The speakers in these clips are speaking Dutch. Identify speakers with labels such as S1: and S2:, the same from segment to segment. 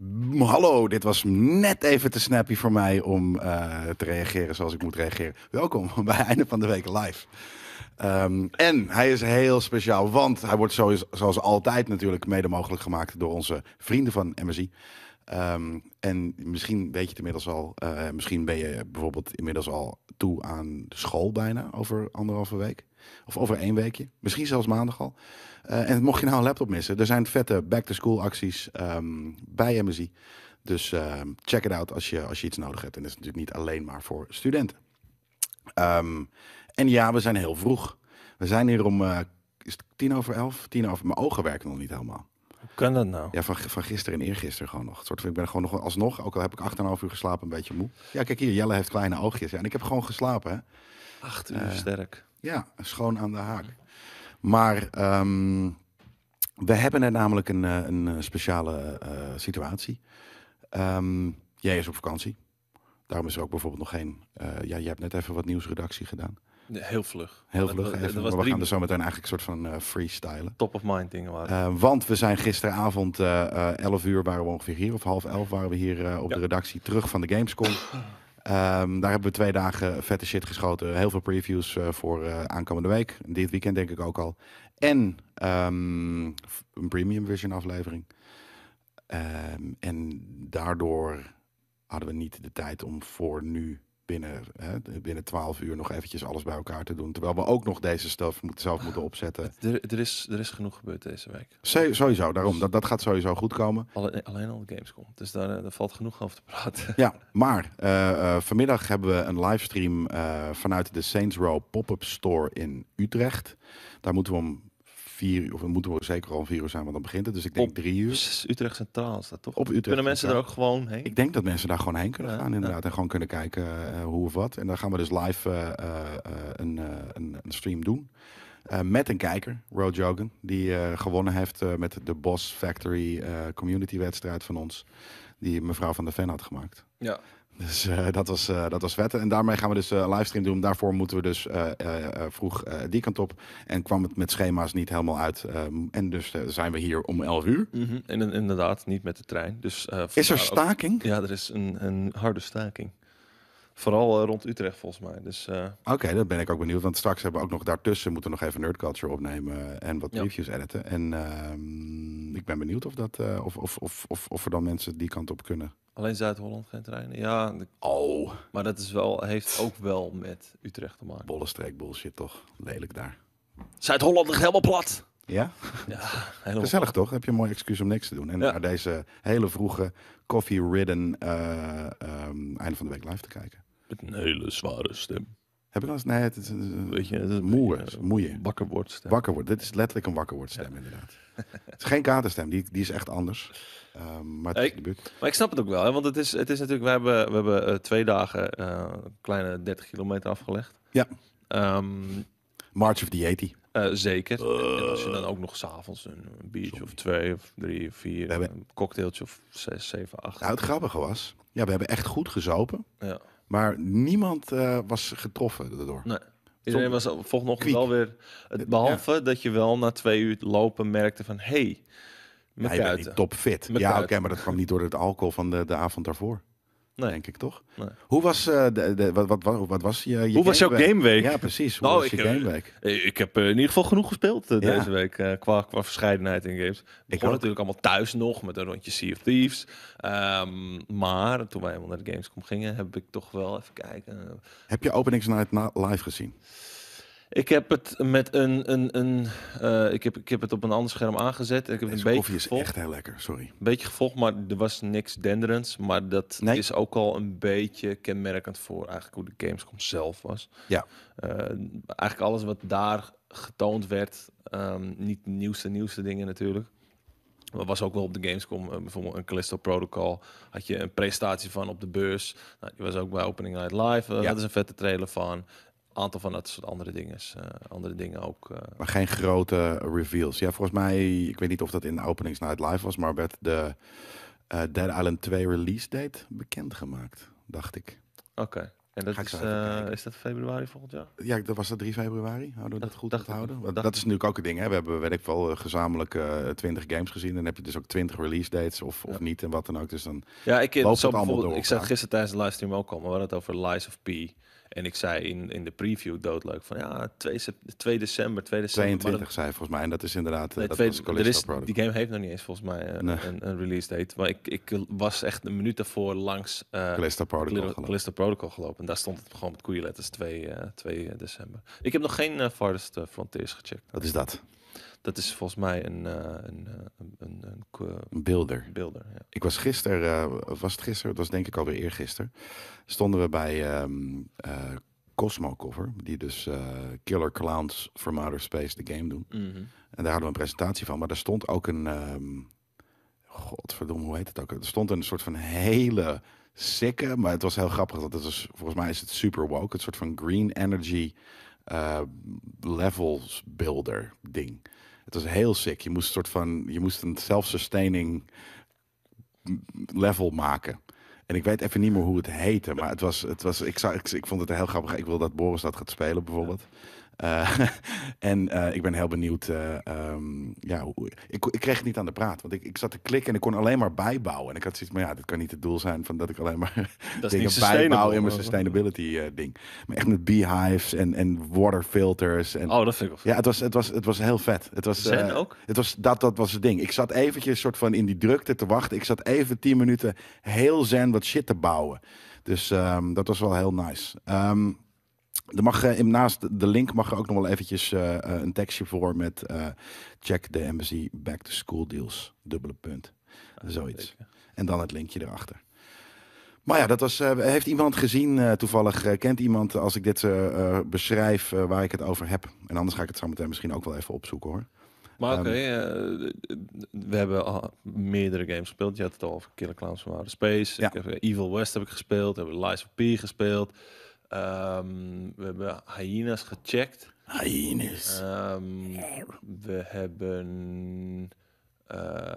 S1: Mm, Hallo, dit was net even te snappy voor mij om eh, te reageren zoals ik moet reageren. Welkom bij Einde van de Week Live. Ehm, en hij is heel speciaal, want hij wordt sowieso- zoals altijd natuurlijk mede mogelijk gemaakt door onze vrienden van MSI. Ehm, en misschien weet je het inmiddels al, eh, misschien ben je bijvoorbeeld inmiddels al toe aan de school bijna over anderhalve week. Of over één weekje, misschien zelfs maandag al. Eh, en mocht je nou een laptop missen, er zijn vette back-to-school acties ehm, bij MSI. Dus ehm, check it out als je, als je iets nodig hebt. En dat is natuurlijk niet alleen maar voor studenten. Ehm, en ja, we zijn heel vroeg. We zijn hier om eh, is het tien over elf, tien over. Mijn ogen werken nog niet helemaal.
S2: Hoe kan dat nou?
S1: Ja, van, van gisteren en eergisteren gewoon nog. Het soort van, ik ben gewoon nog alsnog, ook al heb ik acht en een half uur geslapen, een beetje moe. Ja, kijk hier, Jelle heeft kleine oogjes. Ja, en ik heb gewoon geslapen, hè.
S2: Acht
S1: Eh.
S2: uur sterk.
S1: Ja, schoon aan de haak. Maar ehm, we hebben er namelijk een, eh, een eh, speciale eh, situatie. Ehm, jij is op vakantie. Daarom is er ook bijvoorbeeld nog geen... eh, ja, je hebt net even wat nieuwsredactie gedaan.
S2: Heel vlug.
S1: Heel
S2: Dat
S1: vlug
S2: was-
S1: even,
S2: dat
S1: maar
S2: was
S1: we
S2: drie
S1: gaan er zo meteen eigenlijk een soort van eh, freestylen.
S2: top of mind dingen waren.
S1: Eh, want we zijn gisteravond, eh eh 11 uur waren we ongeveer hier, of half 11 waren we hier eh, op
S2: Ja.
S1: de redactie terug van de Gamescom. Ehm, daar hebben we twee dagen vette shit geschoten. Heel veel previews eh, voor eh, aankomende week. Dit weekend denk ik ook al. En ehm, f- een Premium Vision aflevering. Ehm, en daardoor hadden we niet de tijd om voor nu binnen, hè, binnen 12 uur nog eventjes alles bij elkaar te doen. Terwijl we ook nog deze stuff moet- zelf moeten opzetten.
S2: er, er, is, er is genoeg gebeurd deze week.
S1: Zo- Sowieso, daarom. Dat, dat gaat sowieso goed komen.
S2: Alle, alleen al de Gamescom. Dus daar, eh, daar valt genoeg over te praten.
S1: Ja, maar eh, eh, vanmiddag hebben we een livestream eh, vanuit de Saints Row pop-up store in Utrecht. Daar moeten we om vier uur, of we moeten we zeker al om vier uur zijn, want dan begint het. Dus ik denk
S2: Op-
S1: drie uur.
S2: Dus Utrecht Centraal is dat toch?
S1: Op Utrecht
S2: Kunnen mensen er
S1: Centraal.
S2: ook gewoon heen?
S1: Ik denk dat mensen daar gewoon heen kunnen
S2: Ja,
S1: gaan inderdaad. En gewoon kunnen kijken eh, hoe of wat. En dan gaan we dus live eh, eh, eh, een, eh, een, een stream doen. Eh, met een kijker, Ro Jogan. Die eh, gewonnen heeft eh, met de Boss Factory eh, community wedstrijd van ons. Die mevrouw van de Ven had gemaakt.
S2: ja.
S1: Dus eh, dat, was, eh, dat was vet. En daarmee gaan we dus eh livestream doen. Daarvoor moeten we dus eh, eh, eh, vroeg eh, die kant op. En kwam het met schema's niet helemaal uit. Ehm, en dus eh, zijn we hier om 11 uur.
S2: Mhm. En in- inderdaad, niet met de trein. Dus, eh,
S1: Is er
S2: vandaar ook-
S1: staking?
S2: Ja, er is een, een harde staking. Vooral eh, rond Utrecht volgens mij. Dus eh,
S1: Oké, dat ben ik ook benieuwd. Want straks hebben we ook nog daartussen moeten we nog even nerdculture opnemen en wat
S2: Ja.
S1: reviews editen. En ehm, ik ben benieuwd of, dat, eh, of, of, of, of, of er dan mensen die kant op kunnen.
S2: alleen Zuid-Holland geen treinen. Ja, de-
S1: Oh,
S2: maar dat is wel, heeft ook wel met Utrecht te maken.
S1: bolle streek bullshit toch? Lelijk daar.
S2: Zuid-Holland ligt helemaal plat.
S1: Ja?
S2: Ja, helemaal
S1: Gezellig toch? Dan heb je een mooi excuus om niks te doen. En
S2: Ja.
S1: naar deze hele vroege coffee-ridden eh, ehm, einde van de week live te kijken.
S2: Met een hele zware stem.
S1: Heb ik al eens... Nee, het is een
S2: Weet je, dat is
S1: moe,
S2: een
S1: is
S2: beetje,
S1: moeie.
S2: eh, Wakker wordt stem.
S1: Wakker wordt. Dit is letterlijk een wakker wordt stem, inderdaad. Het is geen katerstem, die, die is echt anders. Ehm, maar het is
S2: Ik-
S1: in de buurt.
S2: Maar ik snap het ook wel, hè? want het is, het is natuurlijk, we hebben, we hebben eh, twee dagen eh, een kleine 30 kilometer afgelegd.
S1: Ja.
S2: Ehm,
S1: March of the 80.
S2: eh, zeker. en als je dan ook nog s'avonds een, een biertje of twee of drie of vier,
S1: We hebben-
S2: een cocktailtje of zes, zeven, acht.
S1: Nou, het grappige was, ja, we hebben echt goed gezopen.
S2: Ja.
S1: Maar niemand eh, was getroffen daardoor.
S2: Nee. Iedereen was al- vanochtend
S1: Kwiek.
S2: wel weer, het, behalve dat je wel na twee uur lopen merkte van, hé, hey,
S1: Hij je
S2: mijn
S1: bent
S2: kuiten.
S1: niet topfit.
S2: Met
S1: Ja, oké,
S2: kuiten.
S1: maar dat kwam niet door het alcohol van de, de avond daarvoor.
S2: Nee.
S1: Denk ik toch?
S2: Nee.
S1: Hoe was, eh, de, de, wat, wat, wat, wat was je, je
S2: Hoe was jouw
S1: gameweek?
S2: gameweek?
S1: Ja, precies. Hoe
S2: Nou,
S1: was
S2: ik,
S1: je
S2: eh,
S1: gameweek?
S2: Eh, Ik heb eh, in ieder geval genoeg gespeeld eh,
S1: Ja.
S2: deze week eh, qua, qua verscheidenheid in games. Ik
S1: ook.
S2: begon natuurlijk allemaal thuis nog met een rondje Sea of Thieves. Ehm, maar toen wij helemaal naar de Gamescom gingen, heb ik toch wel even kijken.
S1: Heb je Openingsnight na- live gezien?
S2: Ik heb het met een. een, een eh, ik, heb, ik heb het op een ander scherm aangezet. Ik heb het
S1: Deze
S2: een
S1: Dus
S2: beetje
S1: koffie is
S2: gevolgd,
S1: echt heel lekker, sorry.
S2: een beetje gevolgd, maar er was niks denderends. Maar dat
S1: Nee.
S2: is ook al een beetje kenmerkend voor eigenlijk hoe de Gamescom zelf was.
S1: Ja.
S2: Eh, eigenlijk alles wat daar getoond werd, ehm, niet de nieuwste, nieuwste dingen natuurlijk. Maar was ook wel op de Gamescom, eh, bijvoorbeeld een Callisto Protocol. Had je een presentatie van op de beurs. Nou, die was ook bij Opening Night Live. Eh,
S1: Ja.
S2: Dat is een vette trailer van. Een aantal van dat soort andere dingen. eh, andere dingen ook. eh.
S1: Maar geen grote reveals. Ja, volgens mij, ik weet niet of dat in Openingsnight live was, maar werd de eh Dead Island 2 release date bekendgemaakt, dacht ik.
S2: Oké. En dat
S1: Ga ik
S2: is,
S1: zo even
S2: eh,
S1: kijken.
S2: is dat februari volgond jaar?
S1: Ja, dat was dat 3 februari. Houden we dat
S2: Dacht-
S1: goed
S2: dacht ik
S1: onthouden?
S2: wel.
S1: Want
S2: Dacht
S1: dat is natuurlijk ook een ding. Hè? We hebben, weet ik wel, eh, gezamenlijk eh 20 games gezien. Dan heb je dus ook 20 release dates of, of
S2: Ja.
S1: niet en wat dan ook. Dus dan
S2: Ja, ik, eh,
S1: Loopt het
S2: zo
S1: allemaal
S2: bijvoorbeeld-
S1: door
S2: ik zei
S1: elkaar?
S2: het gisteren tijdens de livestream ook al, maar we hadden het over Lies of P. En ik zei in, in de preview doodleuk van ja, 2, sep- 2 december, 2 december. maar dat-
S1: 22 zijn volgens mij. En dat is inderdaad eh,
S2: Nee,
S1: dat
S2: twee-
S1: was
S2: er
S1: Callisto
S2: is,
S1: Protocol.
S2: die game heeft nog niet eens volgens mij eh,
S1: Nee.
S2: een, een release date. Maar ik, ik was echt een minuut daarvoor langs eh
S1: Callisto Protocol.
S2: Callisto-
S1: geloof ik.
S2: Callisto Protocol gelopen. En daar stond het gewoon met koeienletters 2, eh, 2 december. Ik heb nog geen eh, Farthest eh, Frontiers gecheckt.
S1: Wat is dat?
S2: Dat is volgens mij een, eh, een, eh, een, een, een ko-
S1: Een builder.
S2: beelder. Ja.
S1: Ik was gisteren, eh, was het gisteren? Het was denk ik alweer eergisteren. Stonden we bij ehm eh, Cosmo Cover, die dus eh, Killer Clowns from Outer Space, de game doen. En daar hadden we een presentatie van, maar daar stond ook een, ehm godverdomme, hoe heet het ook? Er stond een soort van hele sikke, maar het was heel grappig, want het is, volgens mij is het super woke, het soort van green energy eh, levels builder ding. Het was heel sick. Je moest een soort van, je moest een self-sustaining level maken. En ik weet even niet meer hoe het heette, maar het was, het was, ik, zou, ik, ik vond het heel grappig. Ik wil dat Boris dat gaat spelen, bijvoorbeeld. Eh, en eh, ik ben heel benieuwd. eh, ehm, ja, hoe- ik, ik kreeg het niet aan de praat, want ik, ik zat te klikken en ik kon alleen maar bijbouwen. En ik had zoiets, maar ja, dat kan niet het doel zijn van dat ik alleen maar
S2: Dat
S1: dingen bijbouw in mijn sustainability eh, ding. Maar echt met beehives en, en waterfilters. En,
S2: Oh, dat vind ik wel
S1: Ja, het was, het, was, het was heel vet. Het was,
S2: Zen
S1: eh,
S2: ook?
S1: Het was, dat, dat was het ding. Ik zat eventjes soort van in die drukte te wachten. Ik zat even tien minuten heel zen wat shit te bouwen. Dus ehm, dat was wel heel nice. Ehm, er mag, eh, in- naast de link mag er ook nog wel eventjes eh, eh, een tekstje voor met eh, check the embassy back to school deals. Dubbele punt.
S2: Ah,
S1: Zoiets.
S2: zeker.
S1: En dan het linkje erachter. Maar ja, dat was, eh, heeft iemand gezien eh, toevallig? eh, kent iemand als ik dit eh, eh, beschrijf eh, waar ik het over heb? En anders ga ik het zo meteen misschien ook wel even opzoeken hoor.
S2: Maar oké,
S1: Ehm,
S2: eh, we hebben al meerdere games gespeeld. Je had het al over Killer Clowns from Outer Space.
S1: Ja.
S2: Ik heb, eh, Evil West heb ik gespeeld. We hebben Lies of P gespeeld. Ehm, we hebben Hyenas gecheckt.
S1: Hyenas.
S2: Ehm, we hebben... eh,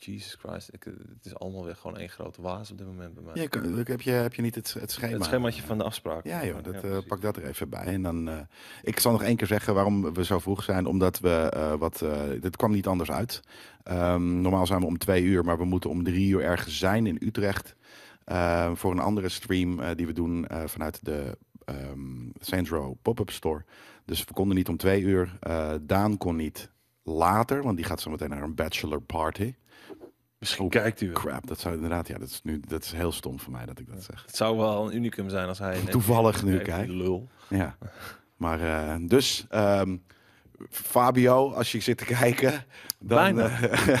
S2: Jesus Christ, ik, het is allemaal weer gewoon één grote waas op dit moment bij mij.
S1: Ja, kan- heb, je, heb je niet het, het schema?
S2: het schemaatje van de afspraak.
S1: Ja, joh, dat, eh,
S2: precies.
S1: pak dat er even bij. En dan, eh, ik zal nog één keer zeggen waarom we zo vroeg zijn. Omdat we eh, wat. eh dit kwam niet anders uit. Ehm, normaal zijn we om twee uur, maar we moeten om drie uur ergens zijn in Utrecht. eh, voor een andere stream eh, die we doen eh, vanuit de ehm Saints Row Pop-Up Store. Dus we konden niet om twee uur. Eh, Daan kon niet later, want die gaat zo meteen naar een bachelor party.
S2: Misschien
S1: Oh,
S2: kijkt u wel.
S1: Crap, dat zou inderdaad. Ja, dat is, nu, dat is heel stom van mij dat ik dat zeg.
S2: Het zou wel een unicum zijn als hij...
S1: Toevallig nu,
S2: Kijk, die
S1: kijk.
S2: Lul.
S1: Ja. Maar eh, dus, ehm, Fabio, als je zit te kijken, dan.
S2: Bijna.
S1: eh,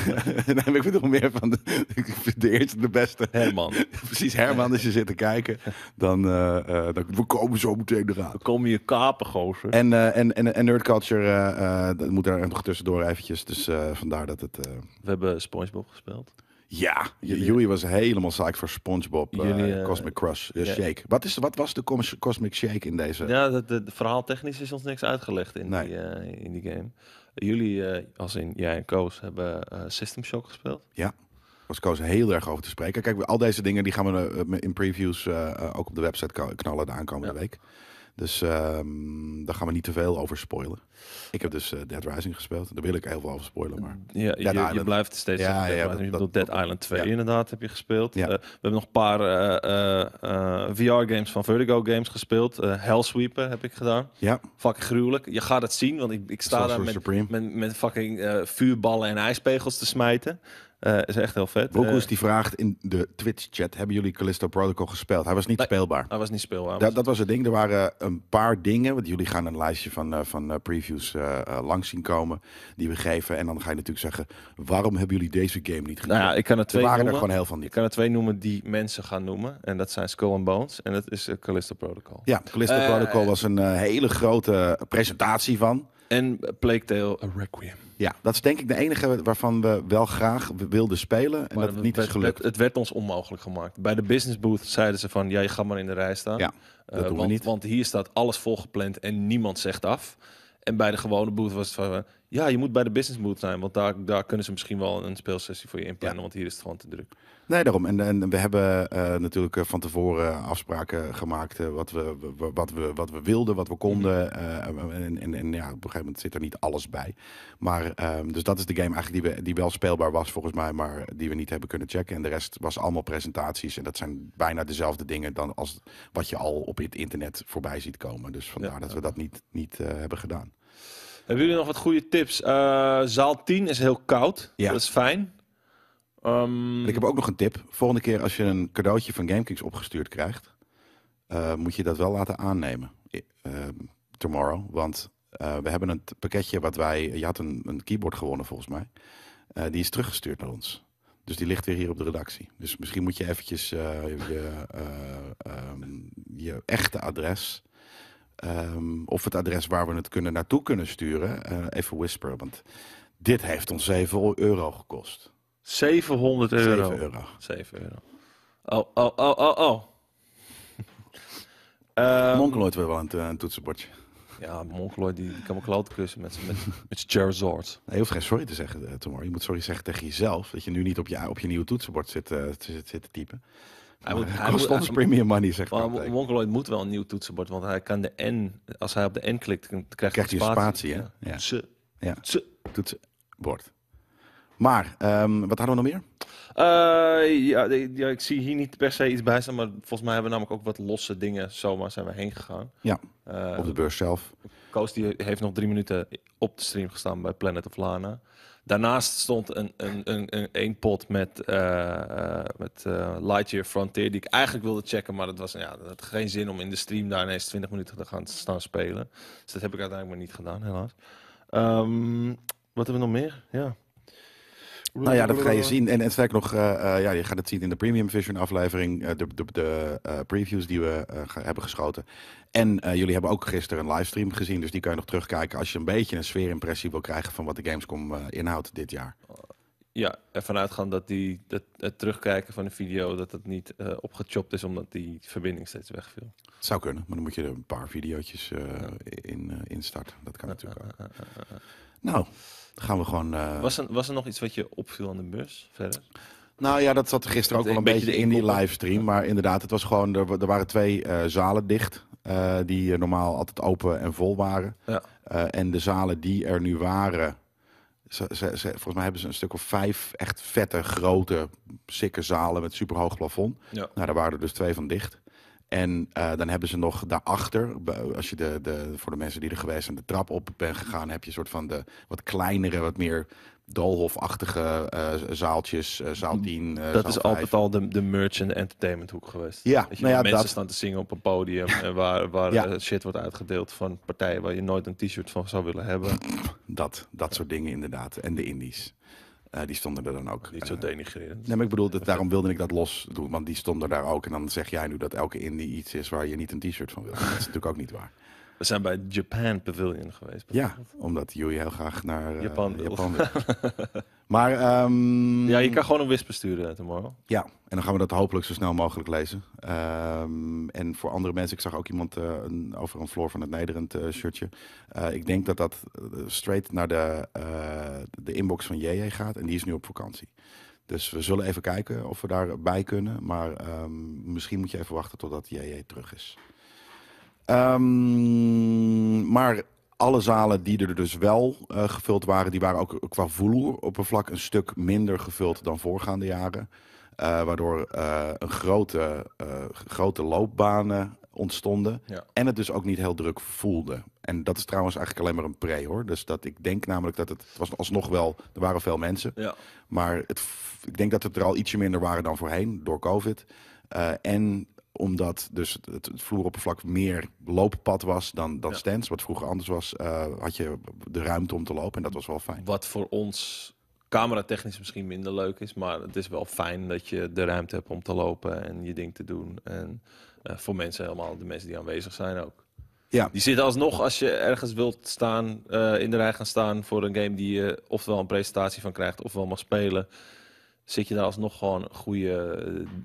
S1: nee, maar ik bedoel meer van de, de eerste, de beste.
S2: Herman,
S1: Precies, Herman, als je zit te kijken, dan, eh, eh, dan we komen zo meteen eraan.
S2: we komen hier kapen, gozer.
S1: En, eh, en, en, en Nerd Culture eh, eh, dat moet daar nog tussendoor eventjes. Dus eh, vandaar dat het. eh,
S2: We hebben SpongeBob gespeeld.
S1: ja, J-
S2: Jullie- eh,
S1: Joey was helemaal psyched voor SpongeBob, eh,
S2: Jullie, eh,
S1: Cosmic Crush, eh,
S2: ja.
S1: Shake. Wat, is, wat was de cos- Cosmic Shake in deze?
S2: Ja, dat de, de verhaaltechnisch is ons niks uitgelegd in,
S1: Nee.
S2: die, eh, in die game. Jullie, eh, als in jij en Koos, hebben eh, System Shock gespeeld.
S1: was Koos heel erg over te spreken. Kijk, al deze dingen die gaan we eh, in previews eh, eh, ook op de website ka- knallen de aankomende
S2: Ja.
S1: week. Dus ehm, daar gaan we niet te veel over spoilen. Ik heb dus eh, Dead Rising gespeeld. Daar wil ik heel veel over spoilen, maar...
S2: Ja, je, je
S1: Island.
S2: blijft steeds...
S1: Ja,
S2: zeggen Dead
S1: ja,
S2: Island.
S1: dat-
S2: Ik
S1: dat-
S2: bedoel, Dead Island 2
S1: ja.
S2: inderdaad heb je gespeeld.
S1: Ja.
S2: Eh, we hebben nog een paar eh, VR-games van Vertigo Games gespeeld. Eh Hellsweeper heb ik gedaan.
S1: Ja,
S2: Fucking gruwelijk. Je gaat het zien, want ik, ik sta daar
S1: Sorcerer
S2: met,
S1: Supreme.
S2: met, met fucking eh, vuurballen en ijspegels te smijten. Eh, is echt heel vet. Eh,
S1: Broekhoes die vraagt in de Twitch-chat... hebben jullie Callisto Protocol gespeeld? Hij was niet
S2: Nee.
S1: speelbaar.
S2: hij was niet speelbaar.
S1: Dat, dat was het ding. Er waren eh, een paar dingen. Want jullie gaan een lijstje van, eh, van eh, previews eh, eh, langs zien komen. Die we geven. En dan ga je natuurlijk zeggen... waarom hebben jullie deze game niet gedaan?
S2: Nou ja, ik kan er
S1: er
S2: twee
S1: waren er
S2: noemen.
S1: gewoon heel van
S2: Ik
S1: niet.
S2: kan er twee noemen die mensen gaan noemen. En dat zijn Skull and Bones en dat is eh, Callisto Protocol.
S1: Ja, Callisto
S2: Eh,
S1: Protocol was een eh, hele grote presentatie van.
S2: En eh, Plague Tale Requiem.
S1: Ja, dat is denk ik de enige waarvan we wel graag wilden spelen. En
S2: Maar
S1: dat het niet is
S2: werd-
S1: gelukt.
S2: Het, het werd ons onmogelijk gemaakt. Bij de business booth zeiden ze van, ja, je gaat maar in de rij staan.
S1: Ja,
S2: Eh,
S1: dat doen we
S2: want,
S1: niet.
S2: Want hier staat alles volgepland en niemand zegt af. En bij de gewone booth was het van, eh, Ja, je moet bij de business mood zijn, want daar, daar kunnen ze misschien wel een speelsessie voor je inplannen, want hier is het gewoon te druk.
S1: Nee, daarom. En, en we hebben eh, natuurlijk eh, van tevoren afspraken gemaakt. eh, wat, we, w- wat, we, wat we wilden, wat we konden. eh, en en, en ja, op een gegeven moment zit er niet alles bij. Maar, ehm, dus dat is de game eigenlijk die, we, die wel speelbaar was volgens mij. Maar die we niet hebben kunnen checken. En de rest was allemaal presentaties. En dat zijn bijna dezelfde dingen dan als wat je al op het internet voorbij ziet komen. Dus vandaar
S2: Ja,
S1: dat
S2: ja.
S1: we dat niet, niet eh, hebben gedaan.
S2: Hebben jullie nog wat goede tips? Eh, zaal 10 is heel koud,
S1: Ja.
S2: dat is fijn. Ehm,
S1: En ik heb ook nog een tip. Volgende keer als je een cadeautje van GameKings opgestuurd krijgt, eh, moet je dat wel laten aannemen. I- ehm, tomorrow. Want eh, we hebben een t- pakketje wat wij. Je had een, een keyboard gewonnen volgens mij. Eh, die is teruggestuurd naar ons. Dus die ligt weer hier op de redactie. Dus misschien moet je eventjes eh, je, eh, ehm, je echte adres. ehm, of het adres waar we het kunnen naartoe kunnen sturen. eh, even whisperen. Want dit heeft ons 7 euro gekost.
S2: 700 euro.
S1: 7 euro.
S2: 7 euro. Oh, oh, oh, oh, oh. Ehm,
S1: Monkeloid wil wel een, to- een toetsenbordje.
S2: ja, Monkloid die, die kan me kloten kussen met, z'n- met, met zijn Charizard.
S1: Nee, je hoeft geen sorry te zeggen, eh, Tomor. Je moet sorry zeggen tegen jezelf. Dat je nu niet op je, op je nieuwe toetsenbord zit, eh, te- zit, zit te typen.
S2: Hij
S1: Maar
S2: moet-
S1: het
S2: hij
S1: kost
S2: moet-
S1: ons
S2: hij-
S1: premium money, zegt
S2: Maar
S1: Kaptein.
S2: Monkloid moet wel een nieuw toetsenbord, want hij kan de N, als hij op de N klikt, dan krijgt
S1: Krijgt
S2: hij
S1: hij een spatie, hè? Ja.
S2: Ja. Ze.
S1: Ja.
S2: Ze.
S1: Toetsenbord. Maar, ehm, wat hadden we nog meer?
S2: Eh, ja, de- ja, ik zie hier niet per se iets bij staan, maar volgens mij hebben we namelijk ook wat losse dingen. Zomaar zijn we heen gegaan.
S1: Ja,
S2: Eh,
S1: op de beurs zelf.
S2: Koos die heeft nog drie minuten op de stream gestaan bij Planet of Lana. Daarnaast stond een, een, een, een, een pot met, eh, eh, met eh, Lightyear Frontier, die ik eigenlijk wilde checken, maar dat was ja, dat had geen zin om in de stream daar ineens 20 minuten te gaan staan spelen. Dus dat heb ik uiteindelijk maar niet gedaan, helaas. Ehm, wat hebben we nog meer? Ja.
S1: Nou ja, dat ga je zien. En, en sterker nog, eh, eh, ja, je gaat het zien in de Premium Vision aflevering. eh, de de, de eh, previews die we eh, ge- hebben geschoten. En eh, jullie hebben ook gisteren een livestream gezien. Dus die kan je nog terugkijken als je een beetje een sfeerimpressie wil krijgen van wat de Gamescom eh, inhoudt dit jaar.
S2: Ja, ervan uitgaan dat, die, dat het terugkijken van de video dat het niet eh, opgechopt is, omdat die verbinding steeds wegviel.
S1: Het zou kunnen, maar dan moet je er een paar videootjes eh, in, eh, instarten. Dat kan natuurlijk ook. Nou, dan gaan we gewoon... eh,
S2: Was er, was er nog iets wat je opviel aan de bus verder?
S1: Nou ja, dat zat er gisteren ook
S2: Het
S1: wel een
S2: een
S1: beetje,
S2: beetje
S1: in
S2: de
S1: die
S2: inkoppen.
S1: livestream. Maar inderdaad, het was gewoon, er, wa- er waren twee eh, zalen dicht. eh, die eh, normaal altijd open en vol waren.
S2: Ja.
S1: Eh, en de zalen die er nu waren. Ze, ze, ze- volgens mij hebben ze een stuk of vijf echt vette, grote, sikke zalen met superhoog plafond.
S2: Ja.
S1: Nou, daar waren er dus twee van dicht. En eh, dan hebben ze nog daarachter, b- als je de, de, voor de mensen die er geweest zijn, de trap op bent gegaan, heb je een soort van de wat kleinere, wat meer doolhofachtige eh, zaaltjes, eh, zaal 10, eh,
S2: Mm, Dat
S1: zaal
S2: is
S1: 5.
S2: altijd al de, de merch en de entertainment hoek geweest.
S1: Ja,
S2: dat je
S1: nou ja,
S2: mensen
S1: dat-
S2: staan te zingen op een podium en waar, waar
S1: Ja.
S2: eh, shit wordt uitgedeeld van partijen waar je nooit een t-shirt van zou willen hebben.
S1: Dat, dat soort dingen inderdaad. En de indies. Eh, die stonden er dan ook.
S2: Niet zo
S1: Eh,
S2: denigrerend.
S1: nee, maar ik bedoel, dat, daarom wilde ik dat los doen, want die stonden daar ook. En dan zeg jij nu dat elke indie iets is waar je niet een t-shirt van wil. Dat is natuurlijk ook niet waar.
S2: We zijn bij Japan Pavilion geweest.
S1: Ja, omdat jullie heel graag naar eh,
S2: Japan wil.
S1: Japan wil. maar ehm,
S2: Ja, je kan gewoon een wisp sturen tomorrow.
S1: Ja, en dan gaan we dat hopelijk zo snel mogelijk lezen. Ehm, en voor andere mensen, ik zag ook iemand eh, een, over een Floor van het Nederend eh, shirtje. Eh, ik denk dat dat eh, straight naar de, eh, de inbox van JJ gaat. En die is nu op vakantie. Dus we zullen even kijken of we daarbij kunnen. Maar ehm, misschien moet je even wachten totdat JJ terug is. Ehm, maar alle zalen die er dus wel eh, gevuld waren, die waren ook qua vloeroppervlak een stuk minder gevuld dan voorgaande jaren. Eh, waardoor eh, een grote, eh, grote loopbanen ontstonden.
S2: Ja.
S1: En het dus ook niet heel druk voelde. En dat is trouwens eigenlijk alleen maar een pre hoor. Dus dat ik denk namelijk dat het, het was alsnog wel, er waren veel mensen.
S2: Ja.
S1: Maar het, f- ik denk dat het er al ietsje minder waren dan voorheen door COVID. Eh, en omdat dus het, het- het vloeroppervlak meer looppad was dan, dan
S2: Ja.
S1: stands, wat vroeger anders was, eh, had je de ruimte om te lopen en dat was wel fijn.
S2: Wat voor ons cameratechnisch misschien minder leuk is, maar het is wel fijn dat je de ruimte hebt om te lopen en je ding te doen. En eh, voor mensen helemaal, de mensen die aanwezig zijn ook.
S1: Ja.
S2: Die zitten alsnog, als je ergens wilt staan, eh, in de rij gaan staan voor een game die je ofwel een presentatie van krijgt ofwel mag spelen. zit je daar alsnog gewoon een goede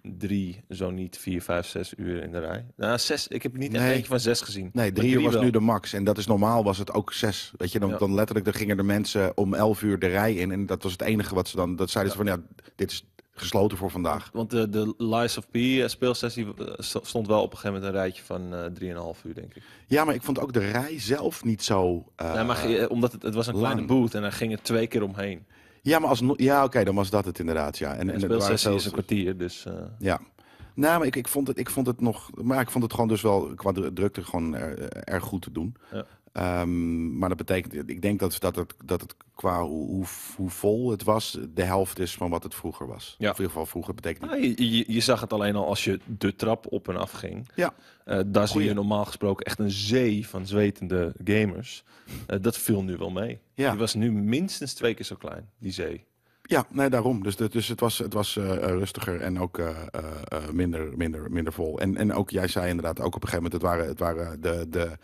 S2: eh, drie, zo niet vier, vijf, zes uur in de rij. Nou, zes, ik heb niet echt
S1: Nee.
S2: eentje van zes gezien.
S1: Nee,
S2: Maar
S1: drie uur was
S2: wel.
S1: nu de max. En dat is normaal, was het ook zes. Weet je, dan,
S2: Ja.
S1: dan letterlijk dan gingen de mensen om elf uur de rij in. En dat was het enige wat ze dan... Dat zeiden ze van, ja, dit is gesloten voor vandaag.
S2: Want de, de Lies of P eh, speelsessie eh, st- stond wel op een gegeven moment een rijtje van eh, drieënhalf uur, denk ik.
S1: Ja, maar ik vond ook de rij zelf niet zo... eh,
S2: nee, maar ge- eh, omdat het, het was een kleine
S1: lang.
S2: booth en daar ging het twee keer omheen.
S1: ja, maar als, ja oké, dan was dat het inderdaad, ja. En, en
S2: En
S1: het
S2: de
S1: waren
S2: speelsessie is
S1: zelfs-
S2: een kwartier, dus... eh,
S1: Ja. Nou, maar ik, ik, vond het, ik vond het nog. Maar ik vond het gewoon dus wel qua dru- drukte gewoon eh, erg goed te doen.
S2: Ja.
S1: Ehm, maar dat betekent, ik denk dat, dat, het, dat het qua hoe, hoe, hoe vol het was, de helft is van wat het vroeger was.
S2: Ja.
S1: Of in ieder geval vroeger betekent het.
S2: Nou, je, je, je zag het alleen al als je de trap op en af ging.
S1: Ja.
S2: Eh, daar zie
S1: Goeie.
S2: je normaal gesproken echt een zee van zwetende gamers. Eh, dat viel nu wel mee.
S1: Ja.
S2: Die was nu minstens twee keer zo klein, die zee.
S1: Ja, nee, daarom. Dus, de- dus het was, het was eh, eh, rustiger en ook eh, eh, eh, minder, minder, minder vol. En, en ook, jij zei inderdaad ook op een gegeven moment, het waren, het waren de, de,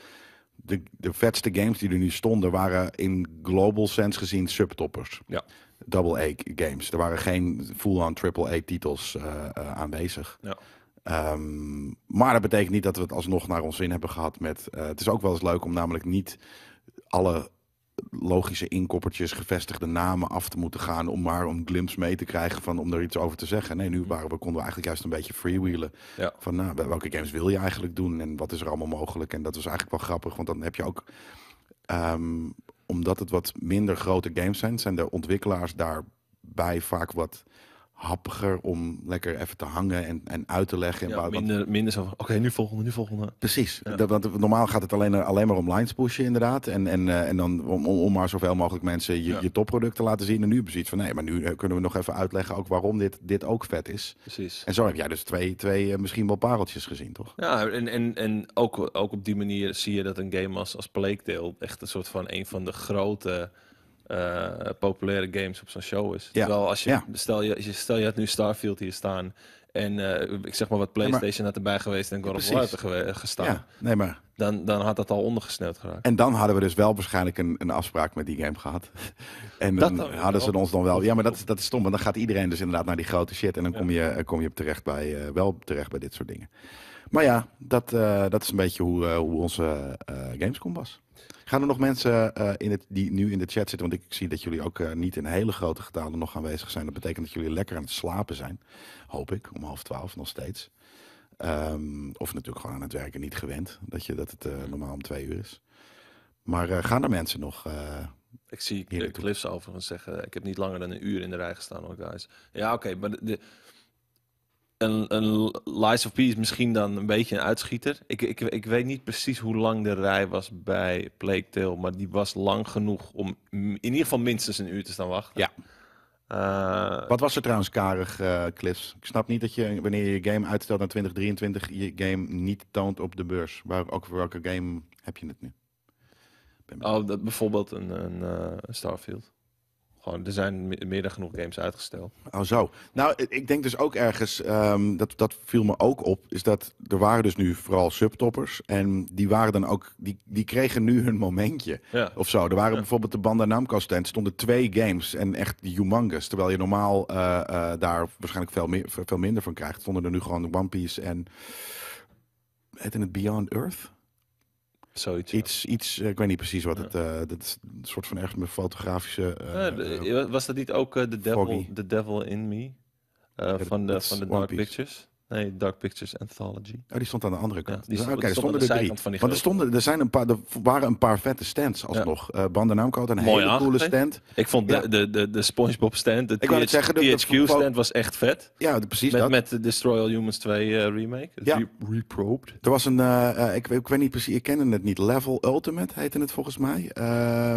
S1: de, de vetste games die er nu stonden, waren in global sense gezien subtoppers.
S2: Ja.
S1: Double A games. Er waren geen full-on triple A titels eh, eh, aanwezig.
S2: Ja.
S1: Ehm, maar dat betekent niet dat we het alsnog naar ons zin hebben gehad met... eh, het is ook wel eens leuk om namelijk niet alle logische inkoppertjes, gevestigde namen af te moeten gaan... om maar een glimps mee te krijgen van om er iets over te zeggen. Nee, nu waren we, konden we eigenlijk juist een beetje freewheelen.
S2: Ja.
S1: Van nou, wel- welke games wil je eigenlijk doen en wat is er allemaal mogelijk? En dat was eigenlijk wel grappig, want dan heb je ook... ehm, omdat het wat minder grote games zijn, zijn de ontwikkelaars daarbij vaak wat happiger om lekker even te hangen en, en uit te leggen. En
S2: Ja,
S1: waar- want-
S2: minder, minder zo van, oké, nu volgende, nu volgende.
S1: Precies.
S2: Ja.
S1: Dat, want normaal gaat het alleen, alleen maar om lines pushen, inderdaad. En, en, eh, en dan om, om, om maar zoveel mogelijk mensen je,
S2: Ja.
S1: je topproduct te laten zien. En nu hebben ze iets van, nee, maar nu eh, kunnen we nog even uitleggen ook waarom dit, dit ook vet is.
S2: Precies.
S1: En zo heb jij dus twee, twee eh, misschien wel pareltjes gezien, toch?
S2: Ja, en, en, en ook, ook op die manier zie je dat een game als, als Plague echt een soort van een van de grote eh, populaire games op zo'n show is.
S1: Ja,
S2: Terwijl als je,
S1: ja.
S2: stel, je, als je, stel je had nu Starfield hier staan en eh, ik zeg maar wat PlayStation had erbij geweest en God of War had er
S1: precies.
S2: gewe- gestaan,
S1: Ja, nee, maar...
S2: dan, dan had dat al ondergesneeuwd geraakt.
S1: En dan hadden we dus wel waarschijnlijk een, een afspraak met die game gehad. En
S2: Dat
S1: dan
S2: dan weer
S1: hadden ze
S2: wel.
S1: ons dan wel... Ja, maar dat, is- dat is stom, want dan gaat iedereen dus inderdaad naar die grote shit. En dan kom je, eh, kom je terecht bij, eh, wel terecht bij dit soort dingen. Maar ja, dat, eh, dat is een beetje hoe, eh, hoe onze eh, Gamescom was. Gaan er nog mensen eh, in het, die nu in de chat zitten? Want ik zie dat jullie ook eh, niet in hele grote getalen nog aanwezig zijn. Dat betekent dat jullie lekker aan het slapen zijn. Hoop ik, om half twaalf nog steeds. Ehm, of natuurlijk gewoon aan het werken niet gewend. Dat, je, dat het eh, normaal om twee uur is. Maar eh, gaan er mensen nog? eh,
S2: Ik zie
S1: Hier
S2: eh,
S1: naartoe.
S2: clips overigens zeggen, ik heb niet langer dan een uur in de rij gestaan hoor guys. Ja oké, maar de, de- een, een Lies of P is misschien dan een beetje een uitschieter. Ik, ik, ik weet niet precies hoe lang de rij was bij Plague Tale, maar die was lang genoeg om m- in ieder geval minstens een uur te staan wachten.
S1: Ja.
S2: Eh,
S1: wat was er trouwens karig, eh Clips? Ik snap niet dat je, wanneer je je game uitstelt naar 2023, je game niet toont op de beurs. Waar, ook voor welke game heb je het nu?
S2: oh, dat, bijvoorbeeld een, een eh, een Starfield. Gewoon, er zijn me- meer dan genoeg games uitgesteld.
S1: Oh zo. Nou, ik- ik denk dus ook ergens, ehm, dat, dat viel me ook op, is dat er waren dus nu vooral subtoppers. En die waren dan ook, die, die kregen nu hun momentje.
S2: Ja.
S1: Of zo. Er waren bijvoorbeeld de Bandai Namco stand, stonden twee games en echt humongous. Terwijl je normaal eh, eh, daar waarschijnlijk veel, meer, veel minder van krijgt. Stonden er nu gewoon One Piece en... Het in het Beyond Earth?
S2: Zoiets. ja.
S1: Iets, iets, eh, ik weet niet precies wat het... eh, dat is een soort van ergens met fotografische... eh,
S2: Ja,
S1: eh,
S2: de- was dat niet ook eh, the, devil,
S1: Foggy.
S2: the Devil in Me? Eh,
S1: dat-
S2: van de,
S1: dat is
S2: van de
S1: One
S2: Dark
S1: Piece.
S2: Pictures? Nee, Dark Pictures Anthology.
S1: Oh, die stond aan de andere kant.
S2: Ja, die
S1: Dus,
S2: stond-
S1: Oké, er
S2: stond
S1: stonden
S2: aan de
S1: er drie.
S2: zijkant van die
S1: Want er,
S2: grote.
S1: stonden, er, zijn een paar, er waren een paar vette stands alsnog. Eh Bandai Namco had een
S2: Mooi
S1: hele coole
S2: aangekleed.
S1: stand.
S2: Ik vond
S1: Ja.
S2: de, de, de, de SpongeBob stand, de,
S1: Ik wou net
S2: TH
S1: zeggen, de- de
S2: THQ
S1: fo-
S2: stand was echt vet.
S1: Ja, precies
S2: Met,
S1: dat.
S2: met de Destroy All Humans 2 eh, remake.
S1: Ja.
S2: Re- Reprobed.
S1: Er was een, eh, eh, ik, ik weet niet precies, ik kende het niet. Level Ultimate heette het volgens mij. Eh,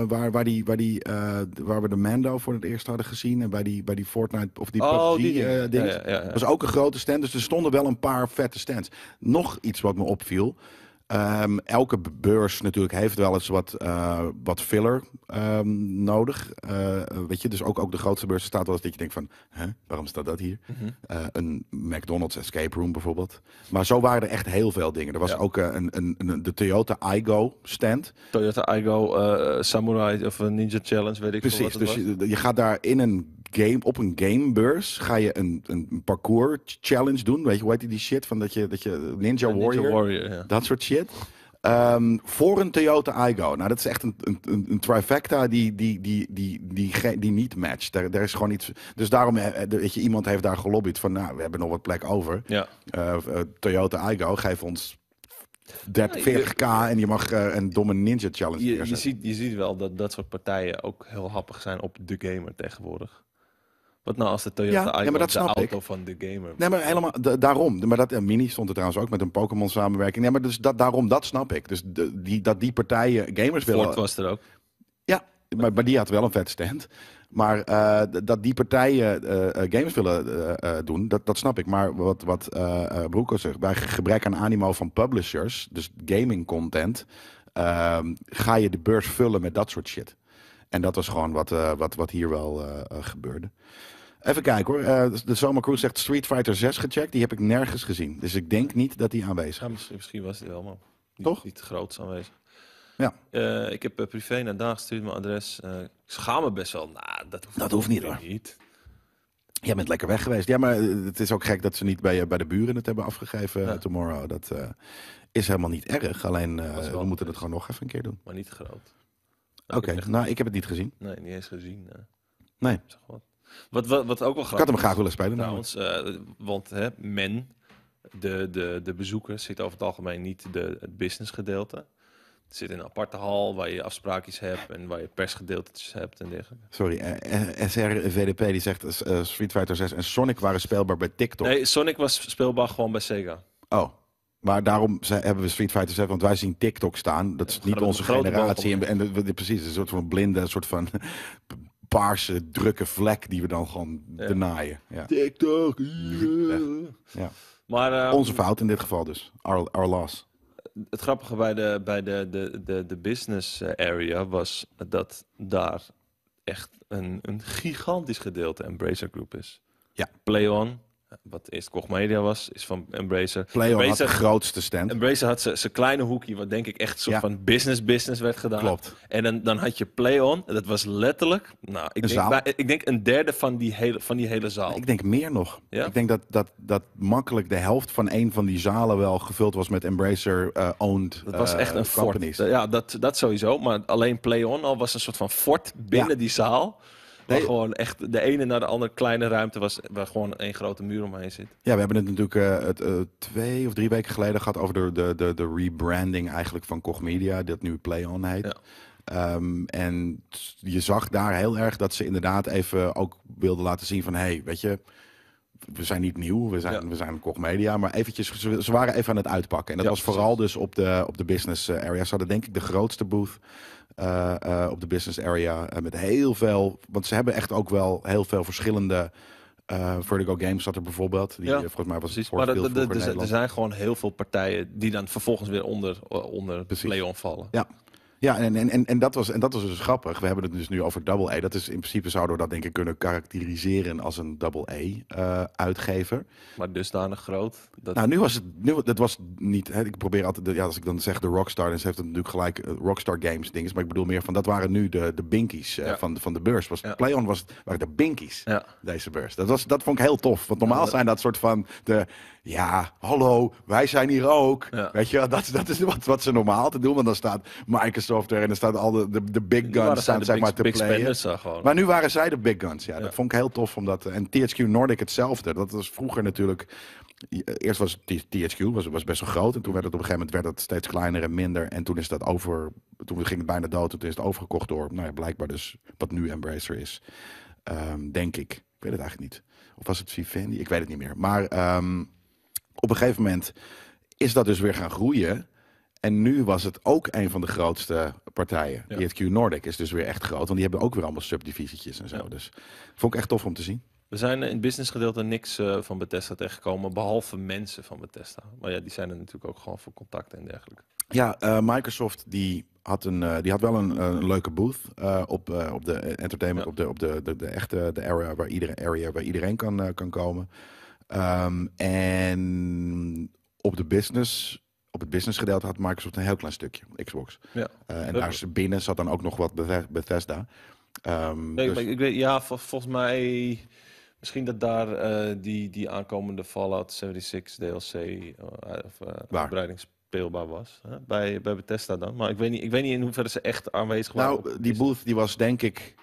S1: waar, waar, die, waar, die, eh, waar we de Mando voor het eerst hadden gezien. En bij die, bij die Fortnite of die
S2: Oh, die
S1: PUBG eh,
S2: dingen.
S1: ding.
S2: Ja, ja, ja, ja.
S1: was ook een grote stand. Dus er stonden wel een paar vette stands. Nog iets wat me opviel. Ehm, elke b- beurs natuurlijk heeft wel eens wat, eh, wat filler ehm, nodig. Eh, weet je, dus ook, ook de grootste beurs staat wel eens dat je denkt van... Hè, waarom staat dat hier? Eh, een McDonald's escape room bijvoorbeeld. Maar zo waren er echt heel veel dingen. Er was
S2: Ja.
S1: ook eh, een, een, een, de Toyota iGo stand.
S2: Toyota Igo, eh, Samurai of een Ninja Challenge, weet ik veel
S1: Precies,
S2: wat het
S1: dus
S2: was.
S1: je, je gaat daar in een game, op een gamebeurs ga je een, een parcours challenge doen. Weet je, hoe heet die, die shit? Van dat je, dat je Ninja Warrior,
S2: Ninja Warrior, ja.
S1: dat soort shit. Ehm, voor een Toyota Igo. Nou, dat is echt een, een, een een trifecta die, die, die, die, die, ge- die niet matcht. Daar, daar is gewoon iets. Dus daarom, eh, eh, weet je, iemand heeft daar gelobbyd van, nou, we hebben nog wat plek over.
S2: Ja.
S1: Eh, eh, Toyota Igo, geef ons 30, 40k en je mag eh, een domme Ninja Challenge
S2: Nou, Je, je,
S1: neerzetten.
S2: ziet, je ziet wel dat dat soort partijen ook heel happig zijn op de gamer tegenwoordig. Wat nou als de Toyota
S1: Ja, ja, maar
S2: Aygo
S1: dat
S2: de
S1: snap
S2: auto van de gamer
S1: Nee, maar helemaal da- daarom. Maar dat en Mini stond er trouwens ook met een Pokémon samenwerking. Nee, maar dus dat, daarom, dat snap ik. Dus de- die, dat die partijen gamers willen.
S2: Ford was er ook.
S1: Ja, maar, maar die had wel een vet stand. Maar eh, d- dat die partijen eh, eh, games willen eh, eh, doen, dat, dat snap ik. Maar wat, wat eh, eh, Broeko zegt, bij gebrek aan animo van publishers, dus gaming content, ehm, ga je de beurs vullen met dat soort shit. En dat was gewoon wat, eh, wat, wat hier wel eh, eh, gebeurde. Even kijken hoor. Eh, de Soma Cruise zegt Street Fighter 6 gecheckt. Die heb ik nergens gezien. Dus ik denk niet dat die aanwezig
S2: Ja, misschien, misschien was het wel, man. Niet,
S1: Toch?
S2: Niet groots aanwezig.
S1: Ja.
S2: Eh, ik heb eh, privé naar Daan gestuurd, mijn adres. Eh, ik schaam me best wel. Nou, dat hoeft,
S1: Dat hoeft niet, hoor.
S2: niet.
S1: Jij bent lekker weg geweest. Ja, maar eh, het is ook gek dat ze niet bij, eh, bij de buren het hebben afgegeven. eh,
S2: Ja.
S1: Tomorrow. Dat eh, is helemaal niet erg. Alleen eh,
S2: was wel
S1: we moeten
S2: een
S1: het gewoon nog even een keer doen.
S2: Maar niet groot.
S1: Oké, nou, ik heb het niet gezien.
S2: Nee, niet eens gezien. eh,
S1: Nee.
S2: zeg wat. Wat, wat, wat ook wel
S1: Ik
S2: grappig
S1: had hem graag willen spelen. namelijk.
S2: Trouwens, eh, want hè, men, de, de, de bezoeker, zit over het algemeen niet de, het business gedeelte. Het zit in een aparte hal waar je afspraakjes hebt en waar je persgedeeltetjes hebt en dergelijke.
S1: Sorry, eh, eh, SRVDP die zegt eh, Street Fighter 6 en Sonic waren speelbaar bij TikTok.
S2: Nee, Sonic was speelbaar gewoon bij Sega.
S1: Oh, maar daarom ze- hebben we Street Fighter 7, want wij zien TikTok staan. Dat is niet
S2: met
S1: onze
S2: een grote
S1: generatie.
S2: boog
S1: En, en dat- dat- precies, een soort van blinde, een soort van paarse, drukke vlek die we dan gewoon
S2: Ja.
S1: denaaien. Ja.
S2: TikTok.
S1: Ja.
S2: Maar eh,
S1: Onze fout in dit geval dus. Our, our loss.
S2: het grappige bij de, bij de, de, de, de business eh, area was dat daar echt een, een gigantisch gedeelte Embracer Group is.
S1: Ja.
S2: PlayOn, wat eerst Koch Media was, is van Embracer.
S1: Playon had de
S2: Embracer-
S1: grootste stand.
S2: Embracer had zijn kleine hoekje, wat denk ik echt soort
S1: Ja.
S2: van business-business werd gedaan.
S1: Klopt.
S2: En dan, dan had je Play-On, dat was letterlijk, nou, ik,
S1: Een
S2: denk,
S1: zaal.
S2: bij- ik denk een derde van die hele, van die hele zaal.
S1: Ik denk meer nog.
S2: Ja?
S1: Ik denk dat, dat, dat makkelijk de helft van een van die zalen wel gevuld was met Embracer-owned
S2: dat was echt een fort.
S1: Eh, companies.
S2: Ja, dat, dat sowieso, maar alleen Play-On al was een soort van fort binnen
S1: Ja.
S2: die zaal. Waar
S1: Nee.
S2: gewoon echt de ene naar de andere kleine ruimte was, waar gewoon één grote muur omheen zit.
S1: Ja, we hebben het natuurlijk eh, het, eh, twee of drie weken geleden gehad over de, de, de, de rebranding eigenlijk van Koch Media, dat nu PlayOn heet.
S2: Ja.
S1: Ehm, en t- je zag daar heel erg dat ze inderdaad even ook wilden laten zien van, hé, hey, weet je, we zijn niet nieuw, we zijn,
S2: Ja.
S1: we zijn Koch Media, maar eventjes, ze, ze waren even aan het uitpakken. En dat was
S2: Ja,
S1: vooral dus op de, op de business eh, area. Ze hadden denk ik de grootste booth eh, eh, op de business area eh, met heel veel, want ze hebben echt ook wel heel veel verschillende... eh Vertigo Games zat er bijvoorbeeld. Die,
S2: Ja,
S1: eh, volgens mij was
S2: Precies,
S1: maar
S2: maar dat- dat- dus- dat- er zijn gewoon heel veel partijen die dan vervolgens weer onder, onder
S1: Precies.
S2: Play-On vallen.
S1: Ja, ja en, en, en, en, dat was, en dat was dus grappig. We hebben het dus nu over Double A. Dat is in principe zouden we dat denk ik kunnen karakteriseren als een Double A eh, uitgever.
S2: Maar dusdanig groot. Dat,
S1: Nou, nu was het, nu, dat was niet. Hè, ik probeer altijd, de- ja, als ik dan zeg de Rockstar, dan heeft het natuurlijk gelijk eh, Rockstar Games dinges. Maar ik bedoel meer van dat waren nu de, de binkies eh,
S2: Ja.
S1: van, van de beurs. Was,
S2: Ja.
S1: Playon was, waren de binkies.
S2: ja.
S1: Deze beurs. Dat, was, dat vond ik heel tof. Want normaal
S2: Ja, dat-
S1: zijn dat soort van de. Ja, hallo, wij zijn hier ook.
S2: Ja.
S1: Weet je, wel, dat, dat is wat, wat ze normaal te doen. Want dan staat Microsoft er en dan staat al de, de, de big
S2: Nu waren
S1: guns
S2: zij
S1: staan,
S2: de
S1: zeg
S2: big-
S1: maar, te
S2: big
S1: playen.
S2: spenders, eh, gewoon.
S1: Maar nu waren zij de big guns. Ja,
S2: Ja.
S1: dat vond ik heel tof. Omdat, en THQ Nordic hetzelfde. Dat was vroeger natuurlijk. Eerst was T- THQ was, was best wel groot. En toen werd het op een gegeven moment werd het steeds kleiner en minder. En toen is dat over. Toen ging het bijna dood. En toen is het overgekocht door. Nou ja, blijkbaar dus wat nu Embracer is. Ehm, denk ik. Ik weet het eigenlijk niet. Of was het Vivendi? Ik weet het niet meer. Maar ehm, op een gegeven moment is dat dus weer gaan groeien. En nu was het ook een van de grootste partijen.
S2: Ja.
S1: Die HQ Nordic is dus weer echt groot. Want die hebben ook weer allemaal subdivisietjes en zo.
S2: Ja.
S1: Dus vond ik echt tof om te zien.
S2: We zijn in het businessgedeelte niks eh, van Bethesda tegengekomen, behalve mensen van Bethesda. Maar ja, die zijn er natuurlijk ook gewoon voor contacten en dergelijke.
S1: Ja, eh, Microsoft die had, een, eh, die had wel een, eh, een leuke booth eh, op, eh, op de entertainment,
S2: Ja.
S1: op de, op de, de, de echte de area waar iedereen, area waar iedereen kan, eh, kan komen. Ehm, en op de business, op het business gedeelte had Microsoft een heel klein stukje, Xbox.
S2: Ja.
S1: Eh, en
S2: Dat-
S1: daar binnen zat dan ook nog wat Bethe- Bethesda. Ehm,
S2: Nee,
S1: dus-
S2: maar ik weet, ja, vol- volgens mij. Misschien dat daar eh, die, die aankomende Fallout 76 DLC eh, of, eh, uitbreiding speelbaar was. Hè? Bij, bij Bethesda dan. Maar ik weet, niet, ik weet niet in hoeverre ze echt aanwezig waren. op-
S1: nou, die booth die was denk ik,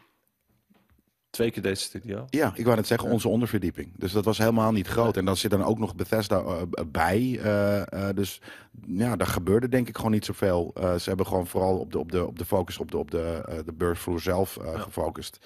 S2: Twee keer deze studio.
S1: ja, ik wou net zeggen, onze onderverdieping. Dus dat was helemaal niet groot. En dan zit dan ook nog Bethesda eh, bij. eh, eh, dus ja, daar gebeurde denk ik gewoon niet zoveel. Eh, ze hebben gewoon vooral op de, op de, op de focus op de, op de, eh, de beursvloer zelf eh, gefocust.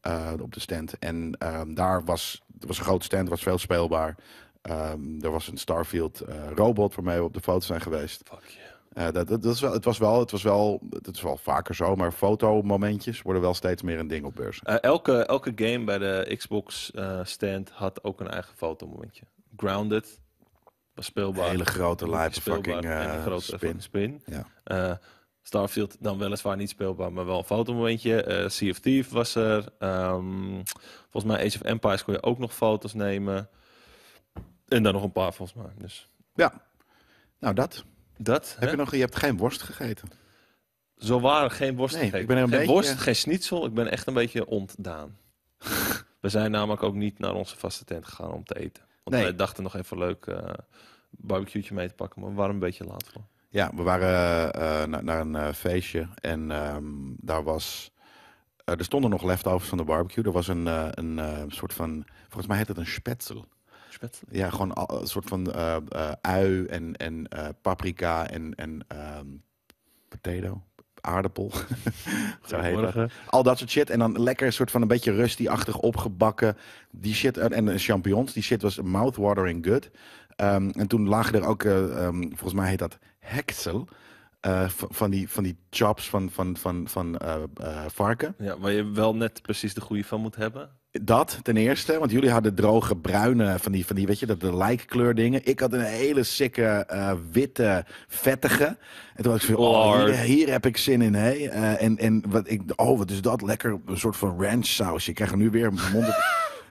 S1: eh, op de stand. En ehm, daar was, er was een grote stand, was veel speelbaar. Ehm, er was een Starfield eh, robot waarmee we op de foto zijn geweest.
S2: Fuck yeah.
S1: Eh, dat, dat, dat is wel, het was wel, het was wel, het is wel vaker zo, maar fotomomentjes worden wel steeds meer een ding op beurzen.
S2: Eh, elke, elke game bij de Xbox eh, stand had ook een eigen fotomomentje. Grounded was speelbaar.
S1: Hele grote lijpe
S2: speelbaar
S1: fucking
S2: en
S1: eh,
S2: een grote
S1: spin.
S2: fucking spin.
S1: Ja.
S2: Eh, Starfield dan weliswaar niet speelbaar, maar wel een fotomomentje. Eh sea of Thieves was er. Ehm, volgens mij Age of Empires kon je ook nog foto's nemen. En dan nog een paar volgens mij. Dus
S1: ja. Nou, dat.
S2: dat.
S1: Heb
S2: hè?
S1: je, nog, je hebt geen worst gegeten.
S2: Zo waren geen worst
S1: Nee,
S2: gegeten.
S1: ik ben er een
S2: geen
S1: beetje-
S2: worst, geen schnitzel. Ik ben echt een beetje ontdaan. We zijn namelijk ook niet naar onze vaste tent gegaan om te eten. Want
S1: Nee.
S2: wij dachten nog even leuk eh barbecue mee te pakken, maar we waren een beetje laat voor.
S1: Ja, we waren eh, eh, na- naar een eh, feestje en ehm, daar was. eh, er stonden nog leftovers van de barbecue. Er was een, eh, een eh, soort van. Volgens mij heet het een spetsel.
S2: Spetsel.
S1: Ja, gewoon al- een soort van eh, eh, ui en, en eh, paprika en, en ehm, potato, aardappel. Zo heet dat.
S2: Goedemorgen.
S1: Al dat soort shit. En dan lekker een soort van een beetje rusty-achtig opgebakken. Die shit. En, en champignons. Die shit was mouthwatering good. Ehm, en toen lagen er ook, eh, ehm, volgens mij heet dat heksel. eh, v- van, die, van die chops van, van, van, van eh, eh, varken.
S2: Ja, waar je wel net precies de goede van moet hebben.
S1: Dat ten eerste, want jullie hadden droge bruine van die, van die weet je, dat de lijkkleur dingen. Ik had een hele sikke eh, witte, vettige. En toen had ik van, oh,
S2: Lord.
S1: hier, hier heb ik zin in, hé. Eh, en en wat, ik, oh, wat is dat? Lekker, een soort van ranch saus. Je krijgt er nu weer een mond op.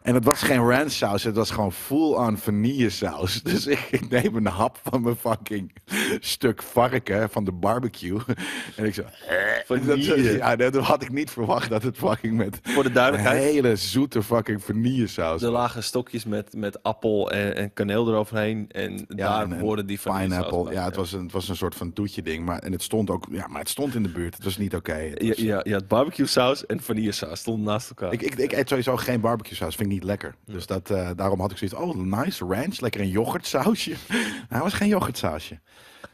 S1: En het was geen ranch saus, het was gewoon full-on vanille saus. Dus ik, ik neem een hap van mijn fucking stuk varken van de barbecue. En ik zo... eh,
S2: Vanille.
S1: Dat, ja, dat had ik niet verwacht dat het fucking met...
S2: Voor de
S1: Een
S2: duidelijkheid,
S1: hele zoete fucking vanillesaus.
S2: er lagen stokjes met, met appel en, en kaneel eroverheen. En daar
S1: en- en
S2: hoorden die van
S1: Pineapple. Ja, het was, een, het was een soort van toetje ding. Maar, en het stond ook. Ja, maar het stond in de buurt. Het was niet oké. Het
S2: Ja,
S1: was-
S2: ja, ja, barbecue saus en vanille saus stonden naast elkaar.
S1: Ik, ik, ik eet sowieso geen barbecue saus. Vind ik niet lekker. Dus dat, eh, daarom had ik zoiets. Oh, nice ranch. Lekker een yoghurtsausje. nou, het was geen yoghurtsausje.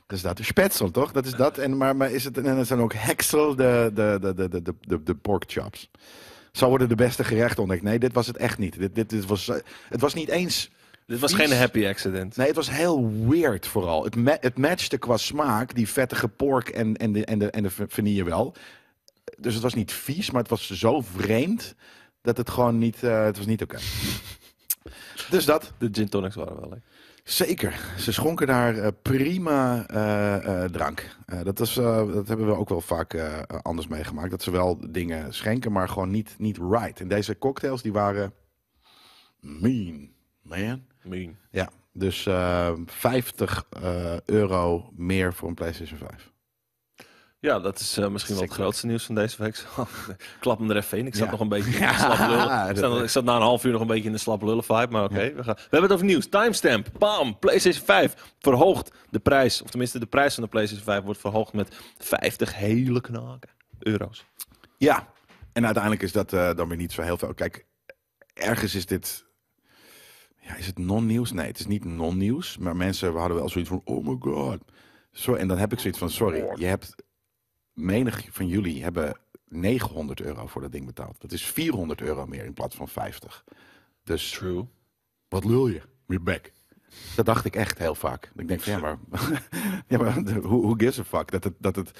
S1: Dus dat is spetsel, toch? Dat is dat. En, maar, maar is het, en het zijn ook heksel, de, de, de, de, de- de, de, de pork chops. Zo worden de beste gerechten ontdekt. Nee, dit was het echt niet. Dit, dit, dit was, eh, het was niet eens
S2: Dit was
S1: vies.
S2: geen happy accident.
S1: Nee, het was heel weird vooral. Het, ma- het matchte qua smaak, die vettige pork en, en, de, en, de, en de va- vanille wel. Dus het was niet vies, maar het was zo vreemd dat het gewoon niet, eh, het was niet oké. Dus dat,
S2: De gin tonics waren wel lekker.
S1: zeker. Ze schonken daar eh, prima eh, eh, drank. Eh, dat, is, eh, dat hebben we ook wel vaak eh, anders meegemaakt. Dat ze wel dingen schenken, maar gewoon niet, niet right. En deze cocktails, die waren mean, man.
S2: Mean.
S1: Ja, dus eh, 50 eh, euro meer voor een PlayStation 5
S2: Ja, dat is eh, misschien wel het
S1: Sick.
S2: grootste nieuws van deze week. Klap hem er even in. Ik zat
S1: Ja.
S2: nog een beetje in
S1: Ja,
S2: de slap lullen. Ik
S1: dat-
S2: zat, ik zat na een half uur nog een beetje in de slap lullen vibe. Maar oké, we, gaan. we hebben het over nieuws. Timestamp. Bam. PlayStation 5 verhoogt de prijs. Of tenminste, de prijs van de PlayStation 5 wordt verhoogd met 50 hele knaken euro's.
S1: Ja, en uiteindelijk is dat eh, dan weer niet zo heel veel. Kijk, ergens is dit. Ja, is het non-nieuws? Nee, het is niet non-nieuws. Maar mensen hadden wel zoiets van: oh my god. Zo, en dan heb ik zoiets van: sorry, je hebt. Menig van jullie hebben 900 euro voor dat ding betaald. Dat is 400 euro meer in plaats van 50. Dus
S2: True.
S1: wat lul je? We're back. Dat dacht ik echt heel vaak. Ik denk van ja, maar, ja, maar who, who gives a fuck? Dat het, dat het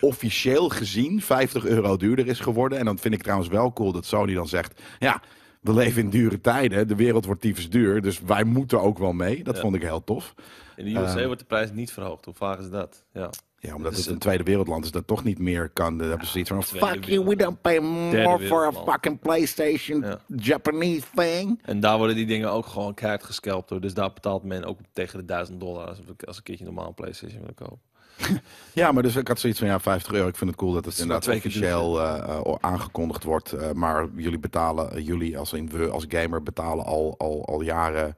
S1: officieel gezien 50 euro duurder is geworden. En dan vind ik trouwens wel cool dat Sony dan zegt... ja, we leven in dure tijden, de wereld wordt tyfus duur... dus wij moeten ook wel mee. Dat
S2: Ja.
S1: vond ik heel tof.
S2: In de USA
S1: Ehm.
S2: wordt de prijs niet verhoogd. Hoe vaak is dat? Ja.
S1: Ja, omdat
S2: is
S1: het een
S2: Dus het.
S1: tweede wereldland is dat toch niet meer kan. Dan hebben ze zoiets van,
S2: tweede
S1: fuck you, we don't
S2: wereldland.
S1: pay
S2: Derde
S1: more for a
S2: wereldland.
S1: fucking PlayStation
S2: Ja.
S1: Japanese thing.
S2: En daar worden die dingen ook gewoon keihard gescalpt hoor. Dus daar betaalt men ook tegen de 1000 dollar als ik- als een keertje normaal een PlayStation wil kopen.
S1: Ja, maar dus ik had zoiets van, ja, 50 euro. Ik vind het cool dat het
S2: is maar
S1: inderdaad
S2: twee keer
S1: officieel eh, eh, aangekondigd wordt. eh, maar jullie betalen, eh, jullie als, in, we als gamer betalen al, al, al jaren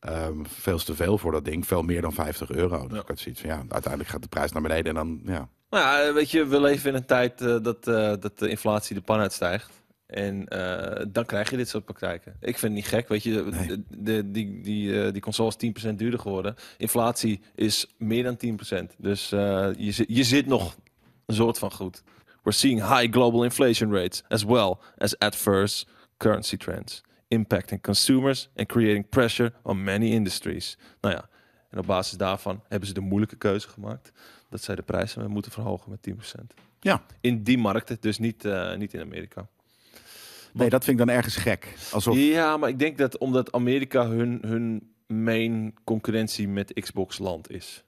S1: ehm, veel te veel voor dat ding. Veel meer dan 50 euro. Dus
S2: Ja.
S1: ik had zoiets van, ja, uiteindelijk gaat de prijs naar beneden. En dan, ja,
S2: Nou ja, weet je, we leven in een tijd eh, dat, eh, dat de inflatie de pan uitstijgt. En eh, dan krijg je dit soort praktijken. Ik vind het niet gek, weet je.
S1: Nee.
S2: De, de- die, die, eh, die console is 10% duurder geworden. Inflatie is meer dan 10%. Dus eh, je, zit- je zit nog een soort van goed. We're seeing high global inflation rates as well as adverse currency trends. Impacting consumers and creating pressure on many industries. Nou ja, en op basis daarvan hebben ze de moeilijke keuze gemaakt dat zij de prijzen moeten verhogen met 10%.
S1: ja.
S2: In die markten, dus niet, eh, niet in Amerika.
S1: Nee, dat vind ik dan ergens gek. Alsof,
S2: Ja, maar ik denk dat omdat Amerika hun, hun main concurrentie met Xbox land is.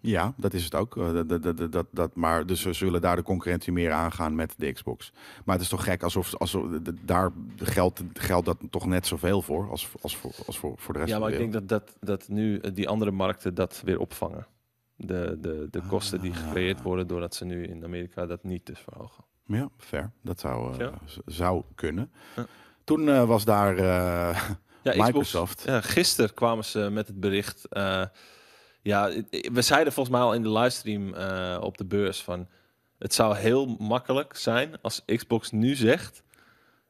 S1: Ja, dat is het ook. Eh, Dat, dat, dat, dat, dat, maar dus ze zullen daar de concurrentie meer aangaan met de Xbox. Maar het is toch gek, alsof, alsof d- d- daar geldt, geldt dat toch net zoveel voor als, als, voor, als voor, voor de rest
S2: Ja,
S1: van
S2: maar
S1: de
S2: ik denk
S1: wereld.
S2: dat, dat, dat nu eh, die andere markten dat weer opvangen. De, de, de kosten
S1: Ah.
S2: die gecreëerd worden doordat ze nu in Amerika dat niet dus verhogen.
S1: Ja, fair. Dat zou, eh,
S2: Ja.
S1: z- zou kunnen.
S2: Ja.
S1: Toen eh, was daar eh,
S2: Ja,
S1: Microsoft.
S2: Ja, gisteren kwamen ze met het bericht. eh, ja, i- i- we zeiden volgens mij al in de livestream eh, op de beurs van... Het zou heel makkelijk zijn als Xbox nu zegt...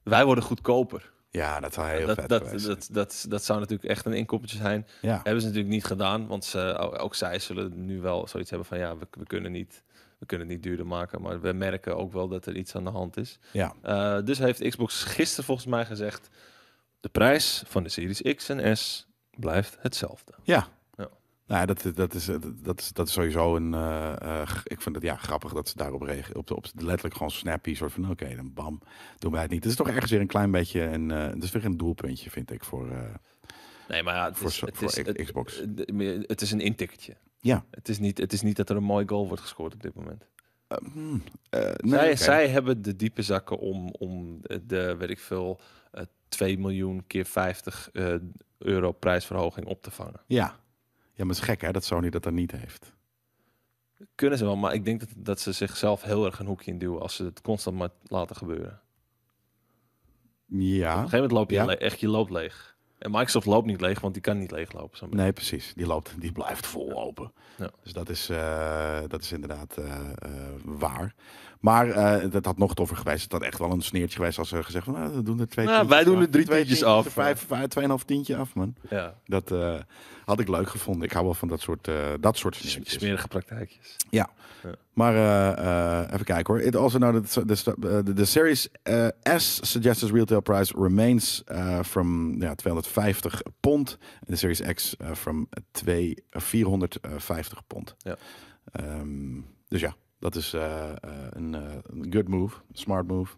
S2: Wij worden goedkoper.
S1: Ja, dat zou heel
S2: dat,
S1: vet
S2: dat,
S1: geweest
S2: dat, dat, dat zou natuurlijk echt een inkoppeltje zijn.
S1: zijn. Ja.
S2: Hebben ze natuurlijk niet gedaan. Want ze, ook ook zij zullen nu wel zoiets hebben van... Ja, we, we, kunnen niet, we kunnen het niet duurder maken. Maar we merken ook wel dat er iets aan de hand is.
S1: ja,
S2: Eh, dus heeft Xbox gisteren volgens mij gezegd: de prijs van de Series X en S blijft hetzelfde.
S1: ja.
S2: Ja.
S1: Nou, ja, dat, dat, is, dat, is, dat is sowieso een. eh, eh, g- ik vind het ja, grappig dat ze daarop reageren. Op, de- op de- letterlijk gewoon snappy. Soort van: oké, dan bam, doen wij het niet. Het is toch ergens weer een klein beetje. Een, eh het is weer een doelpuntje, vind ik. Voor, eh,
S2: Nee, maar ja, het
S1: Voor
S2: is,
S1: zo-
S2: het
S1: voor
S2: is,
S1: X-
S2: het-
S1: Xbox.
S2: Het, het is een intikketje.
S1: ja.
S2: Het is, niet, het is niet dat er een mooi goal wordt gescoord op dit moment.
S1: Eh, hmm, eh, nee,
S2: zij,
S1: oké.
S2: zij hebben de diepe zakken om, om de, weet ik veel, eh 2 miljoen keer 50 eh, euro prijsverhoging op te vangen.
S1: Ja. ja, maar het is gek hè dat Sony dat dan niet heeft.
S2: Kunnen ze wel, maar ik denk dat, dat ze zichzelf heel erg een hoekje in duwen als ze het constant maar laten gebeuren. Op
S1: Ja.
S2: een gegeven moment loop je
S1: Ah? Ja.
S2: le- echt je loopt leeg. En Microsoft loopt niet leeg, want die kan niet leeglopen. Zo'n
S1: Nee, precies. Die loopt, die blijft vol open.
S2: Ja.
S1: Dus dat is, eh, dat is inderdaad eh, eh, waar. Maar eh, dat had nog toffer geweest. Het had echt wel een sneertje geweest als ze gezegd van, nou, we doen er twee.
S2: Nou,
S1: tientjes
S2: wij doen
S1: af.
S2: er drie
S1: Twee
S2: tientjes af.
S1: Vijf, vijf, tweeënhalf tientje af, man.
S2: beetje. Ja.
S1: Dat eh, had ik leuk gevonden. Ik hou wel van dat soort, eh, dat soort
S2: S-
S1: sneertjes.
S2: Smerige praktijkjes.
S1: Ja.
S2: Ja.
S1: Maar eh, eh, even kijken hoor. It also noted so- the, st- eh, the, the Series eh, S suggested retail price remains eh, from ja, 250 pond. En de Series X eh, from twee- eh, 450 pond.
S2: Ja.
S1: Ehm, dus ja, dat is eh, eh, een eh, een good move. Smart move.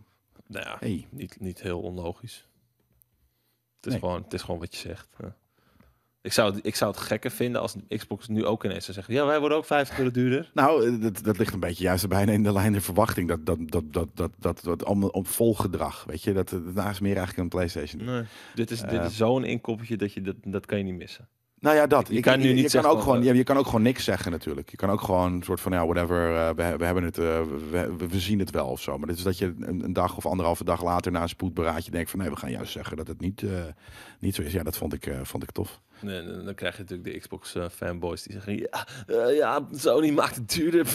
S2: Nou ja,
S1: Hey.
S2: niet, niet heel onlogisch. Het is,
S1: Nee.
S2: gewoon, het is gewoon wat je zegt. Ja. Ik, zou, het- ik zou het gekker vinden als Xbox nu ook ineens zou zeggen... Ja, wij worden ook 50 euro duurder.
S1: Nou, eh, dat, dat ligt een beetje juist bijna in de lijn der verwachting. Dat, dat, dat, dat, dat, dat, dat om, om volgedrag, weet je. Dat, eh, dat naast meer eigenlijk een PlayStation.
S2: Nee. Dit is, dit
S1: Eh.
S2: is zo'n inkoppeltje dat je dat, dat kan je niet missen.
S1: Nou ja, dat.
S2: Je kan nu niet
S1: je
S2: zeggen
S1: Kan ook
S2: van,
S1: gewoon,
S2: eh,
S1: ja, je kan ook gewoon niks zeggen natuurlijk. Je kan ook gewoon een soort van, ja, whatever, eh, we, we hebben het, eh, we, we- we zien het wel of zo. Maar dit is dat je een, een dag of anderhalve dag later na een spoedberaadje denkt van, nee, we gaan juist zeggen dat het niet, eh, niet zo is. Ja, dat vond ik, eh, vond ik tof.
S2: Nee, dan dan krijg je natuurlijk de Xbox eh, fanboys die zeggen... Ja, eh, ja, Sony maakt het duurder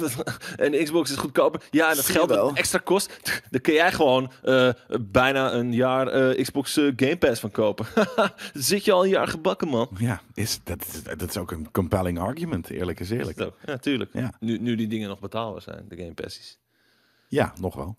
S2: en Xbox is goedkoper. Ja, en dat
S1: Zie je
S2: geld dat
S1: wel.
S2: extra kost. Dan kun jij gewoon eh, bijna een jaar eh, Xbox eh, Game Pass van kopen. Zit je al een jaar gebakken, man.
S1: Ja, is, dat, is- dat is ook een compelling argument, eerlijk is
S2: Is
S1: eerlijk.
S2: het ook. Ja, tuurlijk.
S1: Ja.
S2: Nu, nu die dingen nog betaalbaar zijn, de Game Passies.
S1: Ja, nog wel.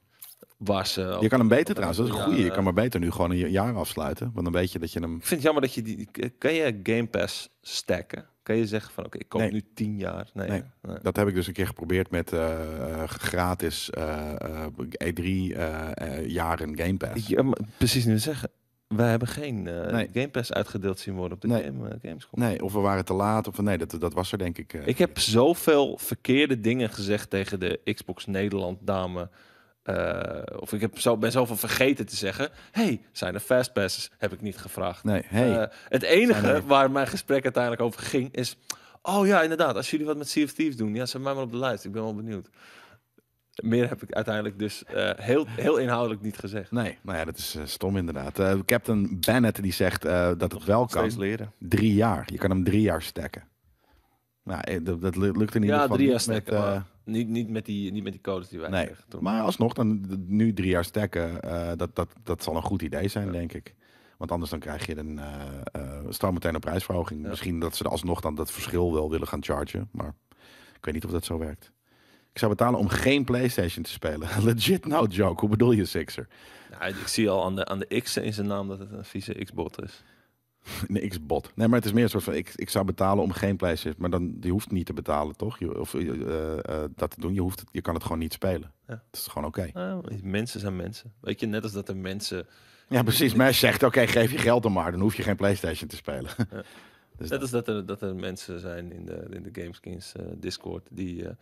S2: Waar ze ook-
S1: Je kan hem beter trouwens, dat is een
S2: Ja,
S1: goeie. Je
S2: eh.
S1: kan maar beter nu gewoon een jaar afsluiten, want dan weet je dat je hem...
S2: Ik vind het jammer dat je die... k- Kan je Game Pass stacken? Kan je zeggen van, oké, ik koop
S1: Nee.
S2: nu tien jaar? Nee.
S1: Nee.
S2: hè? nee.
S1: Dat heb ik dus een keer geprobeerd met eh, eh, gratis E eh, eh, E3 eh, eh, jaren Game Pass.
S2: Ja, maar precies nu zeggen. wij hebben geen eh,
S1: Nee.
S2: Game Pass uitgedeeld zien worden op de
S1: Nee.
S2: game, eh, Gamescom.
S1: Nee, of we waren te laat. Of nee, dat, dat was er denk ik. eh.
S2: Ik heb zoveel verkeerde dingen gezegd tegen de Xbox Nederland dame. Eh, of ik heb zo, ben zoveel vergeten te zeggen. hey, zijn er fastpasses? Heb ik niet gevraagd.
S1: Nee, hey.
S2: Eh, het enige
S1: Zijn er-
S2: waar mijn gesprek uiteindelijk over ging is... Oh ja, inderdaad. Als jullie wat met Sea of Thieves doen, ja, zet mij maar op de lijst. Ik ben wel benieuwd. Meer heb ik uiteindelijk dus eh, heel, heel inhoudelijk niet gezegd.
S1: Nee, nou ja, dat is eh, stom inderdaad. Eh, Captain Bennett die zegt eh, dat het wel kan.
S2: Steeds leren.
S1: Drie jaar. Je kan hem drie jaar stacken. Nou, eh, dat, dat lukt in ieder geval
S2: Ja, drie jaar
S1: niet met,
S2: snacken.
S1: eh,
S2: maar niet, niet, met die, niet met die codes die wij
S1: Nee,
S2: kregen toen.
S1: Maar alsnog, dan nu drie jaar stacken, eh, dat, dat, dat zal een goed idee zijn,
S2: Ja.
S1: denk ik. Want anders dan krijg je een eh eh, stel meteen een prijsverhoging.
S2: Ja.
S1: Misschien dat ze er alsnog dan dat verschil wel willen gaan chargen. Maar ik weet niet of dat zo werkt. Ik zou betalen om geen PlayStation te spelen. Legit no joke. Hoe bedoel je, Sixer?
S2: Nou, ik zie al aan de, aan de X in zijn naam dat het een vieze X-bot is.
S1: Een X-bot. Nee, maar het is meer een soort van... Ik, ik zou betalen om geen PlayStation... Maar dan, je hoeft niet te betalen, toch? Je, of eh, eh, eh, dat te doen. Je, hoeft het, je kan het gewoon niet spelen.
S2: Ja.
S1: Het is gewoon oké.
S2: Nou, mensen zijn mensen. Weet je, net als dat er mensen.
S1: Ja, precies. Maar hij zegt, oké, geef je geld dan maar. Dan hoef je geen PlayStation te spelen. Dus
S2: Net als dat er, dat er mensen zijn in de, in de Gameskins eh, Discord die. eh,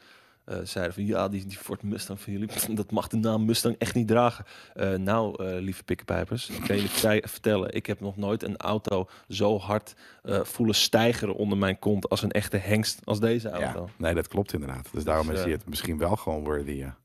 S2: eh, zeiden van ja, die, die Ford Mustang van jullie, dat mag de naam Mustang echt niet dragen. Eh, nou, eh, lieve pikkenpijpers, ik kan jullie vrij vertellen, ik heb nog nooit een auto zo hard eh, voelen stijgeren onder mijn kont als een echte hengst als deze auto.
S1: Ja, nee, dat klopt inderdaad. Dus daarom is
S2: eh,
S1: hij het misschien wel gewoon worthy. ja.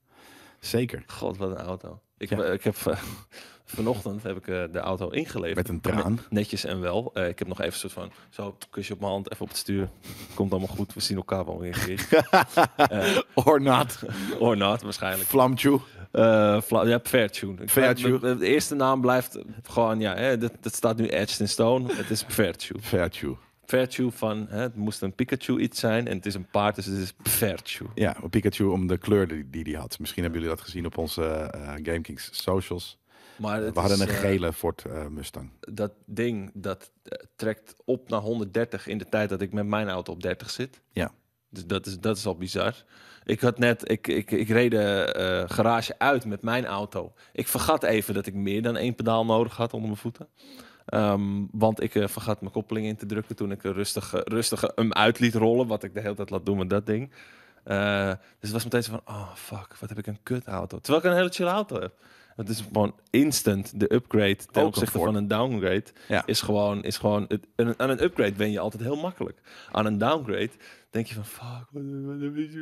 S1: Zeker.
S2: God, wat een auto. Ik,
S1: Ja.
S2: eh, ik heb eh, vanochtend heb ik eh, de auto ingeleverd.
S1: Met een traan.
S2: netjes en wel. Eh, ik heb nog even een soort van, zo, kusje op mijn hand, even op het stuur. Komt allemaal goed, we zien elkaar wel weer een keer.
S1: Or not.
S2: Or not, waarschijnlijk.
S1: Flamtje.
S2: Eh, Vla- ja, Fairtune. Ik-
S1: Fairtune.
S2: De, de eerste naam blijft gewoon, ja, hè, dat, dat staat nu etched in stone. Het is Fairtune.
S1: Fairtje.
S2: Fairtune van, hè, het moest een Pikachu iets zijn en het is een paard, dus het is Fairtune.
S1: Ja, Pikachu om de kleur die die die had. Misschien hebben jullie dat gezien op onze eh GameKings socials.
S2: Maar het
S1: We hadden
S2: is,
S1: een
S2: eh,
S1: gele Ford eh, Mustang.
S2: dat ding dat eh, trekt op naar 130 in de tijd dat ik met mijn auto op 30 zit.
S1: Ja.
S2: Dus dat is, dat is al bizar. Ik had net, ik, ik, ik reed de eh, garage uit met mijn auto. Ik vergat even dat ik meer dan één pedaal nodig had onder mijn voeten. Ehm, want ik eh, vergat mijn koppeling in te drukken toen ik er rustig, eh, rustig hem uit liet rollen. Wat ik de hele tijd laat doen met dat ding. Eh, dus het was meteen zo van, oh fuck, wat heb ik een kut auto. Terwijl ik een hele chill auto heb. Het is gewoon instant de upgrade ten
S1: een
S2: opzichte
S1: Ford.
S2: van een downgrade.
S1: Ja.
S2: Is gewoon, is gewoon het- een- aan een upgrade ben je altijd heel makkelijk. Aan een downgrade denk je van, fuck, wat, wat,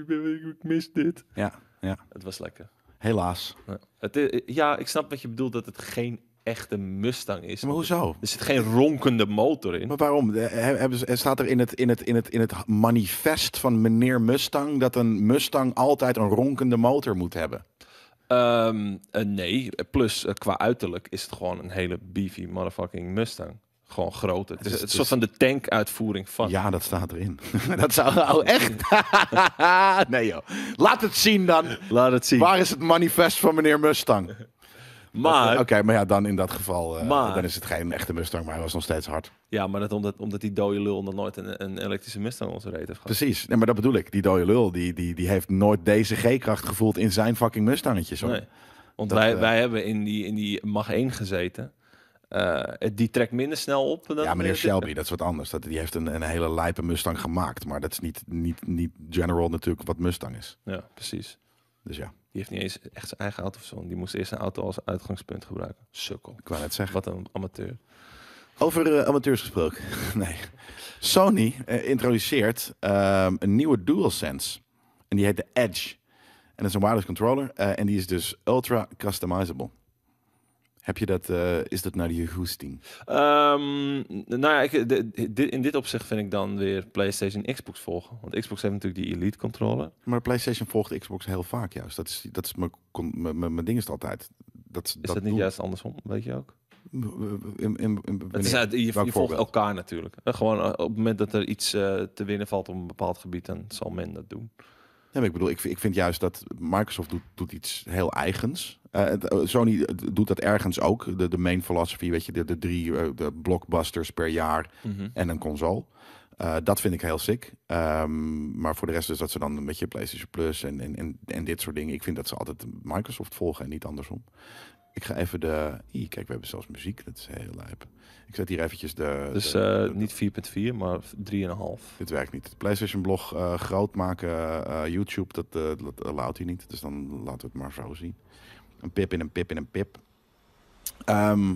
S2: wat- ik mis dit.
S1: Ja, ja.
S2: Het was lekker.
S1: Helaas.
S2: Ja. Het, i- ja, ik snap wat je bedoelt, dat het geen echte Mustang is.
S1: Ja, maar hoezo?
S2: Er zit geen ronkende motor in.
S1: Maar waarom? Eh, he- Hebben ze, staat er in het, in, het, in, het, in het manifest van meneer Mustang dat een Mustang altijd een ronkende motor moet hebben?
S2: Ehm, eh, nee, plus eh, qua uiterlijk is het gewoon een hele beefy motherfucking Mustang. Gewoon groot. Het is,
S1: is-
S2: het
S1: het
S2: soort van de tank-uitvoering van.
S1: Ja, dat staat erin. dat zou. Oh, echt? nee, joh. Laat het zien dan.
S2: Laat het zien.
S1: Waar is het manifest van meneer Mustang?
S2: maar,
S1: Oké, maar ja, dan in dat geval. eh,
S2: Maar-
S1: Dan is het geen echte Mustang, maar hij was nog steeds hard.
S2: ja, maar dat omdat, omdat die dode lul nog nooit een, een elektrische Mustang onze reet heeft gehad.
S1: Precies. Nee, maar dat bedoel ik. Die dode lul, die, die, die heeft nooit deze G-kracht gevoeld in zijn fucking Mustangetjes. hoor.
S2: Nee. Want
S1: Dat,
S2: wij,
S1: eh,
S2: wij hebben in die, in die Mag 1 gezeten. Eh, het- die trekt minder snel op. Dan
S1: Ja, meneer
S2: dit-
S1: Shelby, dat is wat anders. Dat, die heeft een, een hele lijpe Mustang gemaakt. Maar dat is niet, niet, niet general natuurlijk wat Mustang is.
S2: Ja, precies.
S1: Dus ja,
S2: Die heeft niet eens echt zijn eigen auto of zo. Die moest eerst een auto als uitgangspunt gebruiken. Sukkel.
S1: ik wou net zeggen.
S2: Wat een amateur.
S1: Over eh, amateurs gesproken. nee. Sony eh, introduceert ehm, een nieuwe DualSense. En die heet de Edge. En dat is een wireless controller. eh, en die is dus ultra customizable. Heb je dat, eh, is dat naar je goesting?
S2: Ehm, n- nou ja, ik, de- dit- in dit opzicht vind ik dan weer PlayStation en Xbox volgen. Want Xbox heeft natuurlijk die Elite controller.
S1: Maar de PlayStation volgt Xbox heel vaak juist. Dat is, dat is mijn, con- mijn, mijn mijn ding is het altijd. Dat,
S2: Is dat, niet
S1: doel-
S2: juist andersom? Weet je ook?
S1: In, in, in,
S2: Het is
S1: wanneer?
S2: uit, je, je
S1: Welk
S2: volgt
S1: voorbeeld?
S2: elkaar natuurlijk. Eh, Gewoon eh, op het moment dat er iets eh, te winnen valt op een bepaald gebied, dan zal men dat doen.
S1: Ja, maar ik bedoel, ik, vind- ik vind juist dat Microsoft doet, doet iets heel eigens. Eh, het- eh, Sony eh, doet dat ergens ook. De, de main philosophy, weet je, de, de drie eh, de blockbusters per jaar en een console. Eh, dat vind ik heel sick. Ehm, maar voor de rest dus dat ze dan een beetje PlayStation Plus en, en, en, en dit soort dingen. Ik vind dat ze altijd Microsoft volgen en niet andersom. Ik ga even de... Ih, kijk, we hebben zelfs muziek. Dat is heel lijp. Ik zet hier eventjes de...
S2: Dus
S1: de-
S2: eh,
S1: de-
S2: niet 4.4, maar 3,5.
S1: Dit werkt niet. Het PlayStation-blog eh, groot maken, eh, YouTube, dat, eh dat allows hij niet. Dus dan laten we het maar zo zien. Een pip in een pip in een pip. Ehm,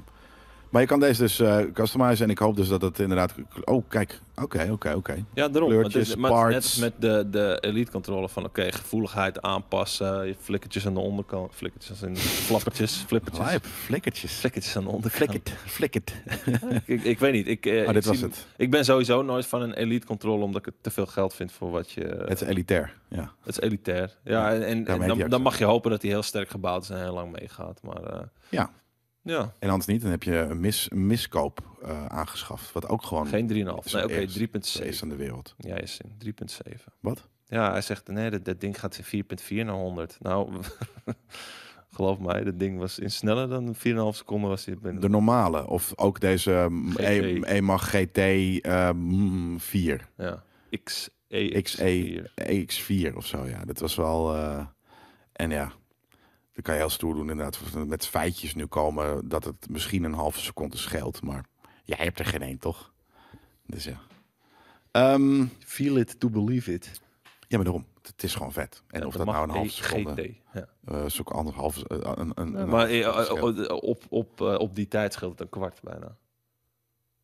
S1: maar je kan deze dus eh customizen en ik hoop dus dat het inderdaad... Oh, kijk. Oké, oké, oké.
S2: Ja, daarom. Maar het
S1: Kleurtjes,
S2: is- maar het is net
S1: parts.
S2: als met de, de Elite controller van oké, gevoeligheid aanpassen, je flikkertjes aan de onderkant, flikkertjes als in flappertjes, flippertjes.
S1: Lijp, flikkertjes.
S2: Flikkertjes aan de onderkant.
S1: Flikkert, flikkert.
S2: Ik, ik weet niet. Ik, eh,
S1: Oh,
S2: ik
S1: dit was
S2: zie-
S1: het.
S2: Ik ben sowieso nooit van een elite controle, omdat ik het te veel geld vind voor wat je. Het,
S1: Het is elitair, ja.
S2: is elitair. Ja, en,
S1: daarmee
S2: en, en
S1: heb je
S2: dan,
S1: ook
S2: dan
S1: zo.
S2: mag je hopen dat hij heel sterk gebouwd is en heel lang meegaat. Maar eh,
S1: Ja.
S2: ja,
S1: En anders niet, dan heb je een, mis, een miskoop eh, aangeschaft. Wat ook gewoon
S2: geen 3,5. Nee,
S1: is wel
S2: oké,
S1: eerst.
S2: 3,7.
S1: is aan de wereld.
S2: Ja, is in 3,7.
S1: Wat?
S2: Ja, hij zegt nee, dat, dat ding gaat 4,4 naar 100. Nou, geloof mij, dat ding was in sneller dan 4,5 seconden was hij binnen.
S1: De normale. Of ook deze ehm,
S2: GT.
S1: E- EMAG GT ehm 4.
S2: Ja. X, E, X,
S1: XE.
S2: 4.
S1: X4 of zo, ja. Dat was wel... eh, en ja, dat kan je heel stoer doen inderdaad. Of Met feitjes nu komen dat het misschien een halve seconde scheelt. Maar jij hebt er geen één, toch? Dus ja. Ehm,
S2: Feel it to believe it.
S1: ja, maar daarom. Het is gewoon vet. En
S2: Ja,
S1: of
S2: dat
S1: dat nou
S2: mag
S1: een halve
S2: E,
S1: seconde...
S2: GT, ja.
S1: eh zoek anderhalf... eh, een, een,
S2: Ja,
S1: een
S2: maar
S1: halve
S2: eh,
S1: seconde scheelt.
S2: eh, op, op, eh, op die tijd scheelt het een kwart bijna.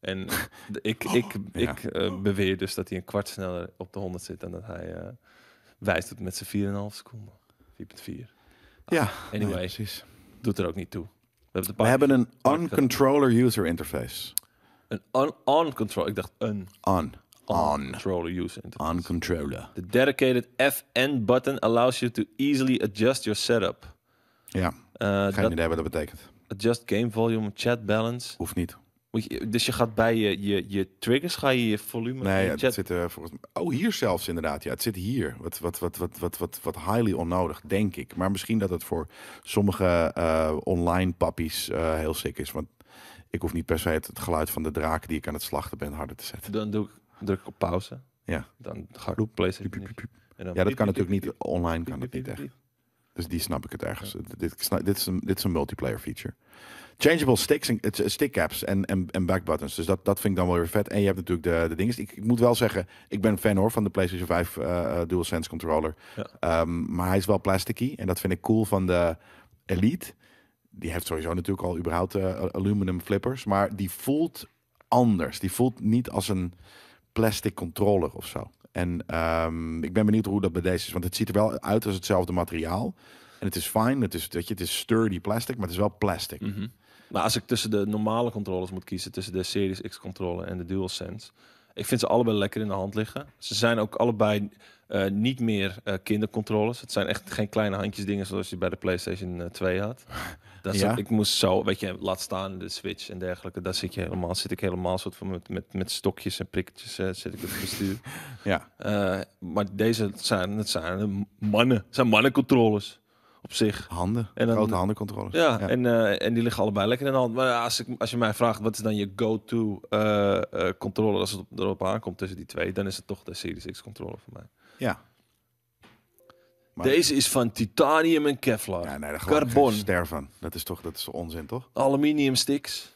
S2: En de- ik, ik,
S1: Oh. Ja.
S2: ik eh, beweer dus dat hij een kwart sneller op de 100 zit dan dat hij eh, wijst het met zijn 4,5 seconden. 4,4.
S1: Ja,
S2: Anyway,
S1: ja, precies.
S2: doet er ook niet toe. We hebben,
S1: We hebben een
S2: Pak-
S1: on-controller user interface.
S2: een on, on control. Ik dacht een
S1: On.
S2: on,
S1: On.
S2: controller user interface.
S1: On-controller.
S2: The dedicated FN button allows you to easily adjust your setup.
S1: Ja,
S2: Eh,
S1: geen
S2: dat
S1: idee wat dat betekent.
S2: adjust game volume, chat balance.
S1: Hoeft niet.
S2: Moet je- Dus je gaat bij je, je, je triggers, ga je je volume en
S1: Nee,
S2: je
S1: ja, het zit eh, volgens mij- Oh, hier zelfs inderdaad. Ja, het zit hier. Wat, wat, wat, wat, wat, wat, wat highly onnodig, denk ik. Maar misschien dat het voor sommige eh, online pappies eh, heel sick is. Want ik hoef niet per se het, het geluid van de draak die ik aan het slachten ben harder te zetten.
S2: Dan doe ik, druk ik op pauze.
S1: Ja.
S2: Dan ga ik op PlayStation.
S1: Piep,
S2: in.
S1: piep, piep.
S2: En dan
S1: Ja, dat kan
S2: piep, piep,
S1: natuurlijk niet.
S2: piep,
S1: Online
S2: piep,
S1: kan het
S2: piep,
S1: niet echt.
S2: piep, piep.
S1: Dus die snap ik het ergens. Dit, ik snap- dit, is een, dit is een multiplayer feature. Changeable sticks en het- stick caps en, en, en back buttons. Dus dat, dat vind ik dan wel weer vet. En je hebt natuurlijk de, de dingen. Ik, ik moet wel zeggen, ik ben fan hoor van de PlayStation 5 eh, eh, DualSense controller.
S2: Ja.
S1: Ehm, maar hij is wel plasticky. En dat vind ik cool van de Elite. Die heeft sowieso natuurlijk al überhaupt eh, aluminum flippers. Maar die voelt anders. Die voelt niet als een plastic controller of zo. En ehm, ik ben benieuwd hoe dat bij deze is. Want het ziet er wel uit als hetzelfje materiaal. En het is fijn. Het is, weet je, het is sturdy plastic, maar het is wel plastic.
S2: Mhm. Maar als ik tussen de normale controllers moet kiezen, tussen de Series X controller en de DualSense, ik vind ze allebei lekker in de hand liggen. Ze zijn ook allebei eh, niet meer eh, kindercontrollers. Het zijn echt geen kleine handjes dingen zoals je bij de PlayStation eh, 2 had. Dat is
S1: Ja.
S2: ook- ik moest zo, weet je, laat staan de Switch en dergelijke. Daar zit je helemaal, zit ik helemaal soort van met, met, met stokjes en prikketjes eh, zit ik op het bestuur.
S1: Ja.
S2: Eh, maar deze zijn, het zijn mannen. Het zijn mannencontrollers op zich.
S1: Handen.
S2: En dan-
S1: grote handencontrollers.
S2: Ja, En, eh, en die liggen allebei lekker in de hand. Maar als, ik, als je mij vraagt, wat is dan je go-to eh, eh, controller als het op- erop aankomt tussen die twee, dan is het toch de Series X controller voor mij.
S1: ja. Maar-
S2: Deze is van titanium en Kevlar.
S1: Ja, nee, daar geloof ik
S2: Carbon.
S1: geen ster van. Dat is toch dat is onzin, toch?
S2: Aluminium sticks.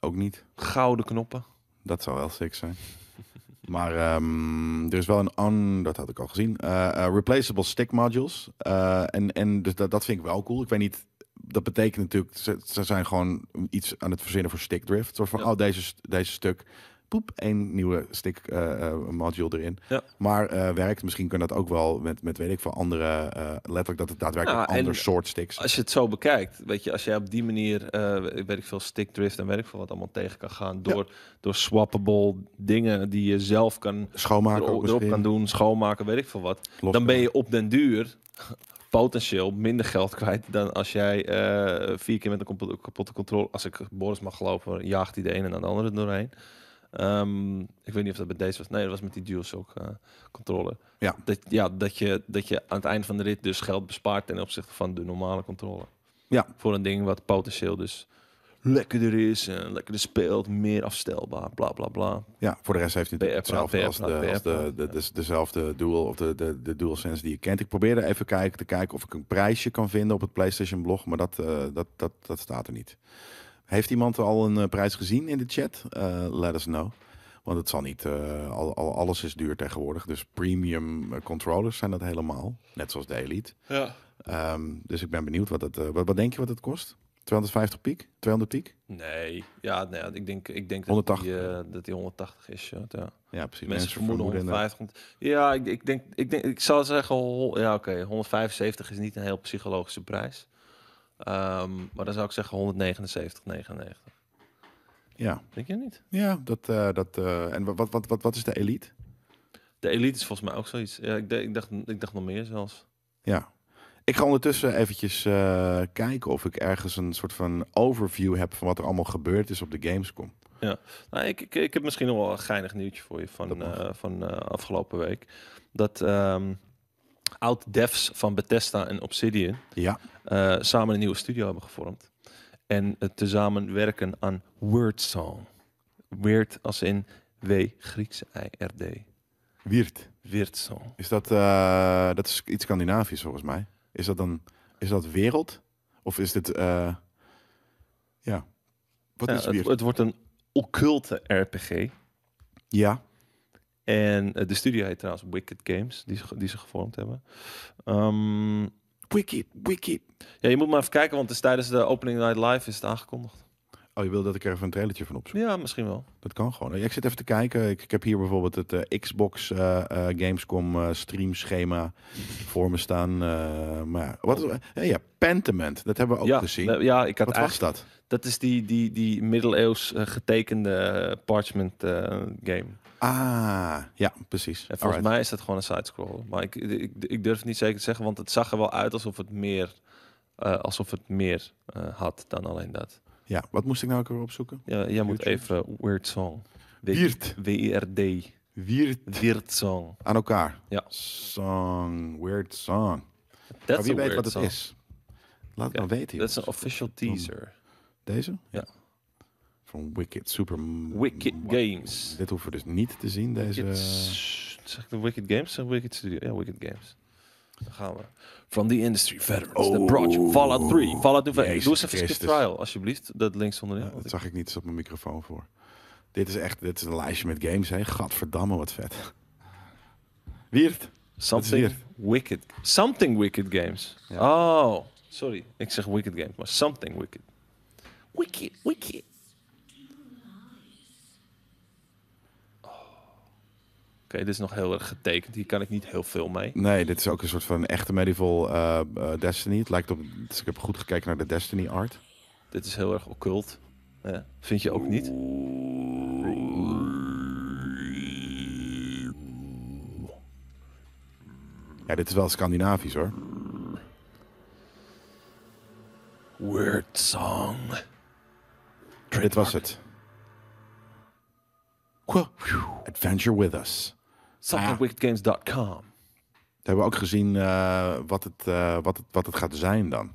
S1: Ook niet.
S2: Gouden knoppen.
S1: Dat zou wel sick zijn. maar ehm, er is wel een on, dat had ik al gezien, eh, eh, replaceable stick modules. Eh, en en dus dat, dat vind ik wel cool. Ik weet niet, dat betekent natuurlijk, ze, ze zijn gewoon iets aan het verzinnen voor stickdrift. Zo van,
S2: Ja.
S1: oh, deze, st- deze stuk, poep, één nieuwe stick eh, eh, module erin.
S2: Ja.
S1: Maar eh, werkt, misschien kan dat ook wel met, met weet ik veel, andere, eh, letterlijk dat het daadwerkelijk
S2: Ja, en-
S1: ander soort sticks.
S2: Als je het zo bekijkt, weet je, als jij op die manier, eh weet ik veel, stickdrift en weet ik veel wat allemaal tegen kan gaan. Door, door swappable dingen die je zelf kan
S1: Schoonmaken ook
S2: er, erop
S1: misschien.
S2: kan doen, schoonmaken, weet ik veel wat.
S1: Los-
S2: dan ben je op den duur potentieel minder geld kwijt dan als jij eh, vier keer met een kapotte, kapotte controle, als ik Boris mag geloven, jaagt hij de ene en de andere doorheen. Ehm, ik weet niet of dat bij deze was. Nee, dat was met die DualShock eh controller.
S1: Ja.
S2: Dat, ja, dat je, dat je aan het eind van de rit dus geld bespaart ten opzichte van de normale controle.
S1: Ja.
S2: Voor een ding wat potentieel dus lekkerder is en lekkerder speelt, meer afstelbaar, bla bla bla.
S1: Ja, voor de rest heeft hij
S2: PR-praat,
S1: hetzelfde als, de,
S2: PR-praat,
S1: als de, de, de- dezelfde dual of de, de, de DualSense die je kent. Ik probeerde even kijken, te kijken of ik een prijsje kan vinden op het PlayStation blog, maar dat, eh, dat, dat, dat staat er niet. Heeft iemand al een eh, prijs gezien in de chat? Eh, let us know. Want het zal niet, eh, al, al- alles is duur tegenwoordig. Dus premium eh, controllers zijn dat helemaal. Net zoals de Elite.
S2: Ja.
S1: Ehm, dus ik ben benieuwd wat het, eh, wat, wat denk je wat het kost? 250 piek? 200 piek?
S2: Nee, ja, nee, ik denk, ik denk dat,
S1: 180.
S2: Die, eh, dat die 180 is. Ja. ja.
S1: Ja, precies.
S2: Mensen vermoeden
S1: eh,
S2: 150. Ja, ik, ik, denk, ik denk, ik zou zeggen, hol- ja, oké, 175 is niet een heel psychologische prijs. Ehm, maar dan zou ik zeggen 179,99.
S1: ja.
S2: Denk je niet?
S1: Ja, dat, eh, dat, eh, en wa- wat, wat, wat, wat is de elite?
S2: De Elite is volgens mij ook zoiets. Ja, ik, de- ik, dacht, ik dacht nog meer zelfs.
S1: Ja. Ik ga ondertussen eventjes eh, kijken of ik ergens een soort van overview heb van wat er allemaal gebeurd is op de Gamescom.
S2: Nou, ik, ik, ik heb misschien nog wel een geinig nieuwtje voor je
S1: Dat
S2: van,
S1: mag.
S2: eh, van eh, afgelopen week. Dat ehm oud-devs van Bethesda en Obsidian
S1: Ja.
S2: eh, samen een nieuwe studio hebben gevormd. En eh, tezamen werken aan Wordsong. Weird als in W Grieks I R D.
S1: Wiert.
S2: Weirdsong.
S1: Is dat, eh, dat is iets Scandinavisch volgens mij. Is dat dan, is dat wereld? Of is dit, eh, ja. Wat
S2: Ja,
S1: is
S2: het,
S1: Wiert?
S2: het wordt een occulte RPG.
S1: Ja.
S2: En eh, de studio heet trouwens Wicked Games, die ze, ge- die ze gevormd hebben. Ehm,
S1: Wiki, wiki.
S2: ja, je moet maar even kijken, want het is tijdens de opening night live is het aangekondigd.
S1: Oh, je wil dat ik er even een trailertje van opzoek?
S2: Ja, misschien wel.
S1: Dat kan gewoon. Ja, Ik zit even te kijken. Ik, ik heb hier bijvoorbeeld het eh, Xbox eh, eh, Gamescom eh, streamschema voor me staan. Eh, maar ja, wat, eh, ja, Pentiment, dat hebben we ook
S2: ja,
S1: gezien.
S2: eh, ja, ik had
S1: wat was
S2: eigenlijk...
S1: dat?
S2: Dat is die, die, die middeleeuws eh, getekende eh, parchment eh, game.
S1: Ah, ja, precies.
S2: En volgens
S1: Alright.
S2: mij is dat gewoon een sidescroller. Maar ik, ik, ik durf het niet zeker te zeggen, want het zag er wel uit alsof het meer, eh, alsof het meer eh, had dan alleen dat.
S1: Ja, wat moest ik nou ook weer opzoeken?
S2: Ja, jij moet
S1: YouTube?
S2: even eh, Weird Song.
S1: Wiert.
S2: W-I-R-D.
S1: Wiert
S2: Weird Song.
S1: aan elkaar.
S2: Ja.
S1: Song, weird song. Maar
S2: That's
S1: wie
S2: a
S1: weet
S2: weird
S1: wat het
S2: song.
S1: is. Hmm. Laat het
S2: Ja,
S1: maar weten.
S2: Dat is een
S1: jongens.
S2: official teaser.
S1: Deze?
S2: Ja.
S1: Van Wicked Super...
S2: Wicked Games.
S1: Dit hoeven we dus niet te zien, deze...
S2: Wicked, zeg ik de Wicked Games of Wicked Studio? Ja, Wicked Games. Daar gaan we. From the industry veterans, the
S1: Oh.
S2: project, Fallout 3, Fallout New Vegas.
S1: Jezus
S2: Doe eens even skip
S1: Christus.
S2: trial, alsjeblieft. Dat links onderin.
S1: Ja,
S2: want
S1: dat
S2: ik-
S1: zag ik niet eens op mijn microfoon voor. Dit is echt dit is een lijstje met games, hè? Gadverdamme, wat vet. Wiert.
S2: something
S1: weer.
S2: Wicked. Something Wicked Games. Oh, sorry. Ik zeg Wicked Games, maar Something Wicked. Wicked, Wicked. Oh. Oké, dit is nog heel erg getekend. Hier kan ik niet heel veel mee.
S1: Nee, dit is ook een soort van echte medieval eh, eh, Destiny. Het lijkt op... Dus ik heb goed gekeken naar de Destiny art.
S2: Dit is heel erg occult. Ja, vind je ook niet?
S1: Ja, dit is wel Scandinavisch, hoor.
S2: Word song.
S1: Dit was het. Kwa- Adventure with us.
S2: Somethingwickedgames.com.
S1: Dat hebben we ook gezien eh, wat, het, eh, wat, het, wat het gaat zijn dan.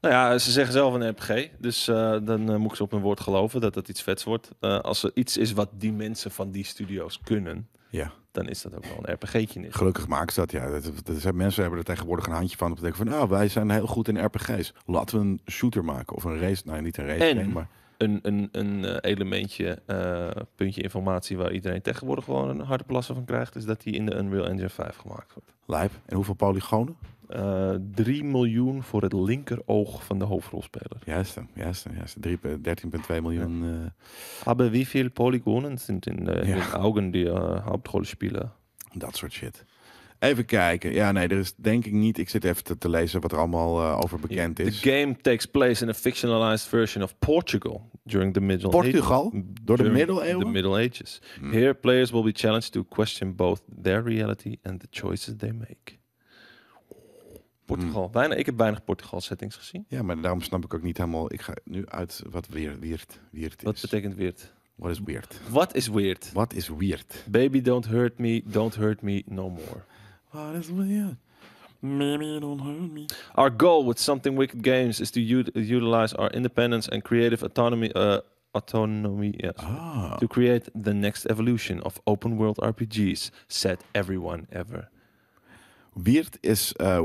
S2: Nou ja, ze zeggen zelf een RPG. Dus eh, dan eh, moet ik ze op hun woord geloven dat dat iets vets wordt. Eh, als er iets is wat die mensen van die studio's kunnen,
S1: Ja.
S2: dan is dat ook wel een RPG'tje. in.
S1: Gelukkig maakt ze dat, ja. Dat, dat zijn, mensen hebben er tegenwoordig een handje van. Om te denken van, nou, wij zijn heel goed in RPG's. Laten we een shooter maken. Of een race, nou niet een race
S2: En?
S1: game, maar...
S2: Een, een, een eh, elementje, eh, puntje informatie waar iedereen tegenwoordig gewoon een harde plassen van krijgt, is dat die in de Unreal Engine 5 gemaakt wordt.
S1: Lijp. En hoeveel polygonen?
S2: Eh 3 miljoen voor het linkeroog van de hoofdrolspeler.
S1: Juist, hem, juist, hem, juist. hem. Drie- eh, 13,2 miljoen. eh,
S2: Aber wie veel Polygonen sind in, äh, in
S1: Ja.
S2: den Augen der äh, Hauptrollspieler?
S1: eh, dat soort shit. Even kijken. Ja, nee, er is denk ik niet... Ik zit even te, te lezen wat er allemaal eh, over bekend
S2: The
S1: is.
S2: game takes place in a fictionalized version of Portugal during the Middle
S1: Portugal?
S2: Ages.
S1: Door de
S2: During
S1: middeleeuwen? Hmm.
S2: The Middle Ages. Here players will be challenged to question both their reality and the choices they make. Portugal.
S1: Hmm.
S2: Bijna, ik heb weinig Portugal settings gezien.
S1: Ja, maar daarom snap ik ook niet helemaal... Ik ga nu uit wat weer, weird, weird
S2: Wat
S1: is.
S2: betekent weird?
S1: Wat is weird?
S2: Wat is weird?
S1: Wat is weird?
S2: Baby, don't hurt me, don't hurt me no more.
S1: Wat is weird?
S2: Maybe don't hurt me. Our goal with Something Wicked Games is to ut- utilize our independence and creative autonomy. Uh, autonomy, yes.
S1: Ah.
S2: To create the next evolution of open world RPGs, said everyone ever.
S1: Weird is eh,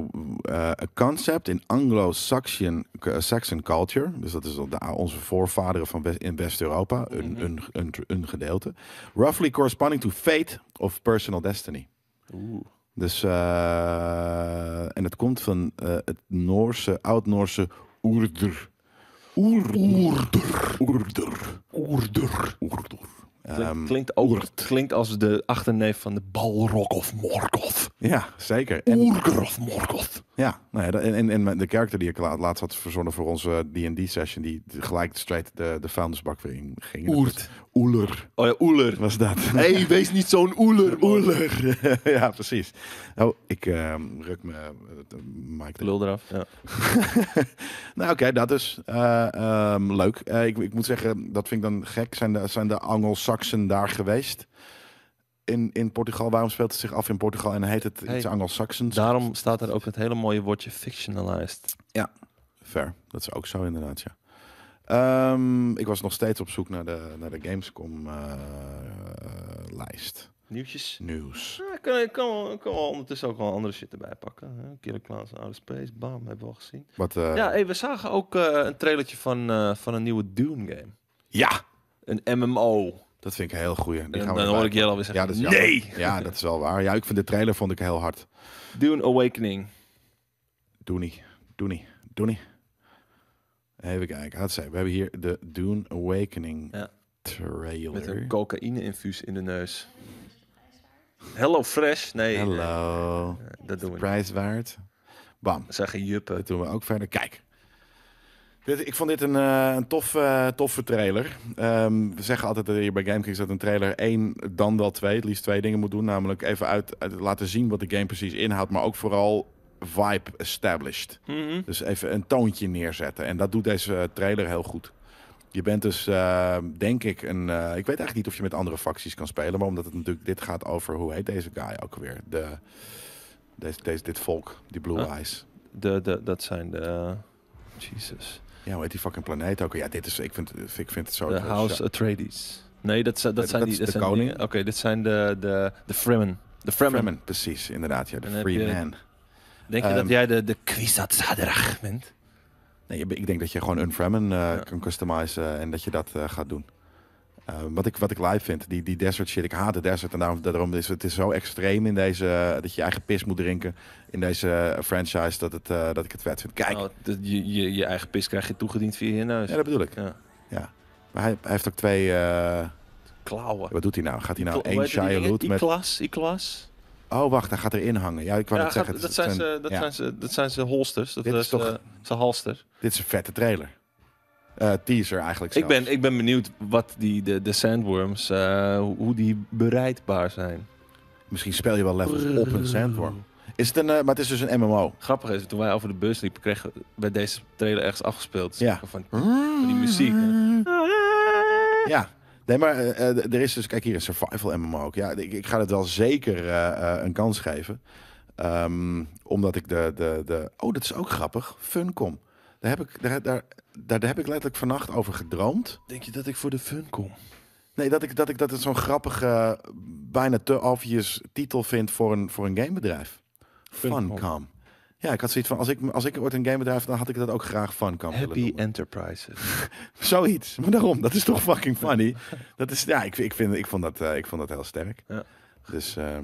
S1: eh, a concept in Anglo-Saxon eh, Saxon culture. Dus dat is de- onze voorvaderen van West- in West-Europa. Een, een, een, een gedeelte. Roughly corresponding to fate of personal destiny.
S2: Oeh.
S1: Dus, eh, en het komt van eh, het Noorse, oud-Noorse oerder. Oerder. Oerder. Oerder. Oerder. Ehm,
S2: klinkt ook klinkt als de achterneef van de Balrog of Morgoth.
S1: ja, zeker. En,
S2: Oerger of Morgoth.
S1: ja, nou ja, dat- en, en, en de karakter die ik la- laatst had verzonnen voor onze eh, D&D-session... die gelijk straight de, de foundersbak weer in ging. Dat
S2: Oert.
S1: was Oeler
S2: Oh ja, Oeler.
S1: was dat.
S2: Hé, hey, wees niet zo'n oeler,
S1: Oeler. ja, precies. Oh, ik ehm, ruk me eh, mic er
S2: Lul eraf. Ja.
S1: Nou, oké, dat is eh, ehm, leuk. Eh, ik, ik moet zeggen, dat vind ik dan gek. Zijn de, zijn de Angelsaksen daar geweest? In, in Portugal? Waarom speelt het zich af in Portugal en heet het
S2: Hey.
S1: iets Angelsaksens?
S2: Daarom staat er ook het hele mooie woordje fictionalized.
S1: Fair, dat is ook zo inderdaad, ja. Ehm, ik was nog steeds op zoek naar de, naar de eh, Gamescom-lijst.
S2: Nieuwtjes.
S1: Nieuws.
S2: Ja, kan, kan, wel- kan wel ondertussen ook wel andere shit erbij pakken. Hè? Killer Clowns, Outer Space, bam, hebben we al gezien.
S1: Wat, eh,
S2: Ja,
S1: ja.
S2: hey, we zagen ook eh, een trailertje van, eh, van een nieuwe Dune game. Een MMO.
S1: dat vind ik een heel goeie. Die
S2: En
S1: gaan
S2: dan
S1: we erbij.
S2: hoor ik Jelle alweer
S1: ja,
S2: zeggen,
S1: dat is jammer.
S2: nee!
S1: Ja, dat is wel waar. Ja, ik vind de trailer vond ik heel hard.
S2: Dune Awakening.
S1: Doe niet. Doe niet. Doe niet. Even kijken. Laten we zeggen, We hebben hier de Dune Awakening
S2: Ja.
S1: trailer.
S2: Met een cocaïne-infuus in de neus. Hello Fresh? Nee, nee,
S1: Hallo.
S2: dat doen we niet.
S1: Prijs waard. Bam.
S2: Dat zijn geen juppen.
S1: Dat doen we ook verder. Kijk. Dit, ik vond dit een, eh, een tof, eh, toffe trailer. Ehm, we zeggen altijd dat hier bij GameKings dat een trailer één, dan wel twee, het liefst twee dingen moet doen. Namelijk even uit, uit laten zien wat de game precies inhoudt, maar ook vooral vibe established.
S2: Mhm.
S1: Dus even een toontje neerzetten. En dat doet deze eh, trailer heel goed. Je bent dus, eh, denk ik, een. eh, ik weet eigenlijk niet of je met andere facties kan spelen. Maar omdat het natuurlijk dit gaat over. Hoe heet deze guy ook weer? De, deze, deze, dit volk, die Blue
S2: Huh?
S1: Eyes.
S2: De, de, dat zijn de... eh, Jesus.
S1: Ja, hoe heet die fucking planeet ook? Ja, dit is. Ik vind, ik vind het zo.
S2: De House eh, Atreides. Oh, Nee, dat, zijn- dat
S1: Nee,
S2: zijn
S1: dat
S2: die...
S1: is de
S2: dat zijn die-
S1: koning.
S2: Oké, dit zijn de, de, de Fremen. De Fremen.
S1: Fremen, precies, inderdaad. Ja, de
S2: Dan heb
S1: Free
S2: je-
S1: Man.
S2: Denk je
S1: Ehm,
S2: dat jij de, de Kwisatz Haderach bent?
S1: Nee, je- ik denk dat je gewoon een Fremen eh,
S2: Ja.
S1: kan customizen en dat je dat eh, gaat doen. Eh, wat, ik, wat ik live vind, die, die desert shit, ik haat de desert en daarom, daarom is het is zo extreem in deze, eh, dat je je eigen pis moet drinken in deze franchise dat, het, eh, dat ik het vet vind. Kijk,
S2: Oh, dat je, je, je eigen pis krijg je toegediend via je neus.
S1: ja, dat bedoel ik.
S2: Ja.
S1: Maar hij, hij heeft ook twee, eh,
S2: Klauwen.
S1: wat doet hij nou? Gaat hij nou
S2: Hoe
S1: één
S2: heet die
S1: Shia
S2: dingen?
S1: Loot met,
S2: Iklas, Iklas.
S1: oh wacht, hij gaat erin hangen. Ja, ik wou
S2: Ja,
S1: net
S2: gaat-
S1: zeggen. het
S2: dat,
S1: is-
S2: zijn
S1: het
S2: ze,
S1: zijn-
S2: dat,
S1: ja.
S2: zijn ze, dat zijn ze holsters. Dat
S1: Dit is
S2: is toch...
S1: toch-
S2: zijn halster.
S1: Dit is een vette trailer. Eh, teaser eigenlijk
S2: Ik
S1: zelfs.
S2: ben, ik ben benieuwd wat die, de, de sandworms, eh, hoe- hoe die bereidbaar zijn.
S1: Misschien speel je wel levels op een sandworm. Is het een, eh, maar het is dus een MMO.
S2: Grappig is, toen wij over de bus liepen, kregen we bij deze trailer ergens afgespeeld.
S1: Ja.
S2: Van, die muziek, hè?
S1: Ja. Nee, maar eh, eh, d- er is dus, kijk hier, een survival MMO ook. Ja, ik, ik ga het wel zeker eh, eh, een kans geven. Ehm, omdat ik de, de, de... Oh, dat is ook grappig. Funcom. Daar heb ik, daar, daar, daar, daar heb ik letterlijk vannacht over gedroomd.
S2: Denk je dat ik voor de fun
S1: Nou,
S2: kom?
S1: Nee, dat ik dat, ik, dat het zo'n grappige, bijna te obvious titel vind voor een, voor een gamebedrijf.
S2: Funcom.
S1: Funcom. Ja, ik had zoiets van, als ik, als ik ooit een gamebedrijf, dan had ik dat ook graag Funcom willen
S2: Happy
S1: noemen.
S2: Enterprises.
S1: Zoiets. Maar daarom, dat is toch fucking funny. Dat is, ja, ik, ik, vind, ik, vond, dat, eh, ik vond dat heel sterk.
S2: Ja.
S1: Dus eh,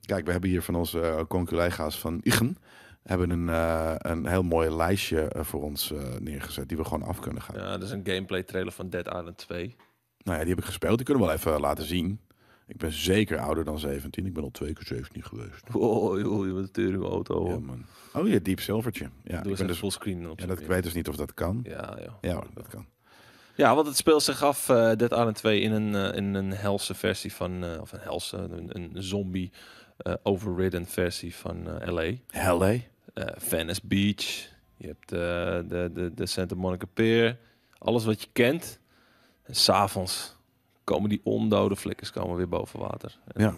S1: kijk, we hebben hier van onze eh, conculega's van Igen... hebben een, eh, een heel mooi lijstje eh, voor ons eh, neergezet... die we gewoon af kunnen gaan.
S2: Ja, dat is een gameplay trailer van Dead Island 2.
S1: Nou ja, die heb ik gespeeld. Die kunnen we wel even eh, laten zien. Ik ben zeker ouder dan 17. Ik ben al twee keer 17 geweest.
S2: Oh, joh, je bent een tering auto.
S1: Ja,
S2: Ja,
S1: man. Oh, ja, Deep Silvertje. Ja,
S2: Doe
S1: ik
S2: eens
S1: ben
S2: een
S1: dus,
S2: fullscreen op
S1: ja,
S2: zo'n
S1: dat, ik
S2: ding.
S1: weet dus niet of dat kan.
S2: Ja, joh.
S1: Ja, hoor, dat kan.
S2: ja, want het speelt zich af, eh Dead Island 2, in een, eh, in een helse versie van... eh, of een helse, een, een zombie eh, overridden versie van eh, L.A.
S1: Hell, hè?
S2: Eh, Venice Beach. Je hebt eh, de, de, de Santa Monica Pier. Alles wat je kent. En s'avonds komen die ondode flikkers komen weer boven water. En
S1: Ja.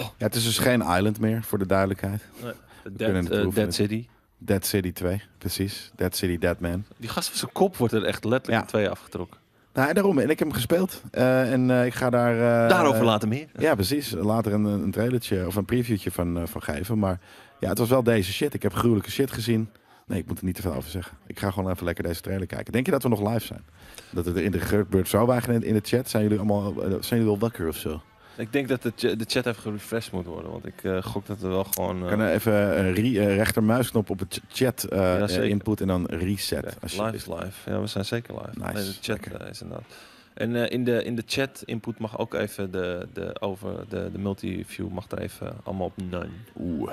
S1: Ja, het is dus geen island meer, voor de duidelijkheid.
S2: Nee. Dead,
S1: kunnen het
S2: eh,
S1: proeven.
S2: Dead City.
S1: Dead City 2, precies. Dead City, Dead Man.
S2: Die gast van zijn kop wordt er echt letterlijk
S1: Ja.
S2: in twee afgetrokken.
S1: Nou, en daarom. En ik heb hem gespeeld. Eh, en eh, ik ga daar... eh,
S2: Daarover later meer.
S1: Ja, precies. Later een, een trailertje of een previewtje van, eh, van geven. Maar ja, het was wel deze shit. Ik heb gruwelijke shit gezien. Nee, ik moet er niet te veel over zeggen. Ik ga gewoon even lekker deze trailer kijken. Denk je dat we nog live zijn? Dat het er in de gebeurt zou wagen in, in de chat. Zijn jullie allemaal eh, zijn jullie wel wakker of zo?
S2: Ik denk dat de, ch- de chat even gerefreshed moet worden. Want ik eh, gok dat er wel gewoon... eh,
S1: Kan er even een re, eh, rechtermuisknop op het ch- chat eh,
S2: Ja,
S1: eh,
S2: zeker.
S1: input en dan reset.
S2: Kijk,
S1: als je-
S2: live is live. Ja, we zijn zeker live.
S1: Nice,
S2: Nee, de chat
S1: lekker.
S2: eh, is inderdaad. En eh, in, de, in de chat input mag ook even de, de, over de, de multi-view mag er even allemaal op none.
S1: Oeh,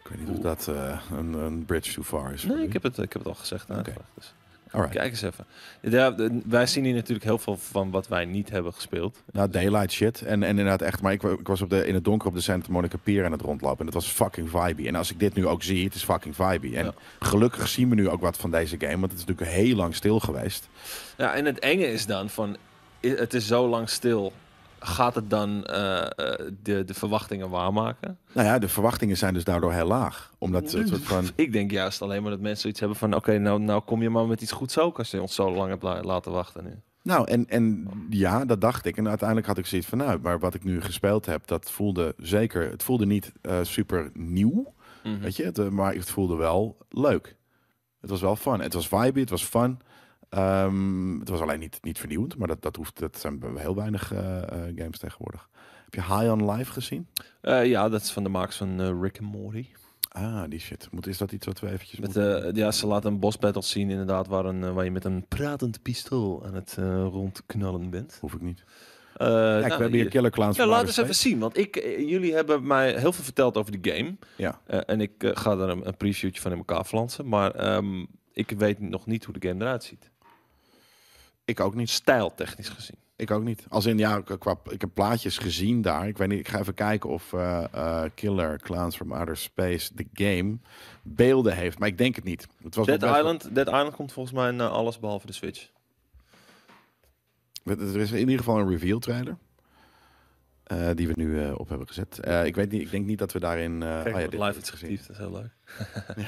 S1: ik weet niet of
S2: Oeh.
S1: dat eh, een, een bridge too far is. voor
S2: Nee, ik
S1: jullie.
S2: heb het, ik heb het al gezegd. en
S1: Oké.
S2: aangevraagd, dus.
S1: Alright.
S2: Kijk eens even. Ja, de- wij zien hier natuurlijk heel veel van wat wij niet hebben gespeeld.
S1: Nou, daylight shit. En, en inderdaad echt. Maar ik, wa- ik was op de, in het donker op de Santa Monica Pier aan het rondlopen. En het was fucking vibey. En als ik dit nu ook zie, het is fucking vibey. En
S2: Ja.
S1: gelukkig zien we nu ook wat van deze game. Want het is natuurlijk heel lang stil geweest.
S2: Ja, en het enge is dan van, i- het is zo lang stil. Gaat het dan eh, eh, de, de verwachtingen waarmaken?
S1: Nou ja, de verwachtingen zijn dus daardoor heel laag. Omdat het soort van...
S2: Ik denk juist alleen maar dat mensen iets hebben van... oké, nou, nou kom je maar met iets goeds ook als je ons zo lang hebt la- laten wachten nu.
S1: Nou, en, en ja, dat dacht ik. En uiteindelijk had ik zoiets van, nou, maar wat ik nu gespeeld heb, dat voelde zeker... Het voelde niet eh, super nieuw.
S2: Mhm.
S1: Weet je, het, eh, maar het voelde wel leuk. Het was wel fun. Het was vibey, het was fun. Ehm, het was alleen niet, niet vernieuwend, maar dat, dat, hoeft, dat zijn heel weinig eh, eh, games tegenwoordig. Heb je High on Life gezien?
S2: Eh, ja, dat is van de makers van eh, Rick and Morty.
S1: Ah, die shit. Moet, is dat iets wat we eventjes
S2: Met,
S1: moeten...
S2: eh, ja, ze laten een boss battle zien inderdaad... Waar, een, eh, waar je met een pratend pistool aan het eh, rondknallen bent.
S1: Hoef ik niet.
S2: Eh,
S1: Kijk,
S2: nou,
S1: we hebben hier Killer Clowns
S2: Ja,
S1: van
S2: laat
S1: Outer
S2: eens even
S1: Space.
S2: zien. Want ik, eh, jullie hebben mij heel veel verteld over de game.
S1: Ja.
S2: Eh, en ik eh, ga daar een, een previewtje van in elkaar flansen. Maar ehm, ik weet nog niet hoe de game eruit ziet.
S1: Ik ook niet.
S2: Stijltechnisch gezien.
S1: Ik ook niet. Als in, ja, qua- qua, ik heb plaatjes gezien daar. Ik weet niet, ik ga even kijken of eh, eh, Killer Clowns from Outer Space, de game, beelden heeft. Maar ik denk het niet. Het was nog
S2: Dead
S1: best wel-
S2: Island, Dead Island komt volgens mij naar alles behalve de Switch.
S1: We- Er is in ieder geval een reveal trailer. eh, die we nu eh, op hebben gezet. Eh, ik, weet niet, ik denk niet dat we daarin. eh oh ja,
S2: Kijk,
S1: dit-
S2: live
S1: dit
S2: iets
S1: gezien.
S2: getiefd, dat Ah, is heel leuk.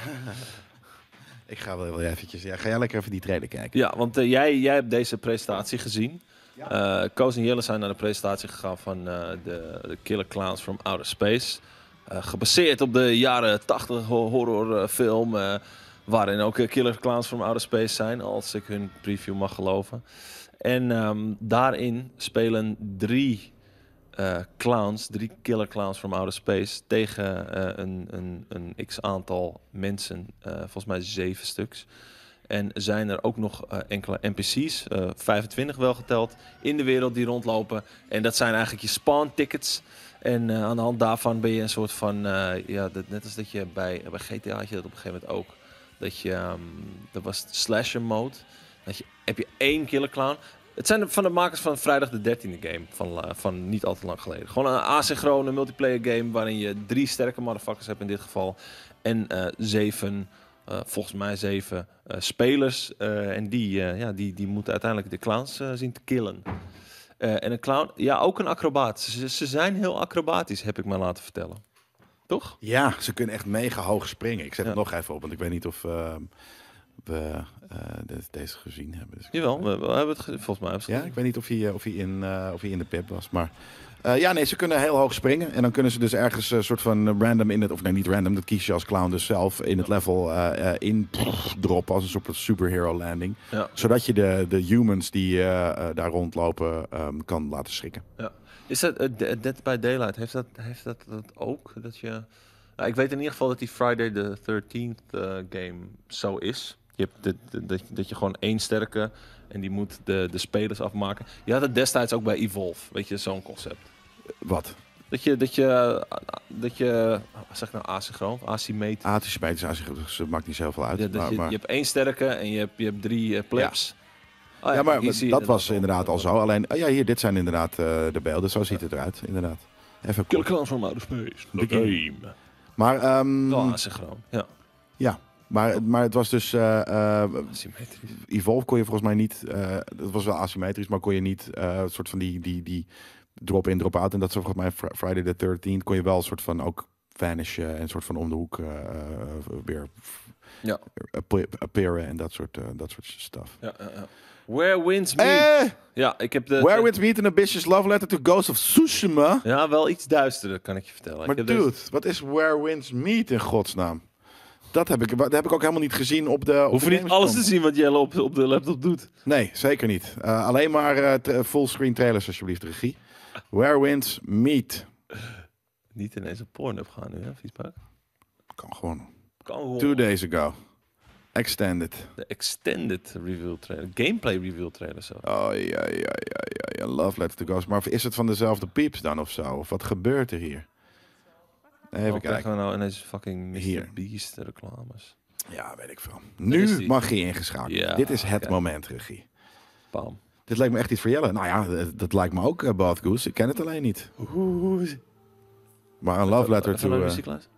S1: Ik ga wel wel eventjes. Ja, ga jij lekker even die trailer kijken?
S2: Ja, want eh, jij, jij hebt deze presentatie gezien. Eh Koos en Jelle zijn naar de presentatie gegaan van eh, de, de Killer Clowns from Outer Space. Eh, gebaseerd op de jaren 80 ho- horrorfilm. eh, waarin ook eh, Killer Clowns from Outer Space zijn, als ik hun preview mag geloven. En ehm, daarin spelen drie eh, clowns, drie killer clowns from outer space, tegen eh, een, een, een x aantal mensen, eh, volgens mij zeven stuks. En zijn er ook nog eh, enkele NPC's, eh 25 wel geteld, in de wereld die rondlopen. En dat zijn eigenlijk je spawn tickets. En eh, aan de hand daarvan ben je een soort van, eh, ja, dat, net als dat je bij, bij GTA had je dat op een gegeven moment ook. Dat je, ehm, dat was slasher mode. Dat je, heb je één killer clown. Het zijn de- van de makers van vrijdag de 13e game van, la- van niet al te lang geleden. Gewoon een asynchrone multiplayer game waarin je drie sterke motherfuckers hebt in dit geval. En eh, zeven, eh, volgens mij zeven eh, spelers. Eh, en die, eh, ja, die, die moeten uiteindelijk de clowns eh, zien te killen. Eh, en een clown, ja, ook een acrobaat. Ze, ze zijn heel acrobatisch, heb ik me laten vertellen. Toch?
S1: Ja, ze kunnen echt mega hoog springen. Ik zet
S2: Ja.
S1: het nog even op, want ik weet niet of ehm, we eh, dit- deze gezien hebben. Dus ik-
S2: Jawel, we, we hebben het ge- volgens mij. hebben ze
S1: Ja,
S2: het
S1: ik weet niet of hij, eh, of hij, in, eh, of hij in de pip was. Maar eh, ja, nee, ze kunnen heel hoog springen. En dan kunnen ze dus ergens een soort van random in het... Of nee, niet random. Dat kies je als clown dus zelf in het level eh, eh, in droppen. Als een soort van superhero landing.
S2: Ja.
S1: Zodat je de, de humans die eh, eh, daar rondlopen ehm, kan laten schrikken.
S2: Is dat eh, De- Dead by Daylight? Heeft dat, heeft dat, dat ook? Dat je... Nou, ik weet in ieder geval dat die Friday the 13th eh, game zo is. Je hebt dit- dit- dat, je- dat je gewoon één sterke en die moet de, de spelers afmaken. Je had het destijds ook bij Evolve, weet je, zo'n concept.
S1: Wat?
S2: Dat je, dat je, dat je, wat zeg ik nou, asynchroon, of asymmetrisch.
S1: Atische aan zich, dus het maakt niet zoveel uit.
S2: Ja, dat
S1: maar,
S2: je,
S1: maar-
S2: je hebt één sterke en je hebt, je hebt drie eh, plebs. Oh
S1: ja, maar
S2: hier zie je
S1: dat was
S2: wel.
S1: inderdaad al zo. Alleen, oh ja, hier, dit zijn inderdaad eh, de beelden. Zo ziet het eruit, inderdaad. Even
S2: Killer
S1: kort.
S2: Clowns from Outer Space. The
S1: The game.
S2: game.
S1: Maar, ehm,
S2: Wel asynchroon, ja.
S1: maar, maar het was dus... eh, eh,
S2: Asymmetrisch.
S1: Evolve kon je volgens mij niet... eh dat was wel asymmetrisch, maar kon je niet... eh, een soort van die, die, die drop-in, drop-out. En dat soort volgens mij Fri- Friday the 13th kon je wel een soort van ook vanishen en soort van om de hoek eh, eh, weer
S2: Ja.
S1: appear- appearen en dat soort, eh, dat soort stuff.
S2: Ja, ja, ja. Where wins me?
S1: Eh,
S2: ja, ik heb de.
S1: where
S2: de-
S1: with me an ambitious love letter to Ghost of Tsushima.
S2: Ja, wel iets duisterder kan ik je vertellen. ik
S1: Maar
S2: heb
S1: dude,
S2: deze-
S1: wat is Where Winds Meet in godsnaam? Dat heb, ik, dat heb ik ook helemaal niet gezien op de. Op
S2: hoef je
S1: de
S2: niet alles te
S1: Gamescom.
S2: zien wat Jelle op, op de laptop doet.
S1: Nee, zeker niet. Eh, alleen maar eh, tra- fullscreen trailers, alsjeblieft, regie. Where Winds Meet.
S2: Niet ineens op Pornhub gaan nu, hè, Viespaak?
S1: Kan gewoon.
S2: Kan gewoon.
S1: Two days ago. Extended.
S2: De extended reveal trailer. Gameplay reveal trailer zo.
S1: Oh ja, ja, ja, ja, ja. Love Letter to Ghost. Maar is het van dezelfde pieps dan of zo? Of wat gebeurt er hier? Even
S2: Waarom krijgen
S1: kijken.
S2: we nou ineens fucking Mr.
S1: Hier.
S2: Beast reclames?
S1: Ja, weet ik veel.
S2: is
S1: Nu
S2: die.
S1: mag je ingeschakeld.
S2: Ja,
S1: Dit is het
S2: kijk.
S1: moment, regie.
S2: Bam.
S1: Dit lijkt me echt iets voor Jelle. Nou ja, dat, dat lijkt me ook, eh, Bath Goose. Ik ken het alleen niet. Maar een love letter
S2: Even
S1: to...
S2: naar de
S1: eh,
S2: muziek luisteren.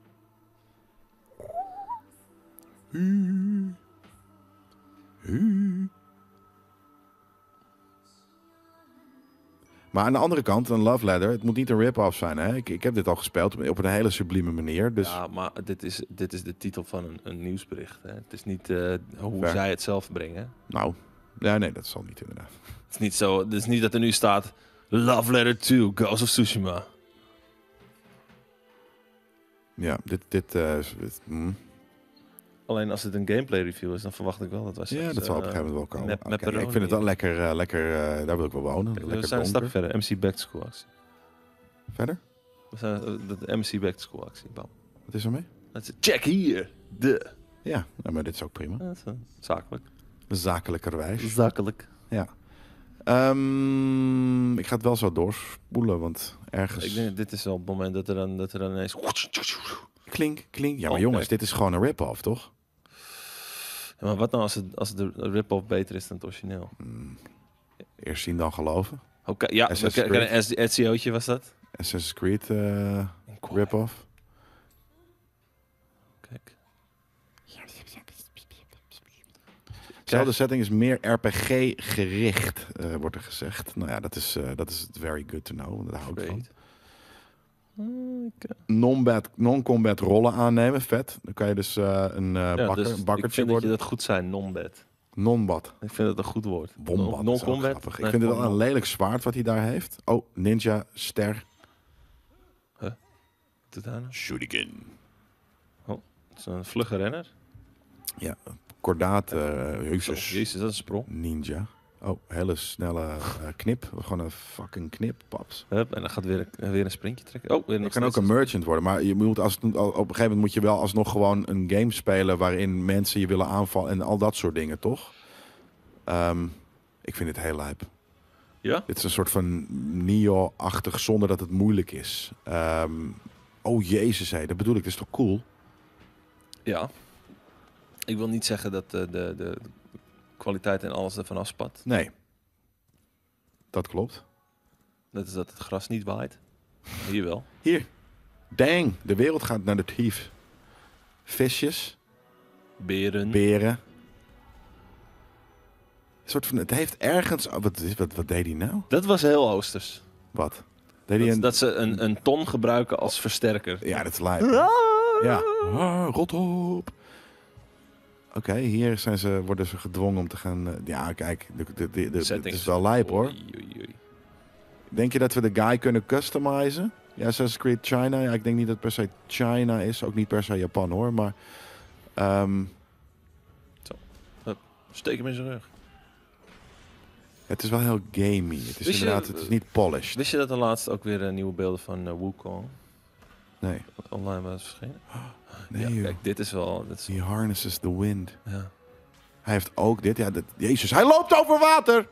S1: maar aan de andere kant, een love letter, het moet niet een rip-off zijn. Hè? Ik, ik heb dit al gespeeld op een hele sublieme manier. Dus
S2: Ja, maar dit is, dit is de titel van een, een nieuwsbericht. Hè. Het is niet eh, hoe
S1: Fair.
S2: zij het zelf brengen.
S1: nou, ja, nee, dat zal niet inderdaad.
S2: Het is niet zo. Het is niet dat er nu staat Love Letter 2, Ghost of Tsushima.
S1: Ja, dit... dit, eh, is- dit, mm.
S2: Alleen als het een gameplay review is, dan verwacht ik wel dat wij
S1: Ja,
S2: straks,
S1: dat zal op
S2: eh,
S1: een gegeven moment wel komen.
S2: nep-
S1: Oké,
S2: nepperoni.
S1: ik vind het wel lekker, eh, lekker eh, daar wil ik wel wonen.
S2: We
S1: lekker
S2: zijn een stap
S1: donker.
S2: verder. MC Back to School actie.
S1: Verder?
S2: We zijn eh, dat MC Back to School actie. Bam.
S1: Wat is er mee?
S2: Dat is- check hier. De.
S1: Ja, nou, maar dit is ook prima.
S2: Ja, dat is, eh, zakelijk.
S1: Zakelijkerwijs.
S2: Zakelijk.
S1: Ja. Ehm, ik ga het wel zo doorspoelen, want ergens...
S2: Ik denk, dat dit is wel het moment dat er dan, dat er dan ineens...
S1: Klink, klink. Ja, maar
S2: Oh,
S1: jongens,
S2: nee.
S1: dit is gewoon een rip-off, toch?
S2: Ja, maar wat nou als, het, als de rip-off beter is dan het origineel?
S1: Eerst zien dan geloven.
S2: Oké, ja,
S1: Assassin's
S2: we ken- ken een SEO'tje was dat.
S1: Assassin's Creed eh, rip-off.
S2: Kijk.
S1: Zelfde setting is meer RPG-gericht, eh, wordt er gezegd. Nou ja, dat is, eh, dat is very good to know. want Daar hou ik van.
S2: Great. Ah, ik, eh,
S1: Non-bat- Non-combat rollen aannemen, vet. Dan kan je dus eh, een eh
S2: ja,
S1: bakker,
S2: dus
S1: een
S2: ik
S1: bakkertje
S2: vind dat je
S1: worden.
S2: dat goed zijn, non-bed.
S1: Non-bat.
S2: Ik vind dat een goed woord.
S1: Bombat.
S2: Non-
S1: is ook
S2: Non-combat.
S1: grappig.
S2: Nee,
S1: Ik vind het wel
S2: non-
S1: een lelijk zwaard wat hij daar heeft. Oh, ninja, ster,
S2: Doet hij nou?
S1: shuriken.
S2: Het is een vlugge renner.
S1: Ja, kordaat, eh
S2: Oh,
S1: heusers.
S2: jezus, dat is een sprong.
S1: Ninja. Oh, hele snelle eh, knip. Gewoon een fucking knip, paps.
S2: Hup, en dan gaat weer een, weer een sprintje trekken. Oh, weer
S1: Je
S2: nog
S1: kan ook een
S2: steeds.
S1: merchant worden, maar je moet als, op een gegeven moment moet je wel alsnog gewoon een game spelen waarin mensen je willen aanvallen en al dat soort dingen, toch? Ehm, ik vind dit heel lijp.
S2: Ja?
S1: Dit is een soort van Nio-achtig zonder dat het moeilijk is. Ehm, oh jezus, hé, dat bedoel ik, dat is toch cool?
S2: Ja. Ik wil niet zeggen dat eh, de, de, de kwaliteit en alles ervan afspat.
S1: Nee. Dat klopt.
S2: Dat is dat het gras niet waait. Hier wel.
S1: Hier. Dang, de wereld gaat naar de tief. Visjes.
S2: Beren.
S1: beren. Een soort van, het heeft ergens. oh, Wat, is- wat, wat deed hij nou?
S2: dat was heel Oosters.
S1: Wat? Deed hij
S2: Dat,
S1: een.
S2: dat ze een, een ton gebruiken als versterker.
S1: ja, dat is lijp. Ja. Ah, rot op. Oké, hier zijn ze, worden ze gedwongen om te gaan. eh, ja, kijk, de- de- de- de- het
S2: Settings.
S1: is wel lijp hoor.
S2: Oei, oei, oei.
S1: Denk je dat we de guy kunnen customizen? Ja, Assassin's Creed China. Ja, ik denk niet dat het per se China is. Ook niet per se Japan hoor. Maar ehm,
S2: Steek hem in zijn rug.
S1: het is wel heel gamey. Het is
S2: Wist Dus je-
S1: inderdaad het is niet polished.
S2: Wist je dat er laatst ook weer eh, nieuwe beelden van eh, Wukong
S1: Nee.
S2: online was verschenen?
S1: nee
S2: ja,
S1: joh.
S2: kijk, dit is wel... Dit is,
S1: He harnesses the wind.
S2: ja.
S1: Hij heeft ook dit. Ja, dat, Jezus, hij loopt over water.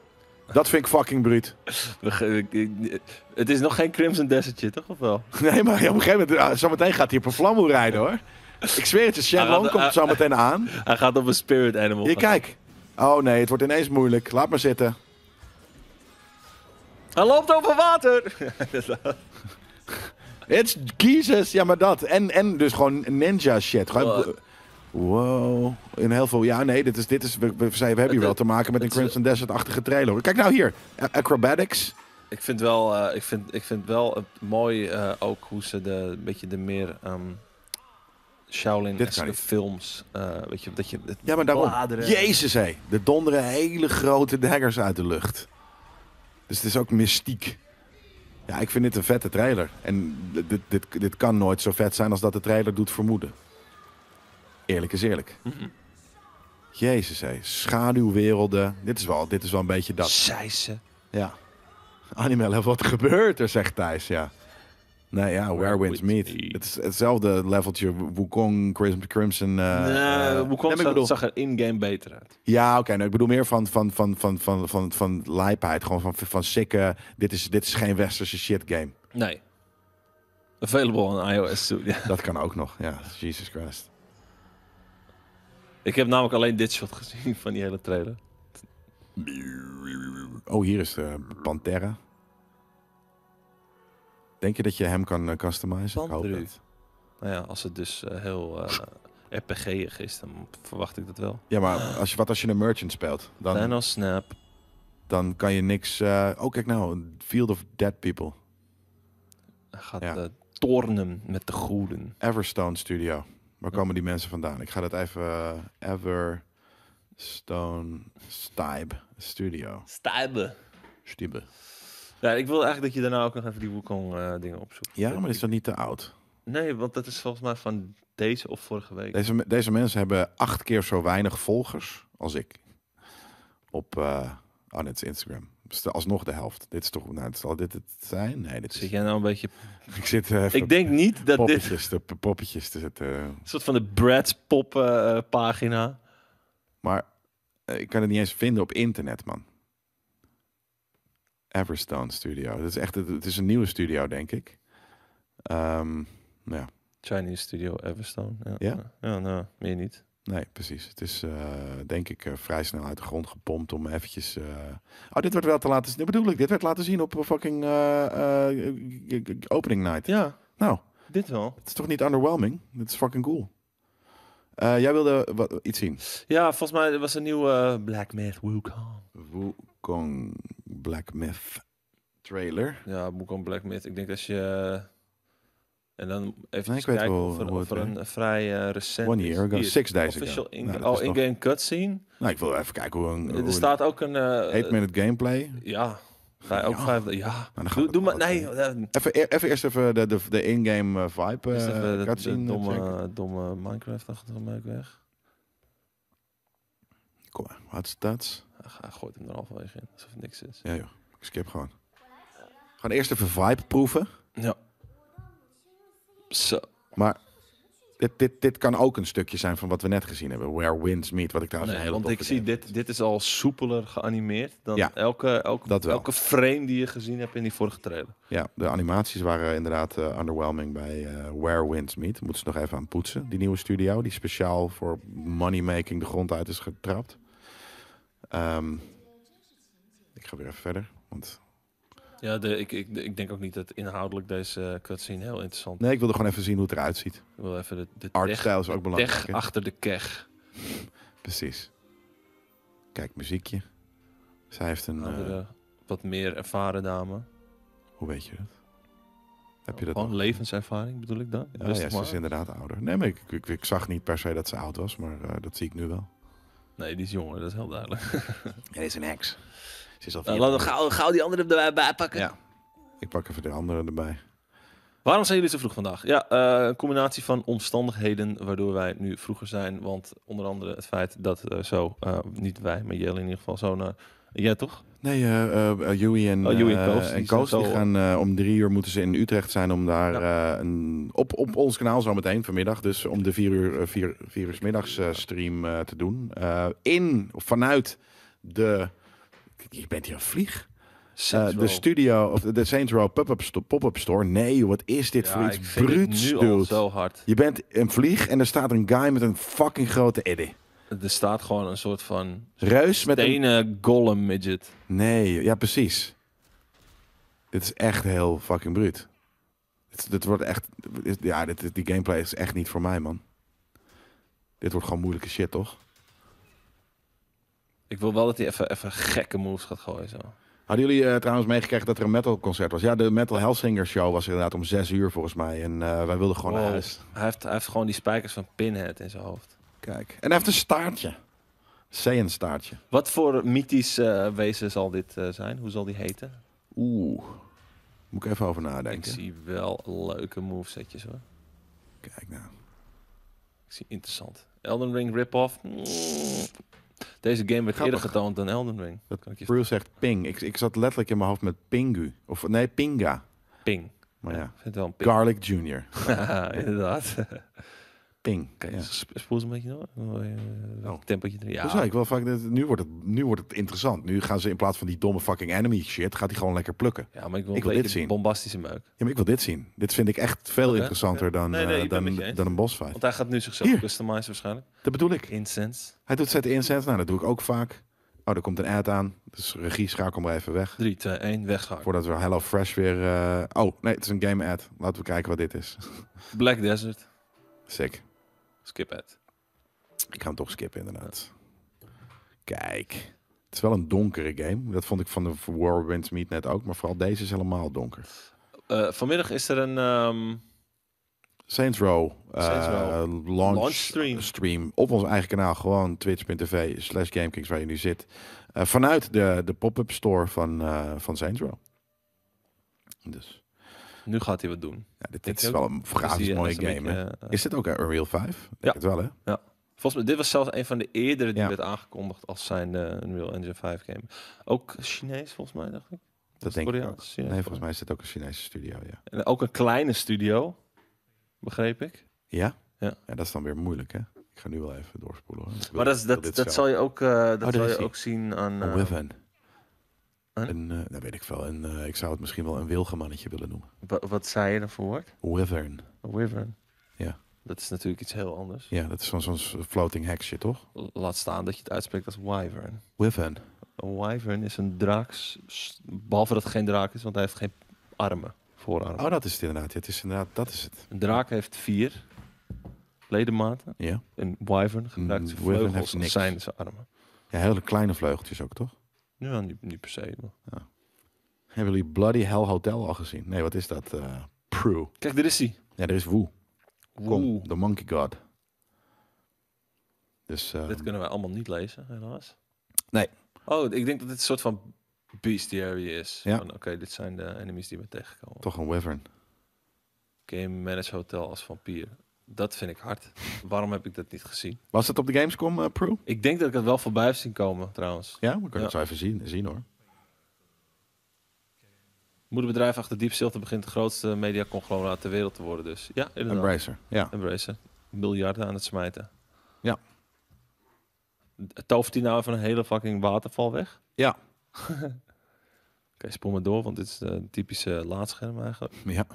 S1: Dat vind ik fucking bruut.
S2: We ge- ik- ik- Het is nog geen Crimson Desertje, toch? Of wel?
S1: Nee, maar op een gegeven moment, ah, zometeen gaat hij op een flamboe rijden hoor. Ik zweer het je,
S2: Hij
S1: Shenlong
S2: gaat-
S1: komt zo meteen aan.
S2: Hij gaat op een spirit animal.
S1: Hier, kijk. Oh nee, het wordt ineens moeilijk. Laat maar zitten.
S2: Hij loopt over water!
S1: It's Jesus. Ja, maar dat. En, en dus gewoon ninja shit. Gewoon,
S2: Wow.
S1: wow. In heel veel... Ja, nee, dit is, dit is, we, we, we hebben hier wel te maken met een
S2: het is-
S1: Crimson Desert-achtige trailer. hoor. Kijk nou hier. A- Acrobatics.
S2: Ik vind wel, eh, ik vind, ik vind wel het mooi eh, ook hoe ze de een beetje de meer ehm Shaolin
S1: Dit kan niet.
S2: films, eh, weet je, dat je het
S1: Ja, maar daarom.
S2: bladeren.
S1: Jezus, hé. Er donderen hele grote daggers uit de lucht. Dus het is ook mystiek. Ja, ik vind dit een vette trailer. En dit, dit, dit, dit kan nooit zo vet zijn als dat de trailer doet vermoeden. Eerlijk is eerlijk. Jezus, hé. Schaduwwerelden. Dit is, wel, dit is wel een beetje dat.
S2: Zei ze.
S1: Ja. Animal, wat gebeurt er, zegt Thijs, ja. Nee, ja, Where Winds Meet.
S2: Meet.
S1: Het is hetzelfde leveltje Wukong, Crim- Crimson... eh eh,
S2: nee, hoe
S1: nee, maar
S2: komt
S1: ik
S2: dat?
S1: bedoel-
S2: zag er in-game beter uit.
S1: ja, oké. nou, ik bedoel meer van, van, van, van, van, van, van lijpheid. Gewoon van, van sikke... Dit is, dit is geen westerse shit game.
S2: Nee. Available on iOS. too, ja.
S1: Dat kan ook nog. Ja, Jesus Christ.
S2: Ik heb namelijk alleen dit shot gezien van die hele trailer.
S1: Oh, hier is de Pantera. Denk je dat je hem kan eh, customizen? Ik hoop
S2: Pantru.
S1: het.
S2: Nou ja, als het dus eh, heel eh, RPG'ig is, dan verwacht ik dat wel.
S1: Ja, maar als je, wat als je een merchant speelt? Dan,
S2: Thanos Snap.
S1: dan kan je niks... eh, oh, kijk nou. een Field of Dead People.
S2: Hij gaat
S1: Ja.
S2: eh, tornen met de goeden.
S1: Everstone Studio. Waar komen die mensen vandaan? Ik ga dat even... eh, Everstone Stibe Studio.
S2: Stijbe.
S1: Stibe.
S2: Ja, ik wil eigenlijk dat je daarna ook nog even die Wukong eh, dingen opzoekt.
S1: Ja,
S2: Dat
S1: maar is
S2: ik-
S1: dat niet te oud?
S2: Nee, want dat is volgens mij van deze of vorige week.
S1: Deze, me- deze mensen hebben acht keer zo weinig volgers als ik. Op eh oh, net is Instagram. Dus de- alsnog de helft. Dit is toch... Nou, het zal dit het zijn? Nee, dit
S2: Zit
S1: is...
S2: jij nou een beetje...
S1: Ik zit eh, even
S2: Ik denk niet dat dit
S1: poppetjes, te, poppetjes te zetten.
S2: een soort van de Brad's Pop eh, eh, pagina...
S1: Maar eh, ik kan het niet eens vinden op internet, man. Everstone Studio. Dat is echt... Het, het is een nieuwe studio, denk ik. Ehm, ja,
S2: Chinese Studio Everstone. Ja,
S1: Ja?
S2: ja nou, meer niet.
S1: Nee, precies. Het is eh, denk ik eh, vrij snel uit de grond gepompt om eventjes... eh, Oh, dit werd wel te laten zien. Dat bedoel ik. Dit werd laten zien op fucking eh, eh, g- g- g- opening night.
S2: Ja,
S1: Nou,
S2: dit wel.
S1: het is toch niet underwhelming? Dit is fucking cool. Eh, jij wilde wat, iets zien.
S2: Ja, volgens mij er was een nieuwe eh, Black Myth Wukong.
S1: Wukong Black Myth trailer.
S2: Ja, Wukong Black Myth. Ik denk dat je... eh, en dan even
S1: Nee, ik weet
S2: kijken
S1: wel
S2: of er,
S1: hoe
S2: of
S1: het
S2: er een vrij eh, recent
S1: One
S2: is.
S1: year ago.
S2: Hier,
S1: Six days
S2: Official
S1: ago.
S2: in
S1: Nou, dat is
S2: oh,
S1: toch-
S2: in-game cutscene.
S1: Nou, ik wil even kijken hoe een...
S2: er staat ook een... eh,
S1: 8 minute gameplay.
S2: Ja, Vij- ook
S1: Ja. Nou,
S2: vijf. Ja,
S1: dan gaan
S2: doe,
S1: we
S2: doe maar.
S1: het wel
S2: Nee, eh,
S1: Even, e- even eerst even de, de, de in-game eh, vibe.
S2: is
S1: eh,
S2: even dat- dat
S1: cutscene checken.
S2: domme, domme Minecraft-achtige merk weg.
S1: Kom maar, wat is dat?
S2: Hij hij gooit hem er halverwege in, alsof het niks is.
S1: Ja joh, ik skip gewoon. Gewoon eerst even vibe proeven.
S2: Ja. Zo.
S1: Maar dit, dit, dit kan ook een stukje zijn van wat we net gezien hebben. Where winds meet, wat ik trouwens
S2: Nee,
S1: een hele
S2: want ik
S1: toffe
S2: zie
S1: game
S2: dit, dit is al soepeler geanimeerd dan
S1: Ja,
S2: elke, elke,
S1: dat wel.
S2: elke frame die je gezien hebt in die vorige trailer.
S1: vind. Ja, de animaties waren inderdaad eh, underwhelming bij eh, Where winds meet. Moeten ze nog even aan poetsen. Die nieuwe studio, die speciaal voor moneymaking de grond uit is getrapt. Ehm, ik ga weer even verder, want
S2: Ja, de, ik, ik, ik denk ook niet dat inhoudelijk deze eh, cutscene heel interessant is.
S1: nee, ik wilde gewoon even zien hoe het eruit ziet.
S2: Ik wil even de, de tech,
S1: Artstijl is ook belangrijk.
S2: tech
S1: hè?
S2: achter de keg.
S1: Precies. Kijk, muziekje. Zij heeft een. eh,
S2: Andere, wat meer ervaren dame.
S1: Hoe weet je dat? Heb je dat
S2: Gewoon
S1: nog?
S2: levenservaring bedoel ik dan?
S1: Ja, ja, ze is inderdaad ouder. Nee, maar ik, ik, ik zag niet per se dat ze oud was, maar eh, dat zie ik nu wel.
S2: Nee, die is jonger, dat is heel duidelijk.
S1: Ja, is een ex. Ze is al
S2: laten we Nou, gauw, gauw die andere erbij bij pakken.
S1: Ja. Ik pak even de andere erbij.
S2: Waarom zijn jullie zo vroeg vandaag? Ja, eh, een combinatie van omstandigheden waardoor wij nu vroeger zijn. Want onder andere het feit dat eh, zo, eh, niet wij, maar Jelle in ieder geval, zo naar... Jij toch?
S1: Nee, eh eh, eh, Joey en,
S2: Oh, Joey en
S1: eh,
S2: Koos, die
S1: en
S2: zijn
S1: Koos die
S2: zo-
S1: gaan eh, om drie uur moeten ze in Utrecht zijn om daar eh, een, op, op ons kanaal zo meteen vanmiddag, dus om de vier uur, eh, vier, vier uur 's middags eh, stream eh, te doen. Eh, in, of vanuit de, je bent hier een vlieg. Eh, de studio, of de Saints Row pop-up sto- pop-up store. Nee, joh, wat is dit voor iets bruuts,
S2: nu al
S1: dude.
S2: zo hard.
S1: Je bent een vlieg en er staat een guy met een fucking grote eddy.
S2: Er staat gewoon een soort van
S1: Reus met een...
S2: ene golem midget.
S1: Nee, joh, ja precies. Dit is echt heel fucking bruut. Dit, dit wordt echt... dit- Ja, dit, dit- die gameplay is echt niet voor mij, man. Dit wordt gewoon moeilijke shit, toch?
S2: Ik wil wel dat hij even, even gekke moves gaat gooien zo.
S1: Hadden jullie eh, trouwens meegekregen dat er een metalconcert was? Ja, de Metal Hellsinger Show was inderdaad om zes uur volgens mij. En eh, wij wilden gewoon naar
S2: Wow.
S1: huis.
S2: Hij heeft, hij heeft gewoon die spijkers van Pinhead in zijn hoofd.
S1: Kijk. En hij heeft een staartje. Zeeën staartje.
S2: Wat voor mythisch eh, wezen zal dit eh, zijn? Hoe zal die heten?
S1: Oeh. Moet ik even over
S2: Ik
S1: nadenken.
S2: zie wel leuke movesetjes hoor.
S1: Kijk nou.
S2: Ik zie interessant. Elden Ring rip-off. Mm. Deze game werd eerder
S1: Grappig.
S2: getoond dan Elden Ring.
S1: Dat
S2: Kan ik je
S1: Bruce zegt ping. Ik, ik zat letterlijk in mijn hoofd met pingu. Of nee, pinga.
S2: ping.
S1: Maar ja.
S2: Ik vind het wel een ping.
S1: Garlic Junior.
S2: Inderdaad.
S1: Ping.
S2: Oké,
S1: Ja. Oh.
S2: sp- spoel ze een beetje door. Eh, welk tempootje erin?
S1: Dat zei
S2: Ja,
S1: ik wel vaak. dit- Nu wordt, het, nu wordt het interessant. Nu gaan ze in plaats van die domme fucking enemy shit, gaat hij gewoon lekker plukken.
S2: ja, maar ik wil
S1: Ik
S2: een
S1: wil dit
S2: beetje
S1: zien.
S2: bombastische meuk.
S1: Ja, maar ik wil dit zien. Dit vind ik echt veel
S2: Oké,
S1: interessanter dan,
S2: Nee, nee,
S1: eh,
S2: ik ben
S1: dan,
S2: met je eens.
S1: dan een bosfight.
S2: Want hij gaat nu zichzelf
S1: Hier.
S2: customizen waarschijnlijk.
S1: Dat bedoel ik.
S2: Incense.
S1: Hij doet zet incense. Nou, dat doe ik ook vaak. Oh, er komt een ad aan. Dus regie schakel maar even weg.
S2: 3, 2, 1, wegschaken.
S1: Voordat we Hello Fresh weer... eh, Oh, nee, het is een game ad. Laten we kijken wat dit is.
S2: Black Desert.
S1: Sick.
S2: Skip het.
S1: Ik ga hem toch skippen, inderdaad. Kijk. Het is wel een donkere game. Dat vond ik van de War Winds Meet net ook. Maar vooral deze is helemaal donker.
S2: Eh, vanmiddag is er een... ehm,
S1: Saints Row, eh,
S2: Saints
S1: Launch,
S2: Row.
S1: eh,
S2: Launch
S1: stream.
S2: stream.
S1: op ons eigen kanaal. Gewoon twitch.tv slash gamekings waar je nu zit. Eh, vanuit de, de pop-up store van, eh, van Saints Row. Dus
S2: nu gaat hij wat doen.
S1: ja, dit,
S2: Denk
S1: is
S2: ook.
S1: wel een
S2: Dus die,
S1: grafisch
S2: eh,
S1: mooie
S2: is een
S1: game. hè?
S2: beetje, eh,
S1: is dit ook een Unreal 5? Denk
S2: Ja.
S1: het wel hè?
S2: Volgens mij, dit was zelfs een van de eerdere die
S1: Ja.
S2: werd aangekondigd als zijn eh, Unreal Engine 5 game. Ook Chinees, volgens mij, dacht ik.
S1: Dat denk ik ook.
S2: Koreaans.
S1: Nee,
S2: Chinees,
S1: volgens mij is dit ook een Chinese studio, ja.
S2: En ook een kleine studio, begreep ik.
S1: Ja?
S2: Ja.
S1: dat is dan weer moeilijk, hè? Ik ga nu wel even doorspoelen. hoor. Ik wil-
S2: Maar dat, is,
S1: ik wil
S2: dat,
S1: dit
S2: dat,
S1: zelf.
S2: zal je ook, eh,
S1: daar
S2: dat zal
S1: is
S2: je
S1: hij.
S2: ook zien aan...
S1: Een
S2: eh,
S1: Wyvern.
S2: Huh?
S1: Een, eh, nou weet ik wel. Een, eh, ik zou het misschien wel een wilgemannetje willen noemen.
S2: wa- wat zei je daarvoor woord?
S1: Wyvern.
S2: Een wyvern.
S1: Ja.
S2: Dat is natuurlijk iets heel anders.
S1: Ja, dat is zo'n zo'n floating hack shit, toch?
S2: Laat staan dat je het uitspreekt als wyvern.
S1: Wyvern.
S2: Een wyvern is een draak, s- s- behalve dat het geen draak is, want hij heeft geen armen, voorarmen.
S1: Oh, dat is het inderdaad. Ja, het is inderdaad, dat is het.
S2: Een draak heeft vier ledematen.
S1: Ja.
S2: Een wyvern gebruikt zijn
S1: wyvern heeft
S2: vleugels als
S1: niks.
S2: zijn zijn armen.
S1: Ja, hele kleine vleugeltjes ook, toch?
S2: Ja, niet, niet per se. maar-
S1: Hebben jullie Bloody Hell Hotel al gezien? Nee, wat is dat? eh Prue.
S2: Kijk, er is hij.
S1: Ja, er is Woe. Kom,
S2: Oeh,
S1: de Monkey God. Dus, eh,
S2: Dit kunnen wij allemaal niet lezen, helaas.
S1: Nee.
S2: Oh, ik denk dat dit een soort van bestiary is.
S1: Ja.
S2: Van, Oké, dit zijn de enemies die we tegenkomen.
S1: toch een Wyvern.
S2: Game Manage Hotel als vampier. Dat vind ik hard. Waarom heb ik dat niet gezien?
S1: Was het op de Gamescom, eh, Prue?
S2: Ik denk dat ik het wel voorbij heb zien komen, trouwens.
S1: Ja, we kunnen
S2: Ja.
S1: het zo even zien, zien hoor.
S2: Moederbedrijf achter Deep Silver begint het grootste mediaconglomeraat ter wereld te worden, dus. Ja, inderdaad.
S1: Embracer, ja.
S2: Embracer. Miljarden aan het smijten.
S1: Ja.
S2: Tovert hij nou even een hele fucking waterval weg?
S1: Ja.
S2: Oké, spoel maar door, want dit is eh, een typische laadscherm eigenlijk.
S1: ja.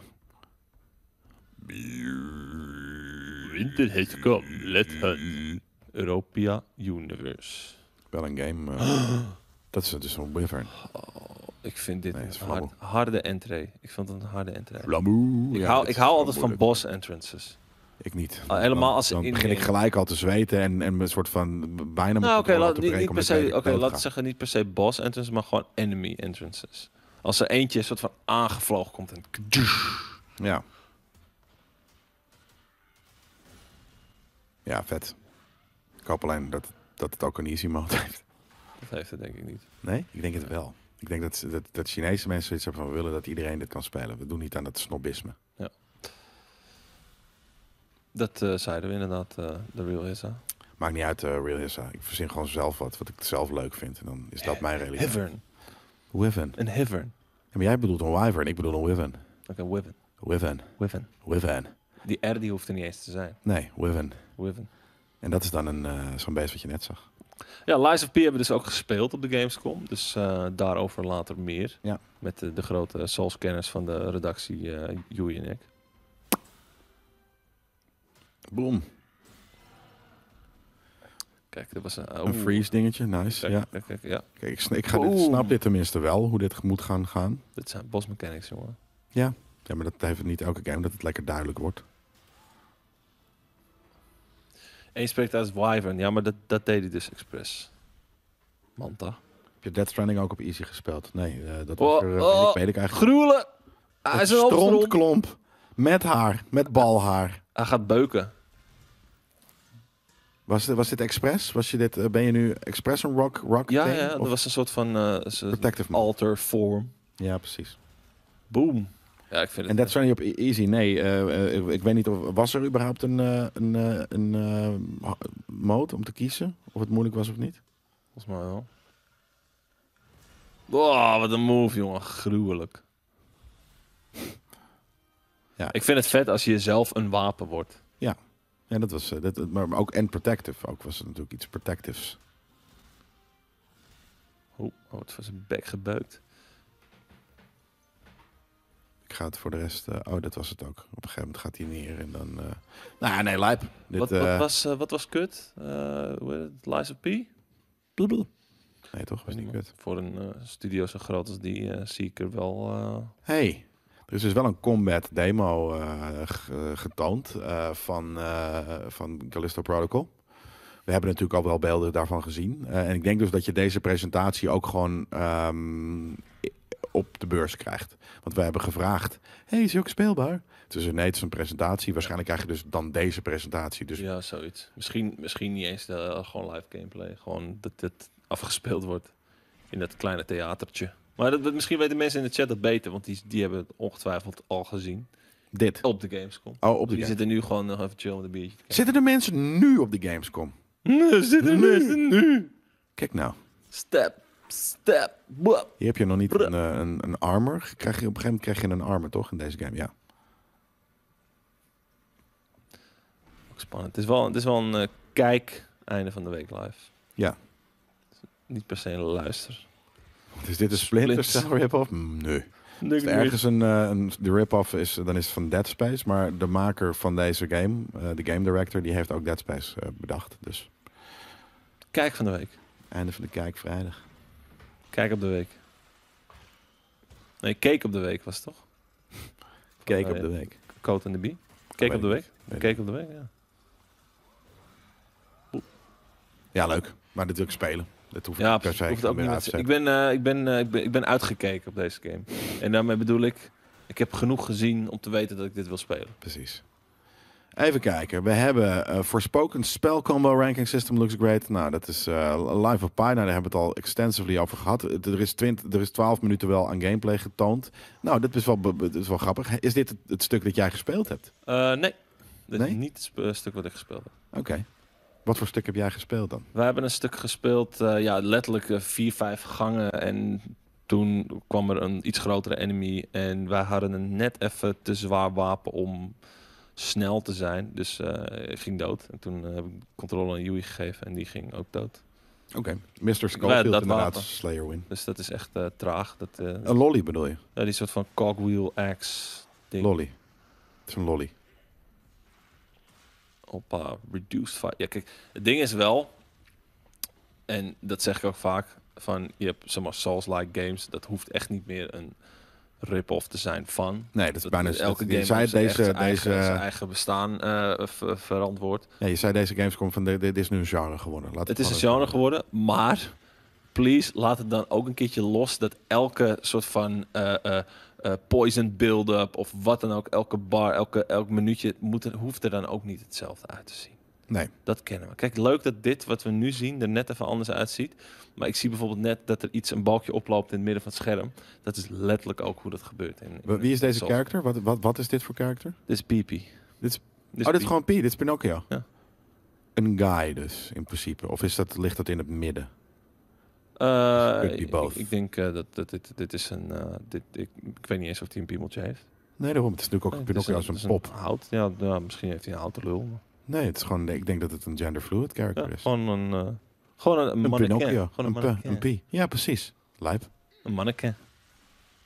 S2: Winter has come, let hunt. Europia Universe.
S1: Wel een game. eh, dat is dus een wyvern.
S2: Ik vind dit
S1: Nee,
S2: een
S1: is flauw.
S2: hard- harde entree. Ik vond het een harde entree.
S1: Flamoe.
S2: Ik
S1: Ja,
S2: hou,
S1: dit
S2: ik
S1: is
S2: hou
S1: wel
S2: altijd van
S1: moeilijk.
S2: boss entrances.
S1: Ik niet.
S2: Ah, helemaal
S1: Dan-
S2: als ze
S1: dan
S2: in-
S1: begin ik gelijk al te zweten en, en een soort van bijna
S2: Nou, oké, laat,
S1: te
S2: niet, niet per se. Oké, laten we
S1: laat
S2: zeggen niet per se boss entrances, maar gewoon enemy entrances. Als er eentje een soort van aangevlogen komt en
S1: Ja. Ja, vet. Ik hoop alleen dat, dat het ook een easy mode heeft.
S2: dat heeft het denk ik niet.
S1: Nee, ik denk het wel. Ik denk dat, dat, dat Chinese mensen zoiets hebben van we willen dat iedereen dit kan spelen. We doen niet aan dat snobisme.
S2: Dat eh, zeiden we inderdaad, eh, de real is. hè.
S1: Maakt niet uit, eh Real Hissa. Ik verzin gewoon zelf wat, wat ik zelf leuk vind. En dan is dat mijn realiteit.
S2: Hivern.
S1: Wyvern.
S2: Een hivern.
S1: Ja, maar jij bedoelt een wyvern, ik bedoel een wyvern.
S2: Oké, wyvern.
S1: Wyvern.
S2: Wyvern.
S1: Wyvern.
S2: Die R die hoeft er niet eens te zijn.
S1: Nee, wyvern.
S2: Wyvern.
S1: En dat is dan een, eh, zo'n beest wat je net zag.
S2: Ja, Lies of P hebben we dus ook gespeeld op de Gamescom. Dus eh, daarover later meer.
S1: Ja.
S2: Met eh, de, de grote soulscanners van de redactie eh Joey en ik.
S1: Boom.
S2: Kijk, dat was een... oh.
S1: Een freeze dingetje, nice.
S2: Kijk,
S1: ja.
S2: kijk, kijk, ja,
S1: Kijk, ik, sn- ik ga dit,
S2: Boom.
S1: snap dit tenminste wel, hoe dit moet gaan gaan.
S2: dit zijn bosmechanics, jongen.
S1: Ja, maar dat heeft niet elke game dat het lekker duidelijk wordt.
S2: En je spreekt uit Wyvern. Ja, maar dat, dat deed hij dus expres. Manta.
S1: Heb je Dead Stranding ook op easy gespeeld? Nee, eh, dat was
S2: Oh,
S1: er, eh,
S2: oh,
S1: ik weet ik eigenlijk.
S2: Gruwelen! Ah, Hij
S1: Een
S2: is een opstront.
S1: strontklomp met haar, met balhaar.
S2: Hij gaat beuken.
S1: Was, dit- was dit expres? Was je dit, eh, ben je nu expres een rock, rock
S2: Ja,
S1: thing?
S2: ja, dat
S1: Of
S2: was een soort van eh, zo-
S1: protective mode?
S2: alter form.
S1: Ja, precies.
S2: Boom. Ja, ik vind
S1: En
S2: het...
S1: dat zijn niet op e- easy. Nee, eh, eh, ik- ik weet niet of was er überhaupt een, eh, een, eh, een eh, ha- mode om te kiezen of het moeilijk was of niet.
S2: Volgens mij wel. Wow, wat een move, jongen. Gruwelijk.
S1: Ja.
S2: Ik vind het vet als je zelf een wapen wordt.
S1: Ja, dat was eh, dat, dat- maar maar ook en protective. Ook was het natuurlijk iets protectives.
S2: Oeh, oh, het was een bek gebeukt.
S1: Ik ga het voor de rest. eh, oh, dat was het ook. Op een gegeven moment gaat hij neer en dan. eh, nou, nee, lijp. Dit,
S2: wat,
S1: eh,
S2: wat, was, eh, wat was kut? Eh, hoe heet het? Lies of P?
S1: doedel. Nee, toch was niet kut.
S2: Voor een eh, studio zo groot als die eh, zie ik er wel... eh,
S1: Hey, er is dus wel een combat demo eh, ge- getoond eh, van, eh, van Callisto Protocol. We hebben natuurlijk al wel beelden daarvan gezien. Eh, en ik denk dus dat je deze presentatie ook gewoon ehm, op de beurs krijgt. Want wij hebben gevraagd, hey, is hij ook speelbaar? Dus nee, het is een presentatie. Waarschijnlijk krijg je dus dan deze presentatie. Dus
S2: Ja, zoiets. Misschien, misschien niet eens eh, gewoon live gameplay. Gewoon dat dit afgespeeld wordt in dat kleine theatertje. Maar dat, dat- misschien weten mensen in de chat dat beter, want die, die hebben het ongetwijfeld al gezien
S1: dit.
S2: op de Gamescom.
S1: Oh, op de
S2: die
S1: Gamescom.
S2: zitten nu gewoon nog even chill met een biertje te
S1: Zitten de mensen nu op de Gamescom?
S2: kijken. Zitten
S1: Nu.
S2: mensen nu?
S1: Kijk nou,
S2: Step, step, wap.
S1: hier heb je nog niet
S2: Bra-
S1: een, eh, een, een armor. Krijg je, op een gegeven moment krijg je een armor, toch? In deze game, ja.
S2: Ook Spannend. Het is wel, het is wel een eh, kijk einde van de week live.
S1: Ja.
S2: Niet per se een luister.
S1: Dus dit is Splinter
S2: Splinter
S1: Cell rip-off? Mm, Nee. Als er ergens een, eh, een, de rip-off is, eh, dan is het van Dead Space. Maar de maker van deze game, eh, de game director, die heeft ook Dead Space eh, bedacht. Dus
S2: Kijk van de week.
S1: einde van de kijk vrijdag.
S2: Kijk op de week. Nee, Cake op de week was het toch?
S1: Kijk
S2: mij,
S1: op de week.
S2: Code in de Bee. Cake op de
S1: ik
S2: week.
S1: Weet ik.
S2: Cake op de week, ja.
S1: Ja, leuk. Maar dit wil ik spelen. Dat hoeft
S2: Ja,
S1: niet per se.
S2: hoeft ook
S1: meer
S2: niet
S1: uit
S2: met-
S1: te
S2: ik,
S1: zetten.
S2: ben, eh, ik, ben, eh, ik, ben, ik ben uitgekeken op deze game. En daarmee bedoel ik, ik heb genoeg gezien om te weten dat ik dit wil spelen.
S1: Precies. Even kijken. We hebben eh Forspoken Spel Combo Ranking System Looks Great. Nou, dat is eh Live of Pi. Nou, daar hebben we het al extensively over gehad. Het- Er is, 20, er is 12 minuten wel aan gameplay getoond. Nou, dit is wel, be- be- dit is wel grappig. Is dit het, het stuk dat jij gespeeld hebt?
S2: Eh, nee, dit
S1: Nee?
S2: is niet het sp- eh, stuk wat ik gespeeld heb.
S1: Oké. Wat voor stuk heb jij gespeeld dan?
S2: We hebben een stuk gespeeld, eh, ja, letterlijk eh, vier, vijf gangen. En toen kwam er een iets grotere enemy. En wij hadden een net even te zwaar wapen om snel te zijn. Dus eh, ik ging dood. En toen eh, heb ik controle aan Yui gegeven en die ging ook dood.
S1: Oké. Mr. Schofield
S2: dat
S1: inderdaad,
S2: wapen.
S1: Slayer win.
S2: Dus dat is echt eh, traag. Dat, eh,
S1: Een lolly bedoel je?
S2: ja, die soort van cogwheel axe ding.
S1: Lolly. Het is een lolly.
S2: Op eh, reduced fire. Ja, kijk, het ding is wel, en dat zeg ik ook vaak, van je hebt zeg maar Souls-like games, dat hoeft echt niet meer een rip-off te zijn van.
S1: Nee, dat is
S2: Dat-
S1: bijna...
S2: elke
S1: dat-
S2: game
S1: je, zei het
S2: heeft zijn echt
S1: deze,
S2: zijn eigen, zijn
S1: deze,
S2: eigen bestaan eh, ver- verantwoord.
S1: nee, je zei deze Gamescom van dit dit is nu een genre geworden. Laat
S2: Het is een
S1: gewoon
S2: genre geworden, maar please laat het dan ook een keertje los dat elke soort van eh, eh, eh, poison build-up of wat dan ook, elke bar, elke, elk minuutje moet, er- hoeft er dan ook niet hetzelfde uit te zien.
S1: Nee.
S2: Dat kennen we. Kijk, leuk dat dit wat we nu zien er net even anders uitziet. Maar ik zie bijvoorbeeld net dat er iets, een balkje oploopt in het midden van het scherm. Dat is letterlijk ook hoe dat gebeurt. In, in-
S1: Wa- Wie is deze
S2: Soul.
S1: character? Wat, wat, wat is dit voor character?
S2: Dit is Pipi.
S1: Dit is-
S2: dit
S1: oh, dit
S2: Pipi.
S1: is gewoon P. Dit is Pinocchio.
S2: Ja.
S1: Een guy dus, in principe. Of is dat, ligt dat in het midden?
S2: Eh,
S1: Could be
S2: ik-
S1: both.
S2: Ik, denk eh, dat, dat dit, dit is een... eh, dit, ik, ik weet niet eens of hij een piemeltje heeft.
S1: Nee, daarom. Het is natuurlijk ook
S2: Nee,
S1: Pinocchio
S2: het is
S1: als een
S2: het is
S1: pop.
S2: hout. Ja, nou, misschien heeft hij een houten lul. maar-
S1: Nee, het is gewoon, ik denk dat het een genderfluid character
S2: Ja,
S1: is.
S2: gewoon een, eh, gewoon een, een,
S1: Een
S2: mannequin.
S1: Pinocchio.
S2: Gewoon een,
S1: Een, P-
S2: mannequin.
S1: een P. Ja, precies. Lijp.
S2: Een mannequin.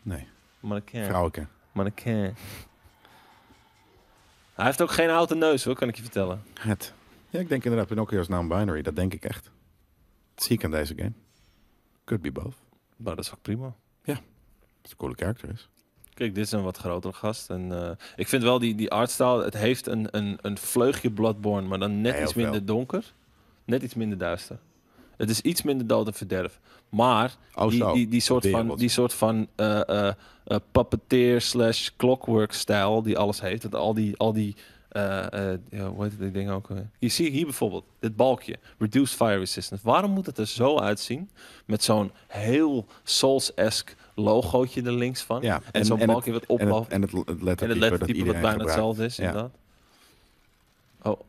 S1: Nee,
S2: Een mannequin.
S1: vrouwke.
S2: Mannequin. Hij heeft ook geen houten neus hoor, kan ik je vertellen.
S1: Het. Ja, ik denk inderdaad Pinocchio is non-binary. Dat denk ik echt. Dat zie ik aan deze game. Could be both.
S2: Maar dat is ook prima.
S1: Het is een coole character is.
S2: Kijk, dit is een wat grotere gast. En, eh, ik vind wel die, die artstyle, het heeft een, een, een vleugje Bloodborne, maar dan net
S1: Heel
S2: iets minder donker. Net iets minder duister. Het is iets minder dood en verderf. Maar
S1: Oh,
S2: die,
S1: zo.
S2: die, die soort
S1: Weer
S2: van,
S1: wat.
S2: die soort van eh, eh, eh, puppeteer slash clockwork stijl die alles heeft. Dat al die, al die eh, eh, ja, hoe heet die ding ook? eh? Je ziet hier bijvoorbeeld dit balkje. Reduced fire resistance. Waarom moet het er zo uitzien? Met zo'n heel Souls-esque logootje er links van.
S1: Ja,
S2: en,
S1: en-
S2: zo'n
S1: en het-
S2: balkje wat
S1: En
S2: oploopt.
S1: het, en het lettertype,
S2: En het
S1: dat
S2: lettertype
S1: iedereen
S2: wat bijna
S1: gebruikt.
S2: hetzelfde is,
S1: Ja.
S2: inderdaad. Oh.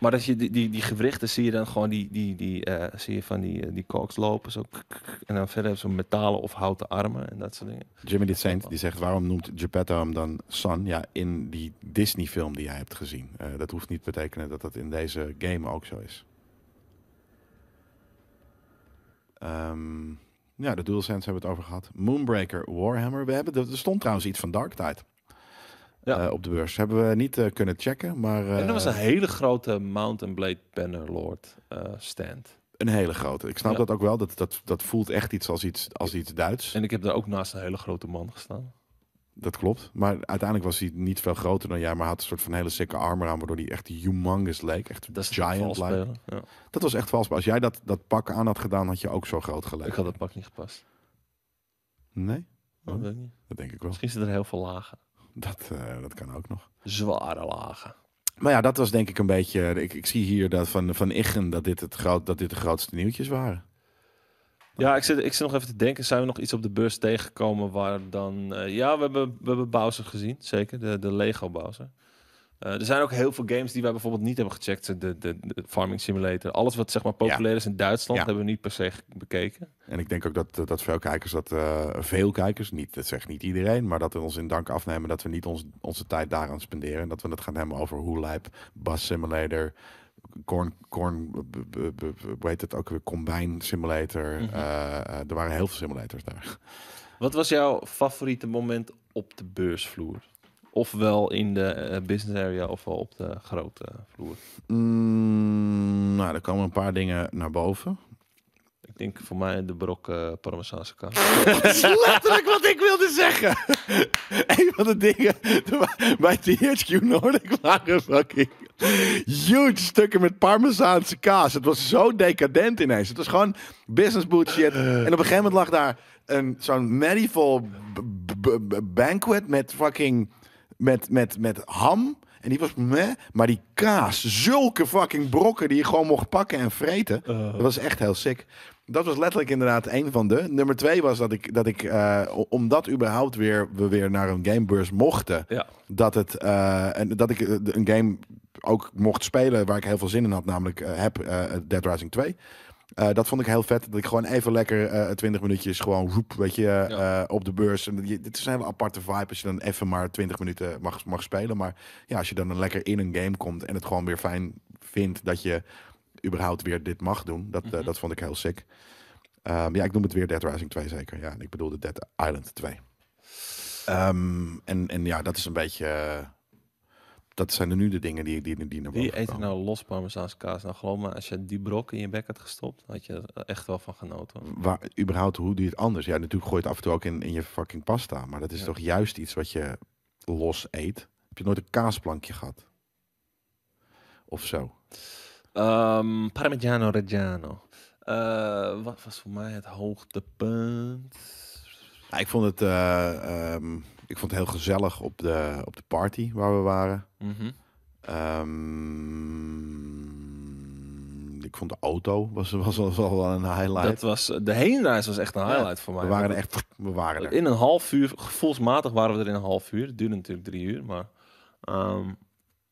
S2: Maar als je die, die, die gewrichten zie je dan gewoon die, die, die, eh, zie je van die, eh, die koks lopen. Zo. kk, kk, kk. En dan verder hebben ze metalen of houten armen en dat soort dingen.
S1: Jimmy de Saint die zegt: waarom noemt Geppetto hem dan San? Ja, in die Disney-film die jij hebt gezien. Eh, dat hoeft niet te betekenen dat dat in deze game ook zo is. Ehm, ja, de DualSense hebben we het over gehad. Moonbreaker, Warhammer. We hebben, er stond trouwens iets van Dark Tide
S2: Ja.
S1: eh, op de beurs. Hebben we niet eh, kunnen checken, maar eh,
S2: en er was een hele grote Mountain Blade Bannerlord eh, stand.
S1: een hele grote. Ik snap
S2: Ja.
S1: dat ook wel. Dat, dat, dat voelt echt iets als iets, als iets Duits.
S2: En ik heb daar ook naast een hele grote man gestaan.
S1: Dat klopt. Maar uiteindelijk was hij niet veel groter dan jij, maar had een soort van hele sikke armor aan, waardoor hij echt humongous leek. Echt
S2: Dat is
S1: giant like.
S2: spelen. Ja.
S1: Dat was echt vals. Maar als jij dat, dat pak aan had gedaan, had je ook zo groot geleken.
S2: Ik had het pak niet gepast.
S1: Nee,
S2: Dat
S1: Oh.
S2: weet ik niet.
S1: dat denk ik wel.
S2: Misschien zitten er heel veel lagen.
S1: Dat, eh, dat kan ook nog.
S2: Zware lagen.
S1: Maar ja, dat was denk ik een beetje. Ik, ik zie hier dat van, van Iggen dat dit, het groot, dat dit de grootste nieuwtjes waren.
S2: Ja, ik zit, ik zit nog even te denken. Zijn we nog iets op de beurs tegengekomen waar dan... eh, ja, we hebben, we hebben Bowser gezien, zeker. De, de Lego Bowser. Eh, er zijn ook heel veel games die wij bijvoorbeeld niet hebben gecheckt. De, de, de Farming Simulator. Alles wat zeg maar populair is in Duitsland
S1: Ja.
S2: hebben we niet per se ge- bekeken.
S1: En ik denk ook dat, eh, dat veel kijkers dat. eh, veel kijkers, niet, dat zegt niet iedereen, maar dat we ons in dank afnemen dat we niet ons, onze tijd daaraan spenderen. En dat we het gaan hebben over hoe lijp, Bus Simulator, Corn, corn b- b- b- b- hoe heet het ook weer? Combine Simulator.
S2: Mhm.
S1: Eh, eh, er waren heel veel simulators daar.
S2: Wat was jouw favoriete moment op de beursvloer? Ofwel in de eh, business area ofwel op de grote vloer.
S1: Mm, nou, er komen een paar dingen naar boven.
S2: Ik denk voor mij de brok eh Parmezaanse kaas.
S1: Dat is letterlijk wat ik wilde zeggen. Een van de dingen de- bij THQ Nordic waren fucking huge stukken met parmezaanse kaas. Het was zo decadent ineens. Het was gewoon business bullshit. En op een gegeven moment lag daar een zo'n medieval b- b- b- banquet met fucking met, met, met ham. En die was meh, maar die kaas, zulke fucking brokken die je gewoon mocht pakken en vreten. Dat was echt heel sick. Dat was letterlijk inderdaad een van de. Nummer twee was dat ik, dat ik eh, o- omdat überhaupt weer, we weer naar een gamebeurs mochten,
S2: Ja.
S1: dat, het, eh, en dat ik eh, de- een game ook mocht spelen waar ik heel veel zin in had, namelijk eh, heb eh, Dead Rising 2. Eh, dat vond ik heel vet. Dat ik gewoon even lekker eh 20 minuutjes gewoon roep, weet je, eh,
S2: Ja.
S1: eh, op de beurs. En je, dit is een hele aparte vibe als je dan even maar 20 minuten mag, mag spelen. Maar ja, als je dan lekker in een game komt en het gewoon weer fijn vindt dat je überhaupt weer dit mag doen. Dat, eh,
S2: Mhm.
S1: dat vond ik heel sick. Ehm, ja, ik noem het weer Dead Rising 2 zeker. Ja, en ik bedoelde Dead Island 2. Ehm, en, en ja, dat is een beetje... eh, dat zijn nu de dingen die, die, die naar
S2: Wie
S1: boven
S2: eet er
S1: komen.
S2: nou los Parmezaanse kaas? Nou, geloof me, als je die brok in je bek had gestopt, had je er echt wel van genoten. hoor.
S1: Waar, überhaupt, hoe doe je het anders? Ja, natuurlijk gooi je het af en toe ook in, in je fucking pasta. Maar dat is
S2: Ja.
S1: toch juist iets wat je los eet? Heb je nooit een kaasplankje gehad? Of zo?
S2: Ehm Parmigiano Reggiano. Eh, wat was voor mij het hoogtepunt?
S1: Ja, ik, vond het, eh, ehm, ik vond het heel gezellig op de, op de party waar we waren.
S2: Mhm.
S1: Ehm, ik vond de auto was, was, was al wel een highlight.
S2: Dat was, eh, de heenreis was echt een highlight voor mij.
S1: we waren er echt, we waren er.
S2: In een half uur, gevoelsmatig waren we er in een half uur. Het duurde natuurlijk drie uur, maar... ehm,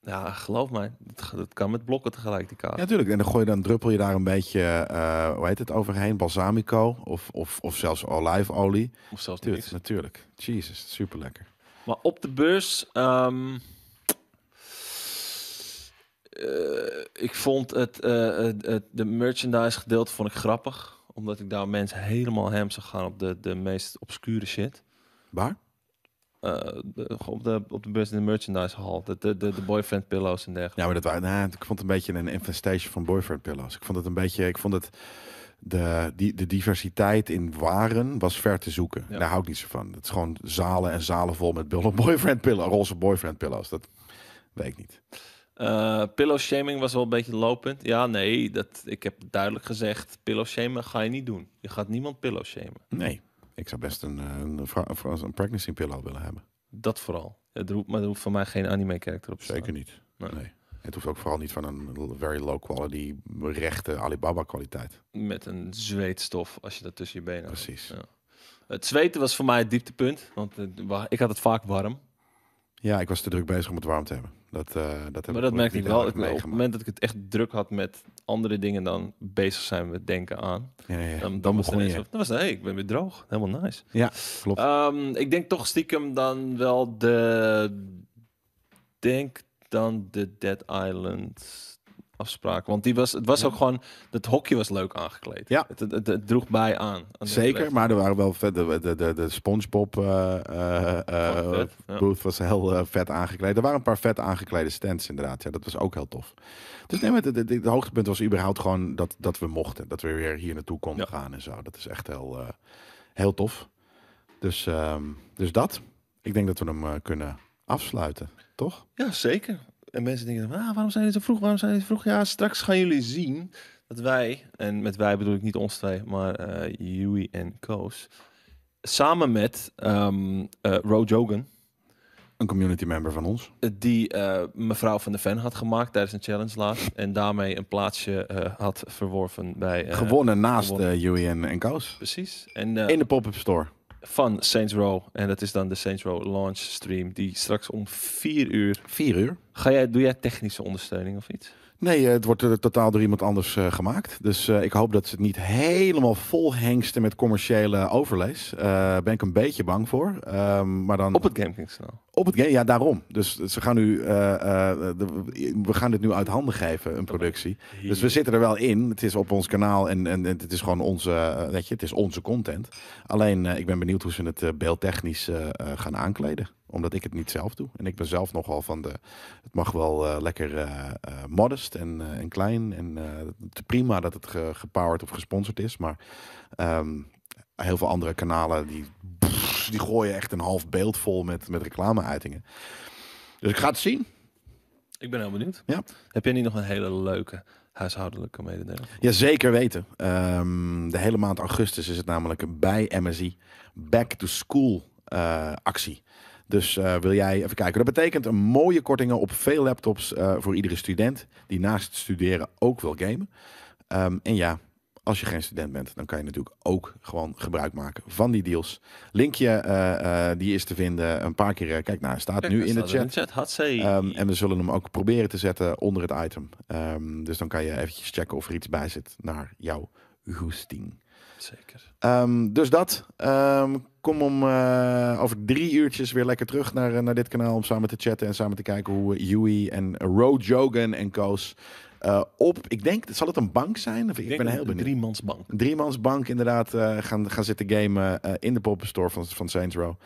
S2: ja, geloof mij, dat, dat kan met blokken tegelijk, die kaas.
S1: Ja, natuurlijk. En dan gooi je dan druppel je daar een beetje, eh, hoe heet het overheen, balsamico of, of, of zelfs olijfolie.
S2: of zelfs
S1: Dude,
S2: niks.
S1: natuurlijk. Jezus, super lekker.
S2: Maar op de beurs. ehm, eh, ik vond het, eh, het- het- de merchandise gedeelte vond ik grappig. Omdat ik daar mensen helemaal hem zag gaan op de, de meest obscure shit.
S1: Waar?
S2: Eh, de- op, de, op de beurs in de merchandise hall. De, de, de, de boyfriend pillows en dergelijke.
S1: Ja, maar dat waren, nou, ik vond het een beetje een infestation van boyfriend pillows. Ik vond het een beetje, ik vond het, de, die, de diversiteit in waren was ver te zoeken.
S2: Ja.
S1: Daar hou ik niet zo van. Het is gewoon zalen en zalen vol met billen- boyfriend pillows, roze boyfriend pillows. Dat weet ik niet.
S2: Eh, pillow shaming was wel een beetje lopend. Ja, nee, dat, ik heb duidelijk gezegd, pillow shamen ga je niet doen. Je gaat niemand pillow shamen.
S1: Nee. Ik zou best een, eh, een, vra- een, een pregnancy pillow willen hebben.
S2: Dat vooral. Het roept, maar er hoeft van mij geen anime-character op te
S1: Zeker
S2: staan.
S1: niet. Nee.
S2: Nee.
S1: Het hoeft ook vooral niet van een very low quality, rechte Alibaba kwaliteit.
S2: Met een zweetstof als je dat tussen je benen hebt.
S1: Precies.
S2: Ja. Het zweten was voor mij het dieptepunt, want eh, wa- ik had het vaak warm.
S1: Ja, ik was te druk bezig om het warm te hebben. Dat, eh, dat heb
S2: Maar dat merkte ik
S1: niet
S2: wel.
S1: duidelijk
S2: Ik- op het
S1: meegemaakt.
S2: moment dat ik het echt druk had met andere dingen dan bezig zijn met denken aan.
S1: Ja, ja, ja.
S2: Dan,
S1: Dan,
S2: dan begon
S1: begon
S2: je.
S1: je.
S2: Dan was het, hey, ik ben weer droog. Helemaal nice.
S1: Ja, klopt.
S2: Ehm, ik denk toch stiekem dan wel de... Denk dan de Dead Island afspraak. Want die was, het was ook gewoon... Het hokje was leuk aangekleed.
S1: Ja.
S2: Het, het, het- het droeg bij aan. aan de
S1: Zeker,
S2: rest.
S1: maar er waren wel vet, de, de, de, de SpongeBob eh, eh, eh,
S2: Vond ik vet, ja.
S1: booth was heel eh, vet aangekleed. Er waren een paar vet aangeklede stands inderdaad. Ja, dat was ook heel tof. Dus nee, maar het, het- het hoogtepunt was überhaupt gewoon dat, dat we mochten. Dat we weer hier naartoe konden
S2: Ja.
S1: gaan en zo. Dat is echt heel, eh, heel tof. Dus, ehm, dus dat. Ik denk dat we hem eh, kunnen afsluiten, toch?
S2: Ja, zeker. En mensen denken, dan, ah, waarom zijn jullie zo vroeg? Waarom zijn jullie zo vroeg? Ja, straks gaan jullie zien dat wij, en met wij bedoel ik niet ons twee, maar eh Yui en Koos, samen met ehm eh, Ro Jogan,
S1: Een community member van ons.
S2: die eh, mevrouw van de fan had gemaakt tijdens een challenge laatst. En daarmee een plaatsje eh, had verworven bij... eh,
S1: gewonnen naast
S2: gewonnen.
S1: eh Yui en, en Koos.
S2: Precies. En eh,
S1: In de pop-up store.
S2: van Saints Row. En dat is dan de Saints Row launch stream. Die straks om vier uur...
S1: Vier uur.
S2: Ga jij, doe jij technische ondersteuning of iets?
S1: Nee, eh, het wordt eh, totaal door iemand anders eh, gemaakt. Dus eh, ik hoop dat ze het niet helemaal vol hengsten met commerciële overlees. Eh ben ik een beetje bang voor. Ehm, maar dan
S2: Op het GameKings kanaal.
S1: op het game, ja, daarom. Dus ze gaan nu, eh, eh, de- we gaan dit nu uit handen geven, een productie. Dus we zitten er wel in. Het is op ons kanaal en, en, en het is gewoon onze, eh, weet je, het is onze content. Alleen, eh, ik ben benieuwd hoe ze het eh, beeldtechnisch eh, eh, gaan aankleden. Omdat ik het niet zelf doe. En ik ben zelf nogal van de, het mag wel eh, lekker eh, eh, modest en, eh, en klein. En eh, het is prima dat het ge- gepowered of gesponsord is. Maar ehm, heel veel andere kanalen die, die gooien echt een half beeld vol met, met reclameuitingen. Dus ik ga het zien.
S2: Ik ben heel benieuwd.
S1: Ja.
S2: Heb jij niet nog een hele leuke huishoudelijke mededeling?
S1: Ja, zeker weten. Ehm, de hele maand augustus is het namelijk een bij MSI Back to School eh, actie. Dus eh, wil jij even kijken. Dat betekent een mooie kortingen op veel laptops eh, voor iedere student die naast het studeren ook wil gamen. Ehm, en ja, als je geen student bent, dan kan je natuurlijk ook gewoon gebruik maken van die deals. Linkje, eh, eh, die is te vinden een paar keer. eh, kijk, nou, hij staat nu in de chat.
S2: Had ze.
S1: Ehm, en we zullen hem ook proberen te zetten onder het item. Ehm, dus dan kan je eventjes checken of er iets bij zit naar jouw goesting.
S2: Zeker.
S1: Ehm, dus dat. Ehm, kom om eh, over drie uurtjes weer lekker terug naar, eh, naar dit kanaal om samen te chatten en samen te kijken hoe eh, Yui en Ro Jogan en Koos eh, op, ik denk, zal het een bank zijn? Of, ik ben heel benieuwd.
S2: Driemansbank.
S1: Een driemansbank inderdaad eh, gaan, gaan zitten gamen eh, in de poppenstore van, van Saints Row.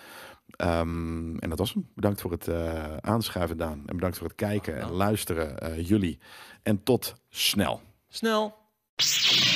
S1: Ehm, en dat was hem. Bedankt voor het eh, aanschuiven, Daan. En bedankt voor het kijken en luisteren, eh, jullie. En tot snel.
S2: Snel.